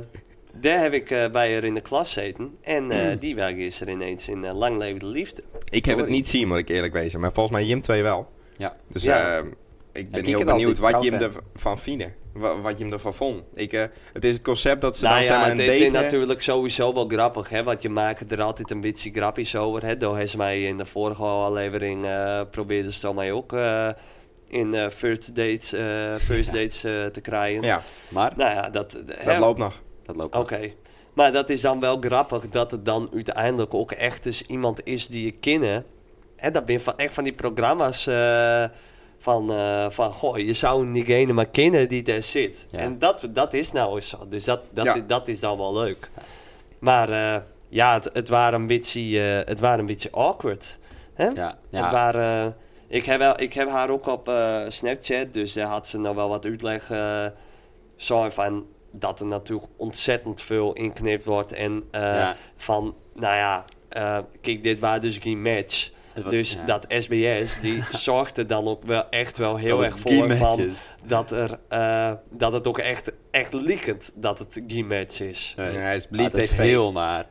[SPEAKER 1] daar heb ik eh, bij haar in de klas zeten. En
[SPEAKER 2] Hmm.
[SPEAKER 1] eh, die was gisteren ineens in eh, Lang Leven de Liefde.
[SPEAKER 2] Ik heb het niet zien, moet ik eerlijk wezen. Maar volgens mij Jim 2 wel.
[SPEAKER 3] Ja.
[SPEAKER 2] Dus
[SPEAKER 1] Ja.
[SPEAKER 2] eh, ik ben
[SPEAKER 3] die
[SPEAKER 2] heel
[SPEAKER 3] kan
[SPEAKER 2] benieuwd
[SPEAKER 3] altijd,
[SPEAKER 2] wat je hem
[SPEAKER 3] kan
[SPEAKER 2] ervan vinden. Wa- Wat je hem ervan vond. Ik, eh, het is het concept dat ze
[SPEAKER 1] nou
[SPEAKER 2] dan
[SPEAKER 1] ja,
[SPEAKER 2] zijn maar
[SPEAKER 1] het
[SPEAKER 2] een
[SPEAKER 1] het is
[SPEAKER 2] date-
[SPEAKER 1] natuurlijk sowieso wel grappig, hè? Want je maakt er altijd een beetje grapjes over, hè? Door heeft mij in de vorige aflevering eh probeerde ze dan mij ook eh, in eh, first dates, eh, first dates eh, te krijgen.
[SPEAKER 2] Ja,
[SPEAKER 3] Maar
[SPEAKER 1] Nou ja, dat,
[SPEAKER 2] dat loopt nog.
[SPEAKER 3] dat loopt
[SPEAKER 1] Oké.
[SPEAKER 3] ook.
[SPEAKER 1] Maar dat is dan wel grappig dat het dan uiteindelijk ook echt dus iemand is die je kennen. En dat ben je van, echt van die programma's eh, van, eh, van, goh, je zou diegene maar kennen die daar zit.
[SPEAKER 3] Ja.
[SPEAKER 1] En dat, dat is nou eens zo. Dus dat, dat,
[SPEAKER 2] Ja.
[SPEAKER 1] i- dat is dan wel leuk. Maar eh, ja, het, het waren een beetje, eh, het waren een beetje awkward. Hè?
[SPEAKER 3] Ja,
[SPEAKER 1] Het
[SPEAKER 3] ja.
[SPEAKER 1] waren, eh, ik, heb wel, ik heb haar ook op eh, Snapchat, dus daar had ze nog wel wat uitleg. eh, zo van dat er natuurlijk ontzettend veel inknipt wordt. En eh,
[SPEAKER 3] Ja.
[SPEAKER 1] van, nou ja, eh, kijk, dit waren dus geen match.
[SPEAKER 3] Het wa-
[SPEAKER 1] dus
[SPEAKER 3] ja.
[SPEAKER 1] dat SBS, die zorgt er dan ook wel echt wel heel
[SPEAKER 3] Oh,
[SPEAKER 1] erg
[SPEAKER 3] die
[SPEAKER 1] voor van
[SPEAKER 3] matches.
[SPEAKER 1] dat, er, eh, dat het ook echt, echt liekend dat het geen match is.
[SPEAKER 3] Nee.
[SPEAKER 2] Ja, het is
[SPEAKER 3] Ah,
[SPEAKER 2] Bleed
[SPEAKER 3] dat is
[SPEAKER 2] TV.
[SPEAKER 3] heel naar.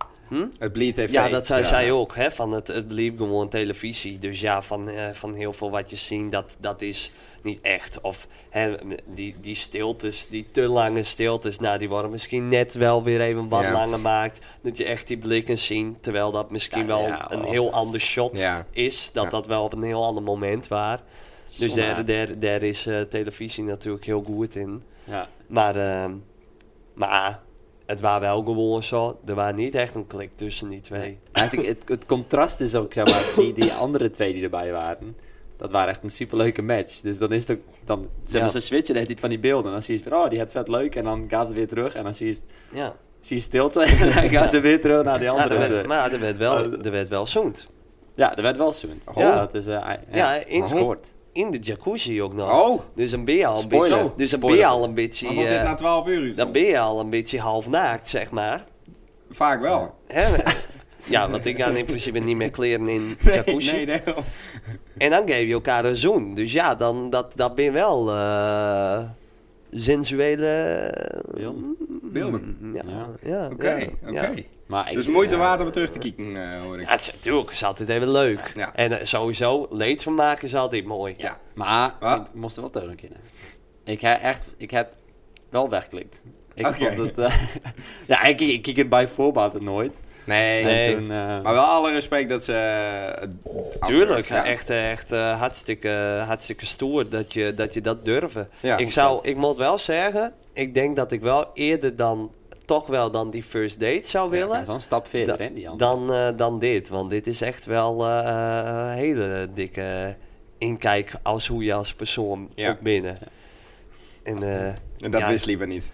[SPEAKER 2] Het Bleed TV.
[SPEAKER 1] Ja, dat zei
[SPEAKER 3] ja.
[SPEAKER 1] zij ook, hè? Van het, het liep gewoon televisie. Dus ja, van, eh, van heel veel wat je ziet, dat, dat is niet echt. Of hè, die, die stiltes, die te lange stiltes, nou, die worden misschien net wel weer even wat
[SPEAKER 2] Ja.
[SPEAKER 1] langer gemaakt. Dat je echt die blikken ziet, terwijl dat misschien
[SPEAKER 3] Ja,
[SPEAKER 1] wel
[SPEAKER 3] ja,
[SPEAKER 1] een
[SPEAKER 3] wel.
[SPEAKER 1] heel ander shot
[SPEAKER 2] Ja.
[SPEAKER 1] is. Dat
[SPEAKER 2] Ja.
[SPEAKER 1] dat wel op een heel ander moment waar. Dus daar, daar, daar is eh, televisie natuurlijk heel goed in.
[SPEAKER 3] Ja.
[SPEAKER 1] Maar, ehm, maar ah, het waren wel gewoon zo. Er was niet echt een klik tussen die twee.
[SPEAKER 3] Maar als ik- het, het contrast is ook, zeg maar, die, die andere twee die erbij waren. Dat waren echt een superleuke match. Dus dan is het ook, dan, zeg maar,
[SPEAKER 1] Ja.
[SPEAKER 3] ze switchen net niet van die beelden. Dan zie je het van, oh, die had vet leuk. En dan gaat het weer terug. En dan zie je, het-
[SPEAKER 1] Ja.
[SPEAKER 3] zie je stilte. En dan gaan ze weer terug naar die
[SPEAKER 1] Maar
[SPEAKER 3] andere.
[SPEAKER 1] er werd,
[SPEAKER 3] Ja,
[SPEAKER 1] maar er werd wel,
[SPEAKER 2] Ah,
[SPEAKER 1] er werd wel zoend.
[SPEAKER 3] er werd wel zoend.
[SPEAKER 2] Oh.
[SPEAKER 3] Ja, dat is... eh, hij-
[SPEAKER 1] Ja,
[SPEAKER 3] hij
[SPEAKER 1] in-
[SPEAKER 3] scoort.
[SPEAKER 1] In de jacuzzi ook nog.
[SPEAKER 2] Oh,
[SPEAKER 1] Dus dan ben je al een
[SPEAKER 2] Spoiler.
[SPEAKER 1] beetje... Dus dan ben
[SPEAKER 3] Spoiler.
[SPEAKER 1] je al een beetje...
[SPEAKER 2] maar wordt dit
[SPEAKER 1] eh,
[SPEAKER 2] na 12 uur iets?
[SPEAKER 1] dan ben je al een beetje half naakt, zeg maar.
[SPEAKER 2] Vaak wel.
[SPEAKER 1] Hè? ja, want ik ga in principe niet meer kleren in
[SPEAKER 2] Nee,
[SPEAKER 1] jacuzzi.
[SPEAKER 2] nee, nee.
[SPEAKER 1] En dan geef je elkaar een zoen. Dus ja, dan, dat, dat ben je wel... eh, sensuele...
[SPEAKER 3] Beelden.
[SPEAKER 2] Beelden.
[SPEAKER 1] Ja, ja.
[SPEAKER 3] Ja.
[SPEAKER 1] ja,
[SPEAKER 2] Oké,
[SPEAKER 1] ja.
[SPEAKER 2] oké.
[SPEAKER 3] Maar ik,
[SPEAKER 2] Dus moeite
[SPEAKER 3] ja.
[SPEAKER 2] waard om er terug te kijken, eh, hoor
[SPEAKER 1] Ja,
[SPEAKER 2] ik.
[SPEAKER 1] het is natuurlijk het is altijd even leuk.
[SPEAKER 2] Ja.
[SPEAKER 1] En eh, sowieso, leedvermaken is altijd mooi.
[SPEAKER 2] Ja.
[SPEAKER 3] Maar
[SPEAKER 2] Wat?
[SPEAKER 3] ik moest er wel tegen kennen. Ik heb echt, ik heb wel wegklikt. Ik
[SPEAKER 2] Oké.
[SPEAKER 3] vond het, eh, ja, ik, ik kijk het bij voorbaat nooit.
[SPEAKER 2] Nee.
[SPEAKER 3] En toen, eh,
[SPEAKER 2] Maar wel alle respect dat ze... eh, het
[SPEAKER 1] Tuurlijk,
[SPEAKER 2] ja.
[SPEAKER 1] echt, eh, echt eh, hartstikke, hartstikke stoer dat je dat, je dat durven.
[SPEAKER 2] Ja,
[SPEAKER 1] ik, zou, ik moet wel zeggen, ik denk dat ik wel eerder dan, toch wel dan die first date zou
[SPEAKER 3] ja,
[SPEAKER 1] willen,
[SPEAKER 3] zo'n stap verder, hè, die andere.
[SPEAKER 1] dan, eh, dan dit. Want dit is echt wel eh, eh, een hele dikke inkijk als hoe je als persoon
[SPEAKER 2] Ja.
[SPEAKER 1] ook binnen. En, eh,
[SPEAKER 2] En dat
[SPEAKER 1] ja,
[SPEAKER 2] wist liever niet.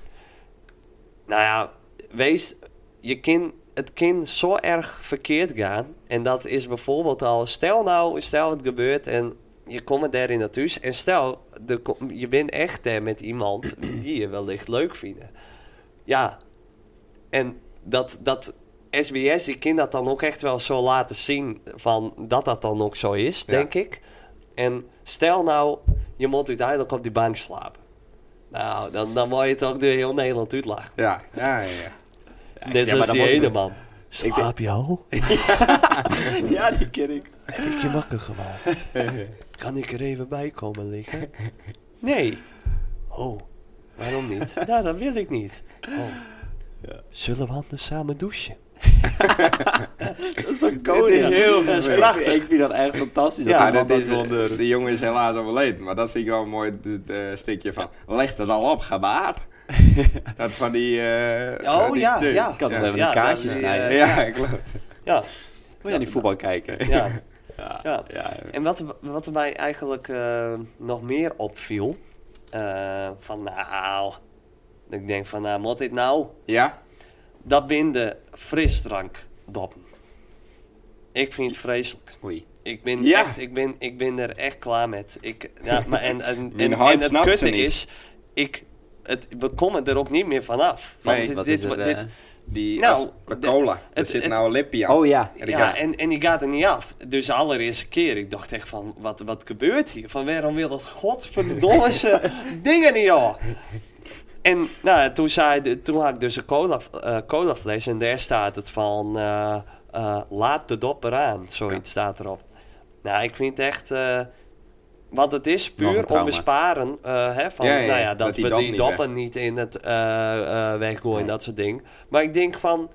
[SPEAKER 1] nou ja, wees je kind, het kind zo erg verkeerd gaan. En dat is bijvoorbeeld al, stel nou, stel het gebeurt en je komt daar in het huis. En stel, de, ko- je bent echt daar met iemand die je wellicht leuk vindt. Ja, en dat, dat SBS, die kind dat dan ook echt wel zo laten zien van dat dat dan ook zo is,
[SPEAKER 2] Ja.
[SPEAKER 1] denk ik. En stel nou, je moet uiteindelijk op die bank slapen. Nou, dan, dan word je toch door heel Nederland uitlachen.
[SPEAKER 2] Ja, ja, ja. ja.
[SPEAKER 1] Net
[SPEAKER 3] ja,
[SPEAKER 1] zoals
[SPEAKER 3] maar dan
[SPEAKER 1] die
[SPEAKER 3] was het-
[SPEAKER 1] ene man. Slaap je al?
[SPEAKER 3] Ja, die ken ik.
[SPEAKER 1] Heb ik je wakker gemaakt? kan ik er even bij komen liggen? Nee. Oh, waarom niet? nou, dat wil ik niet. Oh. Zullen we anders samen douchen?
[SPEAKER 3] Dat is
[SPEAKER 1] koning?
[SPEAKER 3] toch koning?
[SPEAKER 1] heel vervelend.
[SPEAKER 3] prachtig. Ik vind dat echt fantastisch. dat
[SPEAKER 1] Ja,
[SPEAKER 2] Maar
[SPEAKER 3] die man
[SPEAKER 2] dat is,
[SPEAKER 3] dat gewoon durft.
[SPEAKER 2] de jongen is helaas overleden, maar dat vind ik wel een mooi d- eh, stukje van. Leg dat al op, gebaat. dat van die. eh,
[SPEAKER 1] Oh,
[SPEAKER 2] van die
[SPEAKER 1] ja,
[SPEAKER 2] teun.
[SPEAKER 1] ja.
[SPEAKER 3] Ik kan
[SPEAKER 2] ja.
[SPEAKER 3] wel even
[SPEAKER 1] Ja,
[SPEAKER 3] een kaartje
[SPEAKER 1] dat is,
[SPEAKER 3] snijden.
[SPEAKER 1] eh,
[SPEAKER 2] Ja, klopt.
[SPEAKER 1] Ja,
[SPEAKER 3] Moet je aan die voetbal kijken?
[SPEAKER 1] ja,
[SPEAKER 3] Ja.
[SPEAKER 1] ja.
[SPEAKER 3] ja.
[SPEAKER 1] En wat, wat er mij eigenlijk eh, nog meer opviel... eh, van nou... Ik denk van, nou, moet dit nou?
[SPEAKER 2] Ja?
[SPEAKER 1] Dat binden frisdrankdoppen. Ik vind het vreselijk.
[SPEAKER 3] Oei.
[SPEAKER 1] Ik ben,
[SPEAKER 2] Ja.
[SPEAKER 1] echt, ik, ben, ik ben er echt klaar met. Ik, ja, maar en, en, en,
[SPEAKER 2] Mijn hart
[SPEAKER 1] en het
[SPEAKER 2] snapt ze
[SPEAKER 1] kutte
[SPEAKER 2] niet.
[SPEAKER 1] is, ik, het, we komen er ook niet meer vanaf. Want
[SPEAKER 2] Nee,
[SPEAKER 1] dit,
[SPEAKER 3] Wat
[SPEAKER 1] dit,
[SPEAKER 3] is er,
[SPEAKER 1] dit-
[SPEAKER 3] eh?
[SPEAKER 2] Die
[SPEAKER 1] Nou,
[SPEAKER 2] als- de
[SPEAKER 1] de-
[SPEAKER 2] cola. er
[SPEAKER 1] het-
[SPEAKER 2] zit
[SPEAKER 1] het-
[SPEAKER 2] nou een lippie aan.
[SPEAKER 3] Oh ja.
[SPEAKER 2] En ik
[SPEAKER 1] ja, en, en die gaat er niet af. Dus de allereerste keer, ik dacht echt van, wat, wat gebeurt hier? Van waarom wil dat godverdomme ze dingen niet, joh? En nou, toen, zei, de- toen had ik dus een cola, eh cola fles en daar staat het van, eh, eh, laat de dopper aan, zoiets staat erop. Nou, ik vind het echt, eh, Want het is
[SPEAKER 3] Nog
[SPEAKER 1] puur
[SPEAKER 3] een
[SPEAKER 1] om
[SPEAKER 3] trauma.
[SPEAKER 1] besparen. eh, hè, van,
[SPEAKER 2] Ja, ja, ja,
[SPEAKER 1] nou ja, dat,
[SPEAKER 2] dat die
[SPEAKER 1] we
[SPEAKER 2] dop
[SPEAKER 1] die
[SPEAKER 2] niet
[SPEAKER 1] doppen niet in het eh, eh, weggooien,
[SPEAKER 3] Nee.
[SPEAKER 1] dat soort dingen. Maar ik denk van,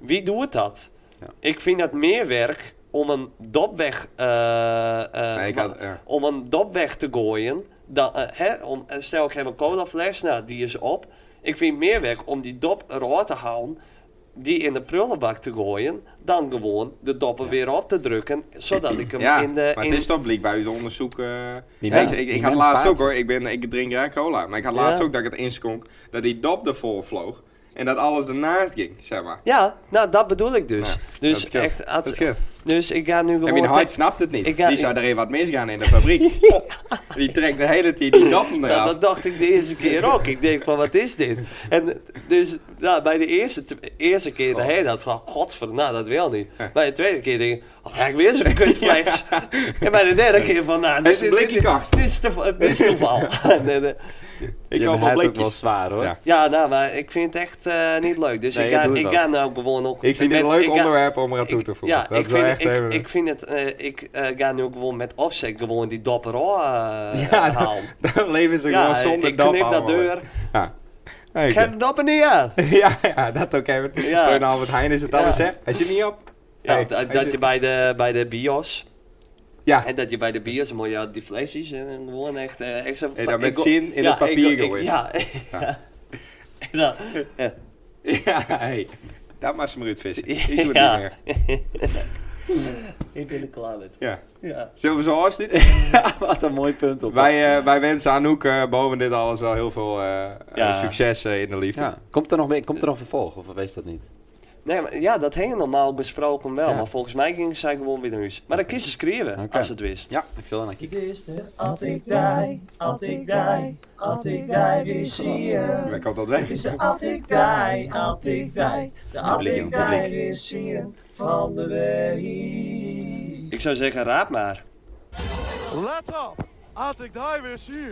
[SPEAKER 1] wie doet dat?
[SPEAKER 3] Ja.
[SPEAKER 1] Ik vind dat meer werk om een dop weg... eh, eh,
[SPEAKER 2] Nee, ik
[SPEAKER 1] wa-
[SPEAKER 2] had, ja.
[SPEAKER 1] om een dop weg te gooien. Dan, eh, hè, om, eh, stel, ik heb een colafles, nou, die is op. Ik vind meer werk om die dop eruit te halen, die in de prullenbak te gooien, dan gewoon de doppen weer op te drukken, zodat ik hem
[SPEAKER 2] Ja,
[SPEAKER 1] in de...
[SPEAKER 2] maar
[SPEAKER 1] in-
[SPEAKER 2] het is toch blijkbaar uit onderzoek. eh,
[SPEAKER 4] Wie
[SPEAKER 2] ja, ik,
[SPEAKER 4] bent-
[SPEAKER 2] ik,
[SPEAKER 4] wie
[SPEAKER 2] ik had
[SPEAKER 4] bent
[SPEAKER 2] laatst
[SPEAKER 4] paard?
[SPEAKER 2] ook hoor, ik, ben, ik drink graag cola, maar ik had laatst
[SPEAKER 1] Ja.
[SPEAKER 2] ook dat ik het inskonk dat die dop ervoor vloog en dat alles ernaast ging, zeg maar.
[SPEAKER 1] Ja, nou, dat bedoel ik dus.
[SPEAKER 2] Ja, dat
[SPEAKER 1] dus
[SPEAKER 2] is kut.
[SPEAKER 1] echt... als-
[SPEAKER 2] Dat is kut.
[SPEAKER 1] dus ik ga nu
[SPEAKER 2] En
[SPEAKER 1] gewoon...
[SPEAKER 2] mijn hart
[SPEAKER 1] te-
[SPEAKER 2] snapt het niet.
[SPEAKER 1] ik ga-
[SPEAKER 2] die zou er even wat misgaan in de fabriek. Die trekt de hele tijd die dop eraf.
[SPEAKER 1] Ja, dat dacht ik de eerste keer ook. Ik denk van, wat is dit? En dus nou, bij de eerste, t- eerste keer dacht hij dat van, godver, nou, dat wil niet. Bij de tweede keer denk ik, oh, ga ik weer zo'n kutfles? En bij de derde keer van, nou, dit,
[SPEAKER 2] is een
[SPEAKER 1] dit-
[SPEAKER 2] blikje
[SPEAKER 1] dit-
[SPEAKER 2] kaft.
[SPEAKER 1] dit is toeval. dit is toeval. En, eh, eh,
[SPEAKER 3] Ik
[SPEAKER 2] koop al
[SPEAKER 3] heb het ook
[SPEAKER 2] blikjes.
[SPEAKER 3] wel zwaar hoor.
[SPEAKER 2] Ja.
[SPEAKER 1] ja, nou, maar ik vind het echt eh, niet leuk. Dus
[SPEAKER 3] Nee,
[SPEAKER 1] ik,
[SPEAKER 3] ik
[SPEAKER 1] ga,
[SPEAKER 3] doe het
[SPEAKER 1] ik
[SPEAKER 3] wel.
[SPEAKER 1] ga nou gewoon ook...
[SPEAKER 4] Ik vind het
[SPEAKER 1] ben-
[SPEAKER 4] een leuk
[SPEAKER 1] ik ga-
[SPEAKER 4] onderwerp om eraan toe
[SPEAKER 1] ik-
[SPEAKER 4] te voegen.
[SPEAKER 1] Ja,
[SPEAKER 4] dat
[SPEAKER 1] ik
[SPEAKER 4] is wel
[SPEAKER 1] vind,
[SPEAKER 4] echt
[SPEAKER 1] ik,
[SPEAKER 4] even...
[SPEAKER 1] ik vind het, eh, ik eh, ga nu ook gewoon met opzet gewoon die dopper al, eh,
[SPEAKER 4] Ja,
[SPEAKER 1] halen.
[SPEAKER 4] Dan leven ze
[SPEAKER 1] Ja,
[SPEAKER 4] gewoon zonder
[SPEAKER 1] ik knip dat
[SPEAKER 4] allemaal.
[SPEAKER 1] deur.
[SPEAKER 4] Ja.
[SPEAKER 1] Ik heb de dopper niet aan.
[SPEAKER 4] ja, ja, dat ook even.
[SPEAKER 1] Ja.
[SPEAKER 4] Voor een Albert Heijn is het
[SPEAKER 1] Ja.
[SPEAKER 4] alles, hè? Hij zit niet op.
[SPEAKER 1] Ja,
[SPEAKER 4] Hey,
[SPEAKER 1] dat-
[SPEAKER 4] hij
[SPEAKER 1] dat
[SPEAKER 4] zit-
[SPEAKER 1] je bij de, bij de bios.
[SPEAKER 2] Ah.
[SPEAKER 4] Ja,
[SPEAKER 1] En dat je bij de bios een miljard die flesjes en gewoon echt eh, extra.
[SPEAKER 2] En dan
[SPEAKER 1] ik
[SPEAKER 2] met
[SPEAKER 1] go-
[SPEAKER 2] zin in
[SPEAKER 1] Ja,
[SPEAKER 2] het papier
[SPEAKER 1] ik go- ik-
[SPEAKER 2] gooien.
[SPEAKER 1] Ja. En dan- ja.
[SPEAKER 2] Ja, hey. Dat was hem eruit vissen. Ik doe het niet meer.
[SPEAKER 1] Ik ben er klaar met.
[SPEAKER 2] Ja.
[SPEAKER 1] Ja.
[SPEAKER 2] Zullen we zo afsluiten?
[SPEAKER 3] Wat een mooi punt op.
[SPEAKER 2] Wij, eh, wij wensen Anouk eh, boven dit alles wel heel veel eh, eh,
[SPEAKER 1] Ja.
[SPEAKER 2] succes eh, in de liefde.
[SPEAKER 3] Ja. Komt, er nog, mee- komt er nog vervolg of weet je dat niet?
[SPEAKER 1] Nee, maar, ja, dat hing normaal besproken wel.
[SPEAKER 3] Ja.
[SPEAKER 1] Maar volgens mij ging zij gewoon weer naar huis. Maar dan kist ze schreeuwen,
[SPEAKER 3] Oké.
[SPEAKER 1] als ze het wist.
[SPEAKER 3] Ja, ik zal er naar kijken.
[SPEAKER 5] Altijd die, altijd die, altijd die weer zie je.
[SPEAKER 2] Waar komt dat weg?
[SPEAKER 5] Is de altijd die, altijd die, de altijd die weer zie je van de week.
[SPEAKER 1] Ik zou zeggen, raad maar.
[SPEAKER 6] Let op, als ik daar weer zie.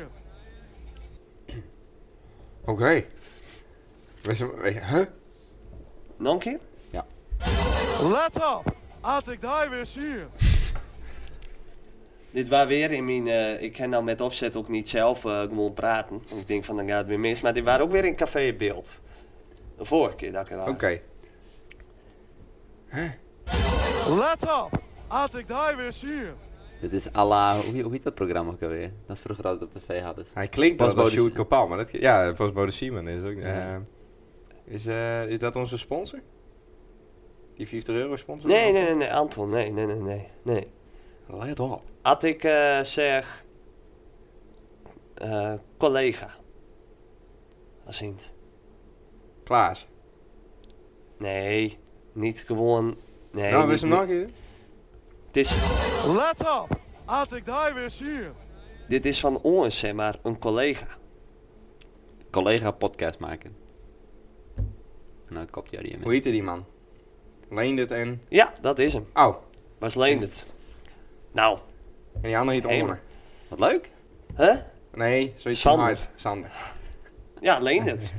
[SPEAKER 2] Oké. We zijn- we- Huh?
[SPEAKER 1] Nog een keer?
[SPEAKER 6] Let op, als ik daar weer zie.
[SPEAKER 1] Dit was weer in mijn... eh, ik kan nou met opzet ook niet zelf eh, gewoon praten. Ik denk van, dan gaat het weer mis. Maar dit waren ook weer in Café Beeld. De vorige keer dat ik er was.
[SPEAKER 2] Oké.
[SPEAKER 6] Let op, als ik daar weer zie.
[SPEAKER 3] Dit is alla. Hoe, hoe heet dat programma ook alweer? Dat is vroeger altijd op tv hadden.
[SPEAKER 2] Hij klinkt als
[SPEAKER 3] Postbode-
[SPEAKER 2] Sjoerd Kapal, maar dat... Ja, Postbode Simon is ook... eh,
[SPEAKER 3] Ja.
[SPEAKER 2] is, eh, is dat onze sponsor? Die 50 euro sponsor?
[SPEAKER 1] Nee, nee, nee, nee, Anton. Nee, nee, nee, nee. nee.
[SPEAKER 3] Let op.
[SPEAKER 1] Had ik eh, zeg... eh, collega. Als in het-
[SPEAKER 2] Klaas.
[SPEAKER 1] Nee, niet gewoon... Nee,
[SPEAKER 2] nou,
[SPEAKER 1] niet-
[SPEAKER 2] we zijn nog een keer.
[SPEAKER 1] Het is,
[SPEAKER 6] Let op, als ik daar weer zie.
[SPEAKER 1] dit is van ons, zeg maar, een collega.
[SPEAKER 3] Collega podcast maken. En dan kopt Jari
[SPEAKER 2] Hoe
[SPEAKER 3] mee.
[SPEAKER 2] heette die man? Leendert en...
[SPEAKER 1] Ja, dat is hem.
[SPEAKER 2] Oh,
[SPEAKER 1] Was Leendert. Nou,
[SPEAKER 2] en die andere heet
[SPEAKER 1] Hey,
[SPEAKER 2] Onne.
[SPEAKER 3] Wat leuk.
[SPEAKER 1] hè?
[SPEAKER 2] Nee, zoiets
[SPEAKER 1] Sander.
[SPEAKER 2] van Hart. Sander.
[SPEAKER 1] Ja, Leendert.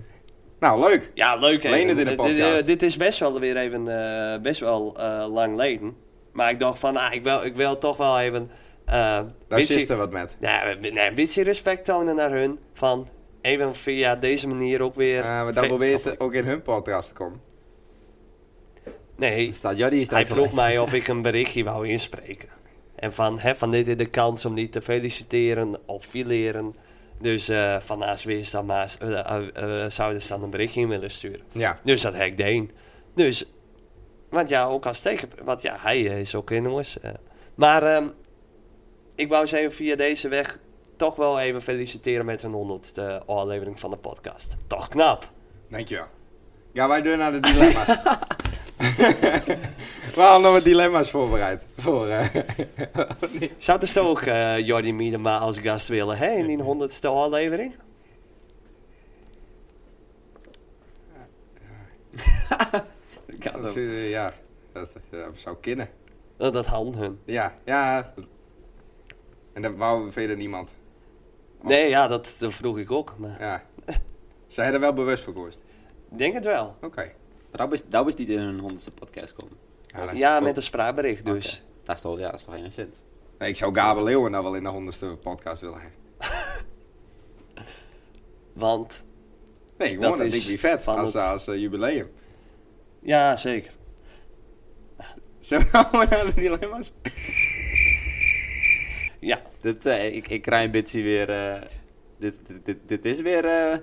[SPEAKER 2] Nou, leuk.
[SPEAKER 1] Ja, leuk hè.
[SPEAKER 2] Leen het in de
[SPEAKER 1] Dit- dit-
[SPEAKER 2] podcast.
[SPEAKER 1] Dit, is best wel weer even, eh, best wel eh, lang leden. Maar ik dacht van, ah, ik, wil, ik wil toch wel even... eh,
[SPEAKER 2] Daar
[SPEAKER 1] beetje-
[SPEAKER 2] zit er wat met.
[SPEAKER 1] Nee, we- nee, een beetje respect tonen naar hun. Van even via deze manier ook weer.
[SPEAKER 2] Eh, maar
[SPEAKER 1] Ve-
[SPEAKER 2] dan probeer ze ook in hun podcast te komen.
[SPEAKER 1] Nee,
[SPEAKER 3] Staat Jari is
[SPEAKER 1] hij vroeg mij of ik een berichtje wou inspreken. En van, hè, van dit is de kans om die te feliciteren of fileren. Dus eh, van naast weer dan maar eh, eh, eh, zouden ze dan een berichtje in willen sturen.
[SPEAKER 2] Ja.
[SPEAKER 1] Dus dat heb ik deed. Dus, want ja, ook als tegen... Want ja, hij eh, is ook in jongens. eh. maar ehm, ik wou ze even via deze weg toch wel even feliciteren met hun honderdste aflevering van de podcast. Toch knap.
[SPEAKER 2] Dankjewel. Gaan wij door naar de dilemma's. We hadden nog wat dilemma's voorbereid. Voor, eh,
[SPEAKER 1] Zou dus ook eh Jordi Miedema als gast willen, hè, in die honderdste aflevering?
[SPEAKER 2] dat, eh, ja, dat eh, zou kunnen.
[SPEAKER 1] Nou, dat hadden hun.
[SPEAKER 2] Ja, ja. En dat wou verder niemand.
[SPEAKER 1] Nee, ja, dat, dat vroeg ik ook. Maar
[SPEAKER 2] Ja. Zij hadden wel bewust voor gekozen.
[SPEAKER 1] ik denk het wel.
[SPEAKER 2] Oké.
[SPEAKER 3] Dat is niet in hun honderdste podcast komen.
[SPEAKER 2] Ja, dan-
[SPEAKER 1] Ja, met een spraakbericht dus.
[SPEAKER 3] Dat is toch, ja, dat is toch geen cent.
[SPEAKER 2] Nee, ik zou Gabel Leeuwen nou wel in de honderdste podcast willen hebben.
[SPEAKER 1] Want,
[SPEAKER 2] Nee, gewoon,
[SPEAKER 1] Dat
[SPEAKER 2] dat
[SPEAKER 1] is
[SPEAKER 2] vind ik niet vet
[SPEAKER 1] van
[SPEAKER 2] als,
[SPEAKER 1] het-
[SPEAKER 2] als eh, jubileum.
[SPEAKER 1] ja, zeker.
[SPEAKER 2] Zullen we allemaal naar de dilemma's?
[SPEAKER 1] Ja,
[SPEAKER 3] Dit, eh, ik, ik krijg een beetje weer... eh, dit, dit, dit, dit is weer eh,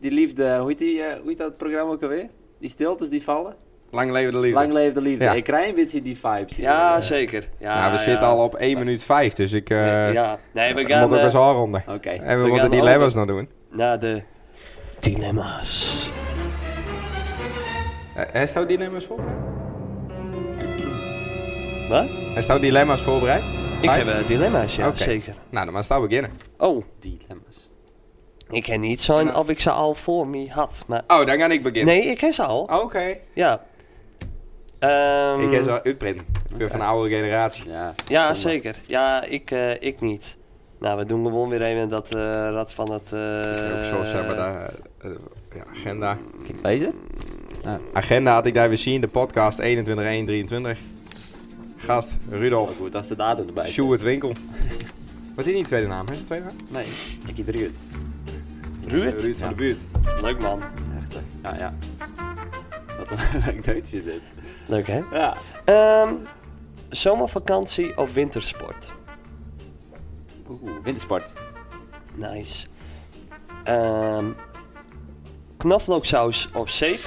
[SPEAKER 3] die liefde. Hoe heet, die, eh, hoe heet dat programma ook alweer? Die stiltes die vallen.
[SPEAKER 2] Lang leven de liefde.
[SPEAKER 3] Lang leven de liefde.
[SPEAKER 2] Ja.
[SPEAKER 3] Ik krijg een beetje die vibes hier.
[SPEAKER 1] ja
[SPEAKER 3] eh.
[SPEAKER 1] zeker. Ja,
[SPEAKER 2] Nou, we
[SPEAKER 1] Ah, ja.
[SPEAKER 2] zitten al op 1 minuut 5, dus ik eh
[SPEAKER 1] ja, nee, we
[SPEAKER 2] moet
[SPEAKER 1] gaan
[SPEAKER 2] ook
[SPEAKER 1] eh,
[SPEAKER 2] eens afronden.
[SPEAKER 3] Oké.
[SPEAKER 2] En we,
[SPEAKER 1] we
[SPEAKER 2] moeten
[SPEAKER 1] gaan
[SPEAKER 2] dilemma's nog doen.
[SPEAKER 1] naar de dilemma's.
[SPEAKER 2] Hij staat eh, dilemma's voorbereid?
[SPEAKER 1] Wat?
[SPEAKER 2] Hij staat dilemma's voorbereid?
[SPEAKER 1] Ik
[SPEAKER 2] Vijf?
[SPEAKER 1] heb eh, dilemma's, ja,
[SPEAKER 2] Oké.
[SPEAKER 1] zeker.
[SPEAKER 2] Nou, dan maar snel beginnen.
[SPEAKER 1] Oh,
[SPEAKER 3] Dilemma's.
[SPEAKER 1] ik kan niet zijn
[SPEAKER 2] Nou.
[SPEAKER 1] of ik ze al voor me had, maar...
[SPEAKER 2] Oh, dan ga ik beginnen.
[SPEAKER 1] Nee, ik heb ze al.
[SPEAKER 2] Oké.
[SPEAKER 1] Ja. Ehm,
[SPEAKER 2] Oh. Ik ga zo uitprinten. Ik ben van de oude generatie.
[SPEAKER 3] Ja,
[SPEAKER 1] Ja,
[SPEAKER 3] zonde.
[SPEAKER 1] zeker. Ja, ik, eh, ik niet. Nou, we doen gewoon weer even dat eh, rad van het... eh,
[SPEAKER 2] ook zo, zeg maar, daar, eh, ja, agenda.
[SPEAKER 3] Kijk, Deze?
[SPEAKER 2] Agenda had ik daar weer zien, de podcast 21 Gast,
[SPEAKER 3] Oh,
[SPEAKER 2] Rudolf,
[SPEAKER 3] goed, als de datum erbij zit.
[SPEAKER 2] Sjoerd Winkel. Wat is die tweede naam? Is het tweede naam?
[SPEAKER 3] Nee, ik eet eruit.
[SPEAKER 1] Ruud?
[SPEAKER 2] Ruud van de buurt.
[SPEAKER 1] Leuk man.
[SPEAKER 3] Echt, hè? ja, ja. Wat een leuk Duits is dit.
[SPEAKER 1] Leuk hè?
[SPEAKER 3] Ja.
[SPEAKER 1] Ehm, zomervakantie of wintersport?
[SPEAKER 3] Oeh, wintersport.
[SPEAKER 1] Nice. Ehm knoflooksaus of zeep?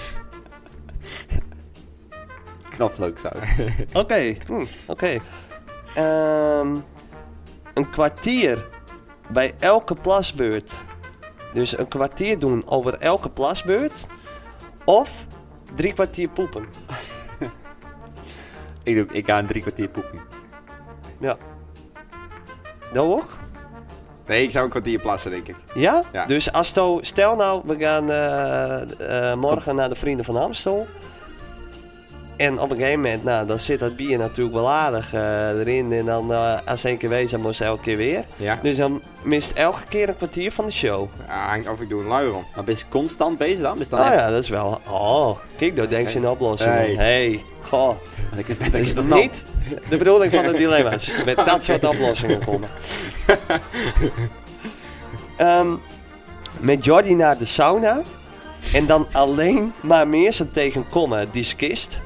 [SPEAKER 3] Knoflooksaus.
[SPEAKER 1] Oké, hm, oké. Ehm, een kwartier bij elke plasbeurt. Dus een kwartier doen over elke plasbeurt. Of drie kwartier poepen.
[SPEAKER 3] ik, doe, ik ga een drie kwartier poepen.
[SPEAKER 1] Ja. Dat ook?
[SPEAKER 2] Nee, ik zou een kwartier plassen, denk ik.
[SPEAKER 1] Ja?
[SPEAKER 2] Ja.
[SPEAKER 1] Dus Asto, stel nou, we gaan eh, eh, morgen naar de Vrienden van Amstel. En op een gegeven moment, nou, dan zit dat bier natuurlijk wel aardig eh, erin. En dan, eh, als één keer wezen, moest elke keer weer.
[SPEAKER 2] Ja.
[SPEAKER 1] Dus dan mist elke keer een kwartier van de show.
[SPEAKER 2] Ah, hangt of ik doe een luier om.
[SPEAKER 3] Maar ben je constant bezig dan? Ben je dan
[SPEAKER 1] Oh
[SPEAKER 3] echt...
[SPEAKER 1] ja, dat is wel... Oh, kijk, daar denk je een oplossing. Hey.
[SPEAKER 2] Hey.
[SPEAKER 1] hey. Goh,
[SPEAKER 3] Ik ben- ben
[SPEAKER 1] dat
[SPEAKER 3] ik
[SPEAKER 1] is
[SPEAKER 3] toch
[SPEAKER 1] niet de bedoeling van de dilemma's. Met dat soort oplossingen komen. Ehm, met Jordi naar de sauna. En dan alleen maar meer zijn tegenkomen, diskist.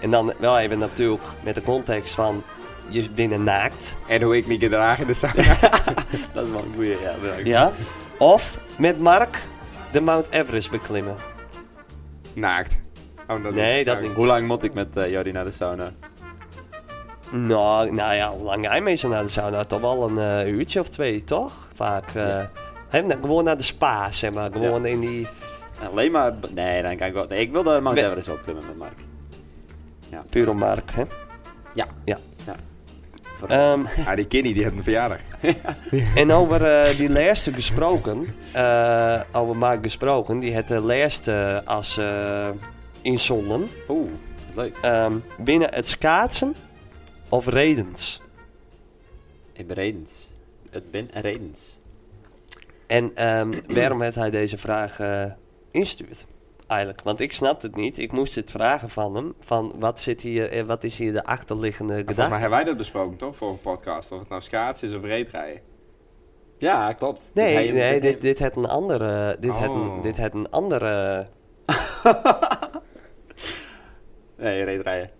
[SPEAKER 1] En dan wel even natuurlijk met de context van... Je bent een naakt.
[SPEAKER 2] En hoe ik me gedraag in de sauna.
[SPEAKER 3] dan? Dat is wel een goeie, ja. bedankt.
[SPEAKER 1] Ja. Of met Mark de Mount Everest beklimmen.
[SPEAKER 2] Naakt. Oh, dat
[SPEAKER 1] Nee,
[SPEAKER 2] is-
[SPEAKER 1] dat
[SPEAKER 2] oh,
[SPEAKER 1] niet.
[SPEAKER 3] Hoe lang moet ik met eh Jordi naar de sauna?
[SPEAKER 1] Nou, nou ja, hoe lang jij mee zou naar de sauna? Toch wel een eh, uurtje of twee, toch? Vaak. eh hè, na- gewoon naar de spa, zeg maar. Gewoon in die...
[SPEAKER 3] Alleen maar... Nee, dan kan ik wel... Nee, ik wil de Mount
[SPEAKER 1] We-
[SPEAKER 3] Everest opklimmen met Mark.
[SPEAKER 1] Pure Mark, hè?
[SPEAKER 3] Ja.
[SPEAKER 1] Ja.
[SPEAKER 3] Ja.
[SPEAKER 1] Ehm,
[SPEAKER 2] Ah, die Kenny, die had een verjaardag.
[SPEAKER 1] en over eh, die laatste gesproken. eh, over Mark gesproken. Die had de laatste als eh inzonden.
[SPEAKER 3] Oeh, leuk.
[SPEAKER 1] Ehm, binnen het schaatsen of redens.
[SPEAKER 3] Ik ben Redens. Het ben Redens.
[SPEAKER 1] En ehm, waarom heeft hij deze vraag eh, instuurd? Eigenlijk, want ik snapte het niet. Ik moest het vragen van hem. Van wat, zit hier, eh, wat is hier de achterliggende
[SPEAKER 2] Ah, Volgens mij
[SPEAKER 1] gedachte?
[SPEAKER 2] hebben wij dat besproken, toch? Voor een podcast. Of het nou schaatsen is of reetrijden.
[SPEAKER 3] Ja, klopt.
[SPEAKER 1] Nee,
[SPEAKER 3] Hij-
[SPEAKER 1] nee, dit, dit had een andere... Dit, had
[SPEAKER 2] Oh.
[SPEAKER 1] een, dit had een andere...
[SPEAKER 3] Nee, reedrijden.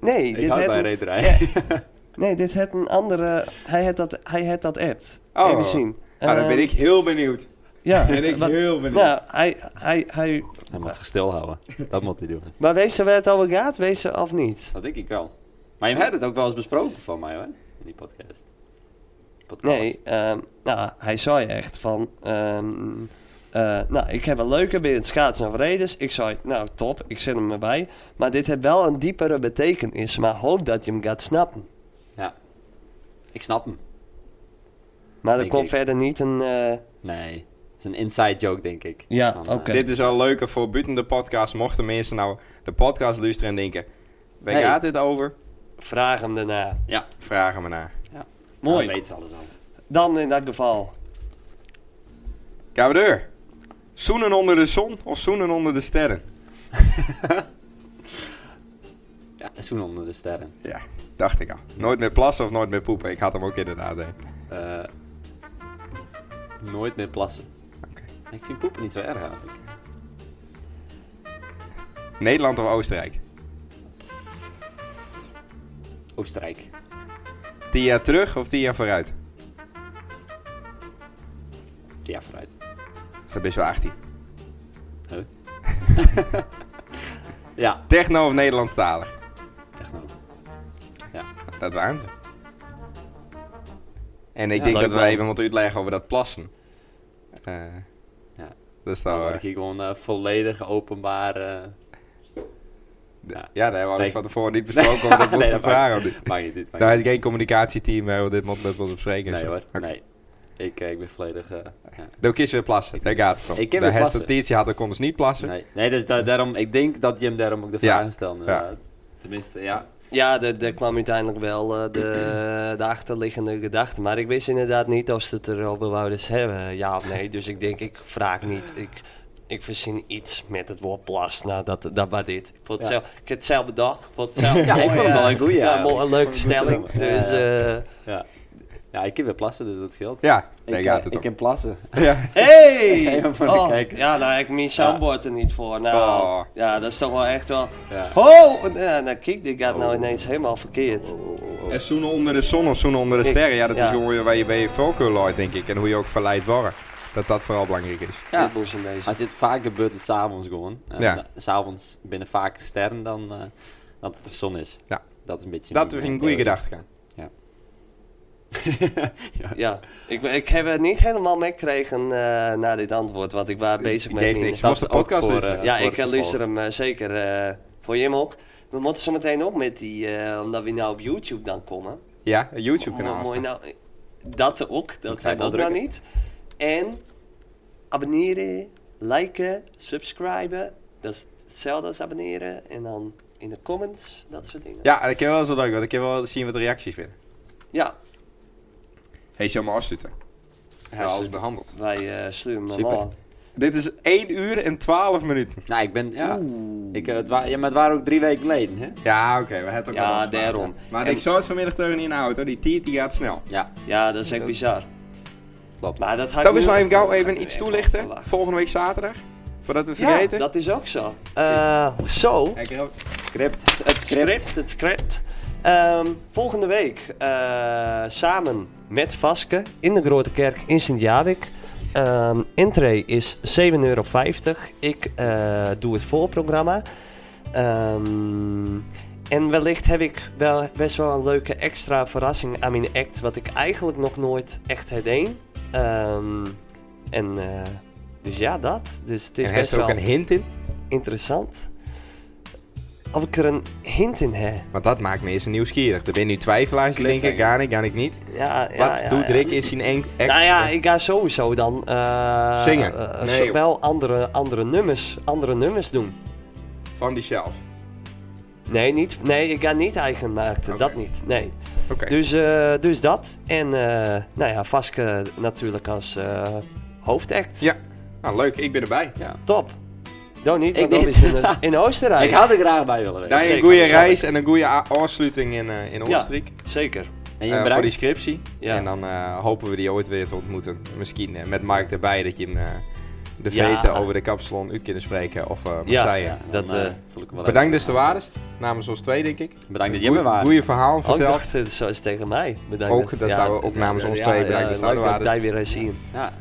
[SPEAKER 1] Nee,
[SPEAKER 3] Ik
[SPEAKER 1] dit
[SPEAKER 3] hou
[SPEAKER 1] had
[SPEAKER 3] bij
[SPEAKER 1] een-
[SPEAKER 3] reedrijden.
[SPEAKER 1] nee, dit had een andere... Hij had dat, hij had dat app.
[SPEAKER 2] Oh.
[SPEAKER 1] Even zien.
[SPEAKER 2] Nou, dan
[SPEAKER 1] Ehm,
[SPEAKER 2] ben ik heel benieuwd.
[SPEAKER 1] Ja,
[SPEAKER 2] Ben ik
[SPEAKER 1] wat-
[SPEAKER 2] heel benieuwd.
[SPEAKER 1] Nou, hij, hij, hij...
[SPEAKER 3] Hij moet zich stilhouden. Dat moet hij doen.
[SPEAKER 1] Maar weet ze waar het over gaat? Weet ze of niet?
[SPEAKER 3] Dat denk ik wel. Maar je hebt het ook wel eens besproken van mij hoor, in die podcast. podcast.
[SPEAKER 1] Nee, ehm, nou, hij zei echt van... ehm, eh, nou, ik heb een leuke binnen het schaatsen en redes. Ik zei, nou top, ik zet hem erbij. Maar dit heeft wel een diepere betekenis. Maar hoop dat je hem gaat snappen.
[SPEAKER 3] Ja. Ik snap hem.
[SPEAKER 1] Maar er
[SPEAKER 3] Ik-
[SPEAKER 1] komt
[SPEAKER 3] ik-
[SPEAKER 1] verder niet een... eh,
[SPEAKER 3] Nee. Het is een inside joke, denk ik.
[SPEAKER 1] Ja,
[SPEAKER 3] Van, eh,
[SPEAKER 1] oké.
[SPEAKER 2] Dit is wel leuker voor buiten de podcast. Mochten mensen nou de podcast luisteren en denken... Waar
[SPEAKER 3] Hey.
[SPEAKER 2] gaat dit over?
[SPEAKER 1] vraag hem daarna.
[SPEAKER 3] ja,
[SPEAKER 2] Vragen me naar.
[SPEAKER 1] Mooi.
[SPEAKER 3] dat weet ze alles al.
[SPEAKER 1] Dan in dat geval.
[SPEAKER 2] Kabadeur. Zoenen onder de zon of zoenen onder de sterren?
[SPEAKER 3] Ja, een zoen onder de sterren.
[SPEAKER 2] Ja, dacht ik al. Nooit meer plassen of nooit meer poepen. Ik had hem ook inderdaad, hè.
[SPEAKER 3] Eh, nooit meer plassen.
[SPEAKER 2] Oké.
[SPEAKER 3] Ik vind poepen niet zo erg eigenlijk.
[SPEAKER 2] Nederland of Oostenrijk?
[SPEAKER 3] Oostenrijk.
[SPEAKER 2] Tien jaar terug of tien jaar vooruit?
[SPEAKER 3] Ja, vooruit.
[SPEAKER 2] Dus dan ben je wel 18.
[SPEAKER 3] Huh? ja,
[SPEAKER 2] Techno of Nederlandstalig?
[SPEAKER 3] techno.
[SPEAKER 2] Dat waren ze. En ik
[SPEAKER 3] Ja,
[SPEAKER 2] denk
[SPEAKER 3] leuk
[SPEAKER 2] dat we
[SPEAKER 3] wel.
[SPEAKER 2] even moeten uitleggen over dat plassen. Eh
[SPEAKER 3] Ja.
[SPEAKER 2] Dat is
[SPEAKER 3] Dan
[SPEAKER 2] dan...
[SPEAKER 3] word ik hier gewoon eh, volledig openbaar. eh,
[SPEAKER 2] ja, daar hebben we alles
[SPEAKER 3] Nee.
[SPEAKER 2] van tevoren niet besproken. want dat
[SPEAKER 3] Nee,
[SPEAKER 2] moet
[SPEAKER 3] dat
[SPEAKER 2] van vragen. want dit-
[SPEAKER 3] Maakt niet dit. maakt
[SPEAKER 2] Daar Nou, is
[SPEAKER 3] niet.
[SPEAKER 2] geen communicatieteam, hè, want dit moet met ons bespreken. en
[SPEAKER 3] Nee
[SPEAKER 2] zo.
[SPEAKER 3] hoor,
[SPEAKER 2] Oké.
[SPEAKER 3] nee. Ik, eh, ik ben volledig. eh, ja.
[SPEAKER 2] Dan kies je weer plassen. Daar gaat het om.
[SPEAKER 3] Ik heb
[SPEAKER 2] de
[SPEAKER 3] weer plassen.
[SPEAKER 2] hestatie had, dan konden ze niet plassen.
[SPEAKER 3] nee. nee, dus da- daarom, ik denk dat Jim daarom ook de
[SPEAKER 2] Ja,
[SPEAKER 3] vragen stelde. inderdaad. Tenminste, ja.
[SPEAKER 1] Ja, daar daar kwam uiteindelijk wel eh, de, de achterliggende gedachte. Maar ik wist inderdaad niet of ze het erover wouden hebben, ja of nee. Dus ik denk, ik vraag niet. Ik, ik verzin iets met het woord plas. Nou, dat, dat was dit. Ik, vond het
[SPEAKER 3] Ja.
[SPEAKER 1] zelf, ik heb het zelf bedacht. Ik vond het zelf
[SPEAKER 3] Ja, ik
[SPEAKER 1] mooi,
[SPEAKER 3] vond het
[SPEAKER 1] eh,
[SPEAKER 3] wel een goeie,
[SPEAKER 1] Ja,
[SPEAKER 3] ja.
[SPEAKER 1] mooi- een leuke stelling.
[SPEAKER 3] Ja, ja.
[SPEAKER 1] Dus, eh,
[SPEAKER 3] Ja. ja, ik kan weer plassen, dus dat scheelt.
[SPEAKER 2] Ja,
[SPEAKER 3] ik,
[SPEAKER 2] daar
[SPEAKER 3] eh,
[SPEAKER 2] gaat het
[SPEAKER 3] ik
[SPEAKER 2] om.
[SPEAKER 3] kan plassen.
[SPEAKER 2] Ja.
[SPEAKER 1] eh, hey!
[SPEAKER 3] Even voor de kijkers.
[SPEAKER 1] ja, nou, ik mis
[SPEAKER 3] Ja.
[SPEAKER 1] zo'n bord er niet voor. Nou,
[SPEAKER 2] Oh.
[SPEAKER 1] ja, dat is toch wel echt wel...
[SPEAKER 3] Ja. Oh.
[SPEAKER 1] Oh! Ja, nou, kijk, dit gaat nou ineens helemaal verkeerd.
[SPEAKER 2] En zoenen onder de zon of zoenen onder de
[SPEAKER 1] Ik-
[SPEAKER 2] sterren. Ja, dat
[SPEAKER 1] ja.
[SPEAKER 2] is gewoon waar je bij je voorkeur looit, denk ik. En hoe je ook verleid wordt. Dat dat vooral belangrijk is.
[SPEAKER 3] Ja.
[SPEAKER 1] Dit moest een beetje.
[SPEAKER 3] Als dit vaak gebeurt, het s'avonds gewoon. En
[SPEAKER 2] Ja.
[SPEAKER 3] da- S'avonds binnen vaker sterren dan eh dat het de zon is.
[SPEAKER 2] Ja.
[SPEAKER 3] Dat is een beetje
[SPEAKER 2] Dat
[SPEAKER 3] mijn,
[SPEAKER 2] is
[SPEAKER 3] eh,
[SPEAKER 2] een goede
[SPEAKER 3] theorie.
[SPEAKER 2] gedachte.
[SPEAKER 1] Ja, ik, ik heb het niet helemaal meegekregen eh, na dit antwoord, want ik was bezig
[SPEAKER 2] Ik
[SPEAKER 1] met...
[SPEAKER 2] deed
[SPEAKER 1] die-
[SPEAKER 2] niks.
[SPEAKER 3] dat
[SPEAKER 2] Moest de
[SPEAKER 3] is ook
[SPEAKER 2] podcast
[SPEAKER 3] voor,
[SPEAKER 2] luisteren.
[SPEAKER 3] eh,
[SPEAKER 1] Ja,
[SPEAKER 3] voor
[SPEAKER 1] ik eh,
[SPEAKER 3] het
[SPEAKER 1] luister hem eh, zeker eh, voor Jim ook. We moeten zo meteen op met die, eh, omdat we nou op YouTube dan komen.
[SPEAKER 2] Ja, een YouTube-kanaal.
[SPEAKER 1] Mooi,
[SPEAKER 2] afstaan.
[SPEAKER 1] nou, dat ook, dat
[SPEAKER 3] ga je
[SPEAKER 1] kan
[SPEAKER 3] wel
[SPEAKER 1] ook nou
[SPEAKER 3] drukken.
[SPEAKER 1] niet. En abonneren, liken, subscriben. Dat is hetzelfde als abonneren. En dan in de comments, dat soort dingen.
[SPEAKER 2] Ja, dat kan wel zo leuk, want ik heb wel zien wat reacties binnen.
[SPEAKER 1] Ja,
[SPEAKER 2] Hey, zal maar afsluiten. Hebben alles behandeld.
[SPEAKER 1] wij eh, sturen hem
[SPEAKER 3] Super.
[SPEAKER 1] aan.
[SPEAKER 2] Dit is 1 uur en 12 minuten.
[SPEAKER 3] Nou, ik ben... Ja, ik, eh, het wa- ja maar het waren ook drie weken geleden, hè?
[SPEAKER 2] Ja, oké, we hebben het ook
[SPEAKER 1] Ja,
[SPEAKER 2] al afgemaakt.
[SPEAKER 1] daarom.
[SPEAKER 2] Maar
[SPEAKER 1] En-
[SPEAKER 2] ik zou het vanmiddag tegen in de auto. Die tiert die gaat snel.
[SPEAKER 3] Ja,
[SPEAKER 1] Ja, dat is echt bizar.
[SPEAKER 3] klopt.
[SPEAKER 1] Maar dat had ik
[SPEAKER 2] Dat is
[SPEAKER 1] nu
[SPEAKER 2] nou even
[SPEAKER 1] ook wel-
[SPEAKER 2] gauw even
[SPEAKER 1] had ik
[SPEAKER 2] iets
[SPEAKER 1] echt wel
[SPEAKER 2] toelichten.
[SPEAKER 1] verwacht.
[SPEAKER 2] Volgende week zaterdag. Voordat we het
[SPEAKER 1] Ja,
[SPEAKER 2] vergeten.
[SPEAKER 1] dat is ook zo. Eh, zo,
[SPEAKER 2] Kijk, er ook.
[SPEAKER 3] Script. Het script.
[SPEAKER 1] script, het script. Ehm, volgende week eh, samen met Vaske in de Grote Kerk in Sint-Jawik. Ehm entree is 7,50 euro. Ik eh, doe het voorprogramma. Ehm, en wellicht heb ik wel best wel een leuke extra verrassing aan mijn act, wat ik eigenlijk nog nooit echt herdeed. Ehm, en eh, dus ja, dat. Dus het is
[SPEAKER 2] En heeft
[SPEAKER 1] best
[SPEAKER 2] er ook
[SPEAKER 1] wel
[SPEAKER 2] een hint in?
[SPEAKER 1] interessant. Of ik er een hint in heb.
[SPEAKER 2] Want dat maakt mensen nieuwsgierig. Er ben je nu twijfelaars die denken, ga ik, ga ik niet.
[SPEAKER 1] Ja, ja,
[SPEAKER 2] Wat
[SPEAKER 1] ja,
[SPEAKER 2] doet
[SPEAKER 1] ja.
[SPEAKER 2] Rick in zijn eng... act?
[SPEAKER 1] Nou ja, ik ga sowieso dan... eh,
[SPEAKER 2] Zingen.
[SPEAKER 1] eh,
[SPEAKER 2] Nee,
[SPEAKER 1] zo-
[SPEAKER 2] joh.
[SPEAKER 1] wel andere, andere, nummers, andere nummers doen.
[SPEAKER 2] Van diezelf.
[SPEAKER 1] Nee, niet, nee, ik ga niet eigen maken.
[SPEAKER 2] Oké.
[SPEAKER 1] Dat niet, nee.
[SPEAKER 2] Oké.
[SPEAKER 1] Dus, eh, dus dat. En eh, nou ja, Vaske natuurlijk als eh, hoofdact.
[SPEAKER 2] Ja. Nou, leuk. Ik ben erbij.
[SPEAKER 3] Ja.
[SPEAKER 1] Top. Dan niet,
[SPEAKER 3] Ik
[SPEAKER 1] want dan
[SPEAKER 3] niet.
[SPEAKER 1] is het in, in Oostenrijk.
[SPEAKER 3] Ik had er graag bij willen wezen.
[SPEAKER 2] Daar een
[SPEAKER 1] zeker,
[SPEAKER 2] goede
[SPEAKER 1] zeker.
[SPEAKER 2] reis en een goede a- afsluiting in, eh, in Oostenrijk.
[SPEAKER 1] Zeker.
[SPEAKER 3] En
[SPEAKER 2] Eh,
[SPEAKER 3] je
[SPEAKER 2] voor die
[SPEAKER 3] bedankt.
[SPEAKER 2] scriptie.
[SPEAKER 1] Ja.
[SPEAKER 2] En dan eh, hopen we die ooit weer te ontmoeten. Misschien eh, met Mark erbij dat je hem eh, de
[SPEAKER 1] Ja.
[SPEAKER 2] veten over de kapsalon uit kunnen spreken. Of eh
[SPEAKER 1] Ja.
[SPEAKER 2] Marseille.
[SPEAKER 3] Ja, dan,
[SPEAKER 1] dat,
[SPEAKER 3] eh,
[SPEAKER 1] eh,
[SPEAKER 3] voel ik me wel
[SPEAKER 2] Bedankt
[SPEAKER 3] even-
[SPEAKER 2] dus de waardest. Namens ons twee, denk ik.
[SPEAKER 3] Bedankt dat Jim er was.
[SPEAKER 2] Goeie, goeie verhaal
[SPEAKER 1] Oh, ik
[SPEAKER 2] verteld.
[SPEAKER 1] dacht, eh, zo is het tegen mij. Bedankt.
[SPEAKER 2] Ook, daar staan we ook namens ons twee. Bedankt, daar staan we
[SPEAKER 1] leuk dat
[SPEAKER 2] waarders.
[SPEAKER 1] jij weer eens zien.
[SPEAKER 3] Ja.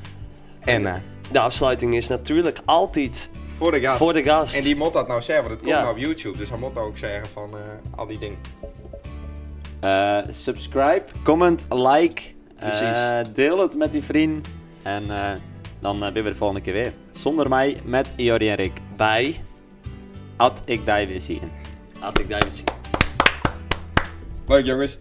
[SPEAKER 2] En eh,
[SPEAKER 1] De afsluiting is natuurlijk altijd
[SPEAKER 2] voor de gast.
[SPEAKER 1] voor de gast.
[SPEAKER 2] En die moet dat nou zeggen, want het komt
[SPEAKER 1] Ja.
[SPEAKER 2] nou op YouTube. Dus hij moet nou ook zeggen van eh, al die dingen.
[SPEAKER 3] Eh, subscribe, comment, like.
[SPEAKER 1] Precies.
[SPEAKER 3] eh, deel het met die vriend. En eh, dan eh, ben we de volgende keer weer. Zonder mij met Jori en Rick.
[SPEAKER 1] Bij
[SPEAKER 3] At ik die weer zien.
[SPEAKER 1] Attic Davidson.
[SPEAKER 2] Leuk jongens.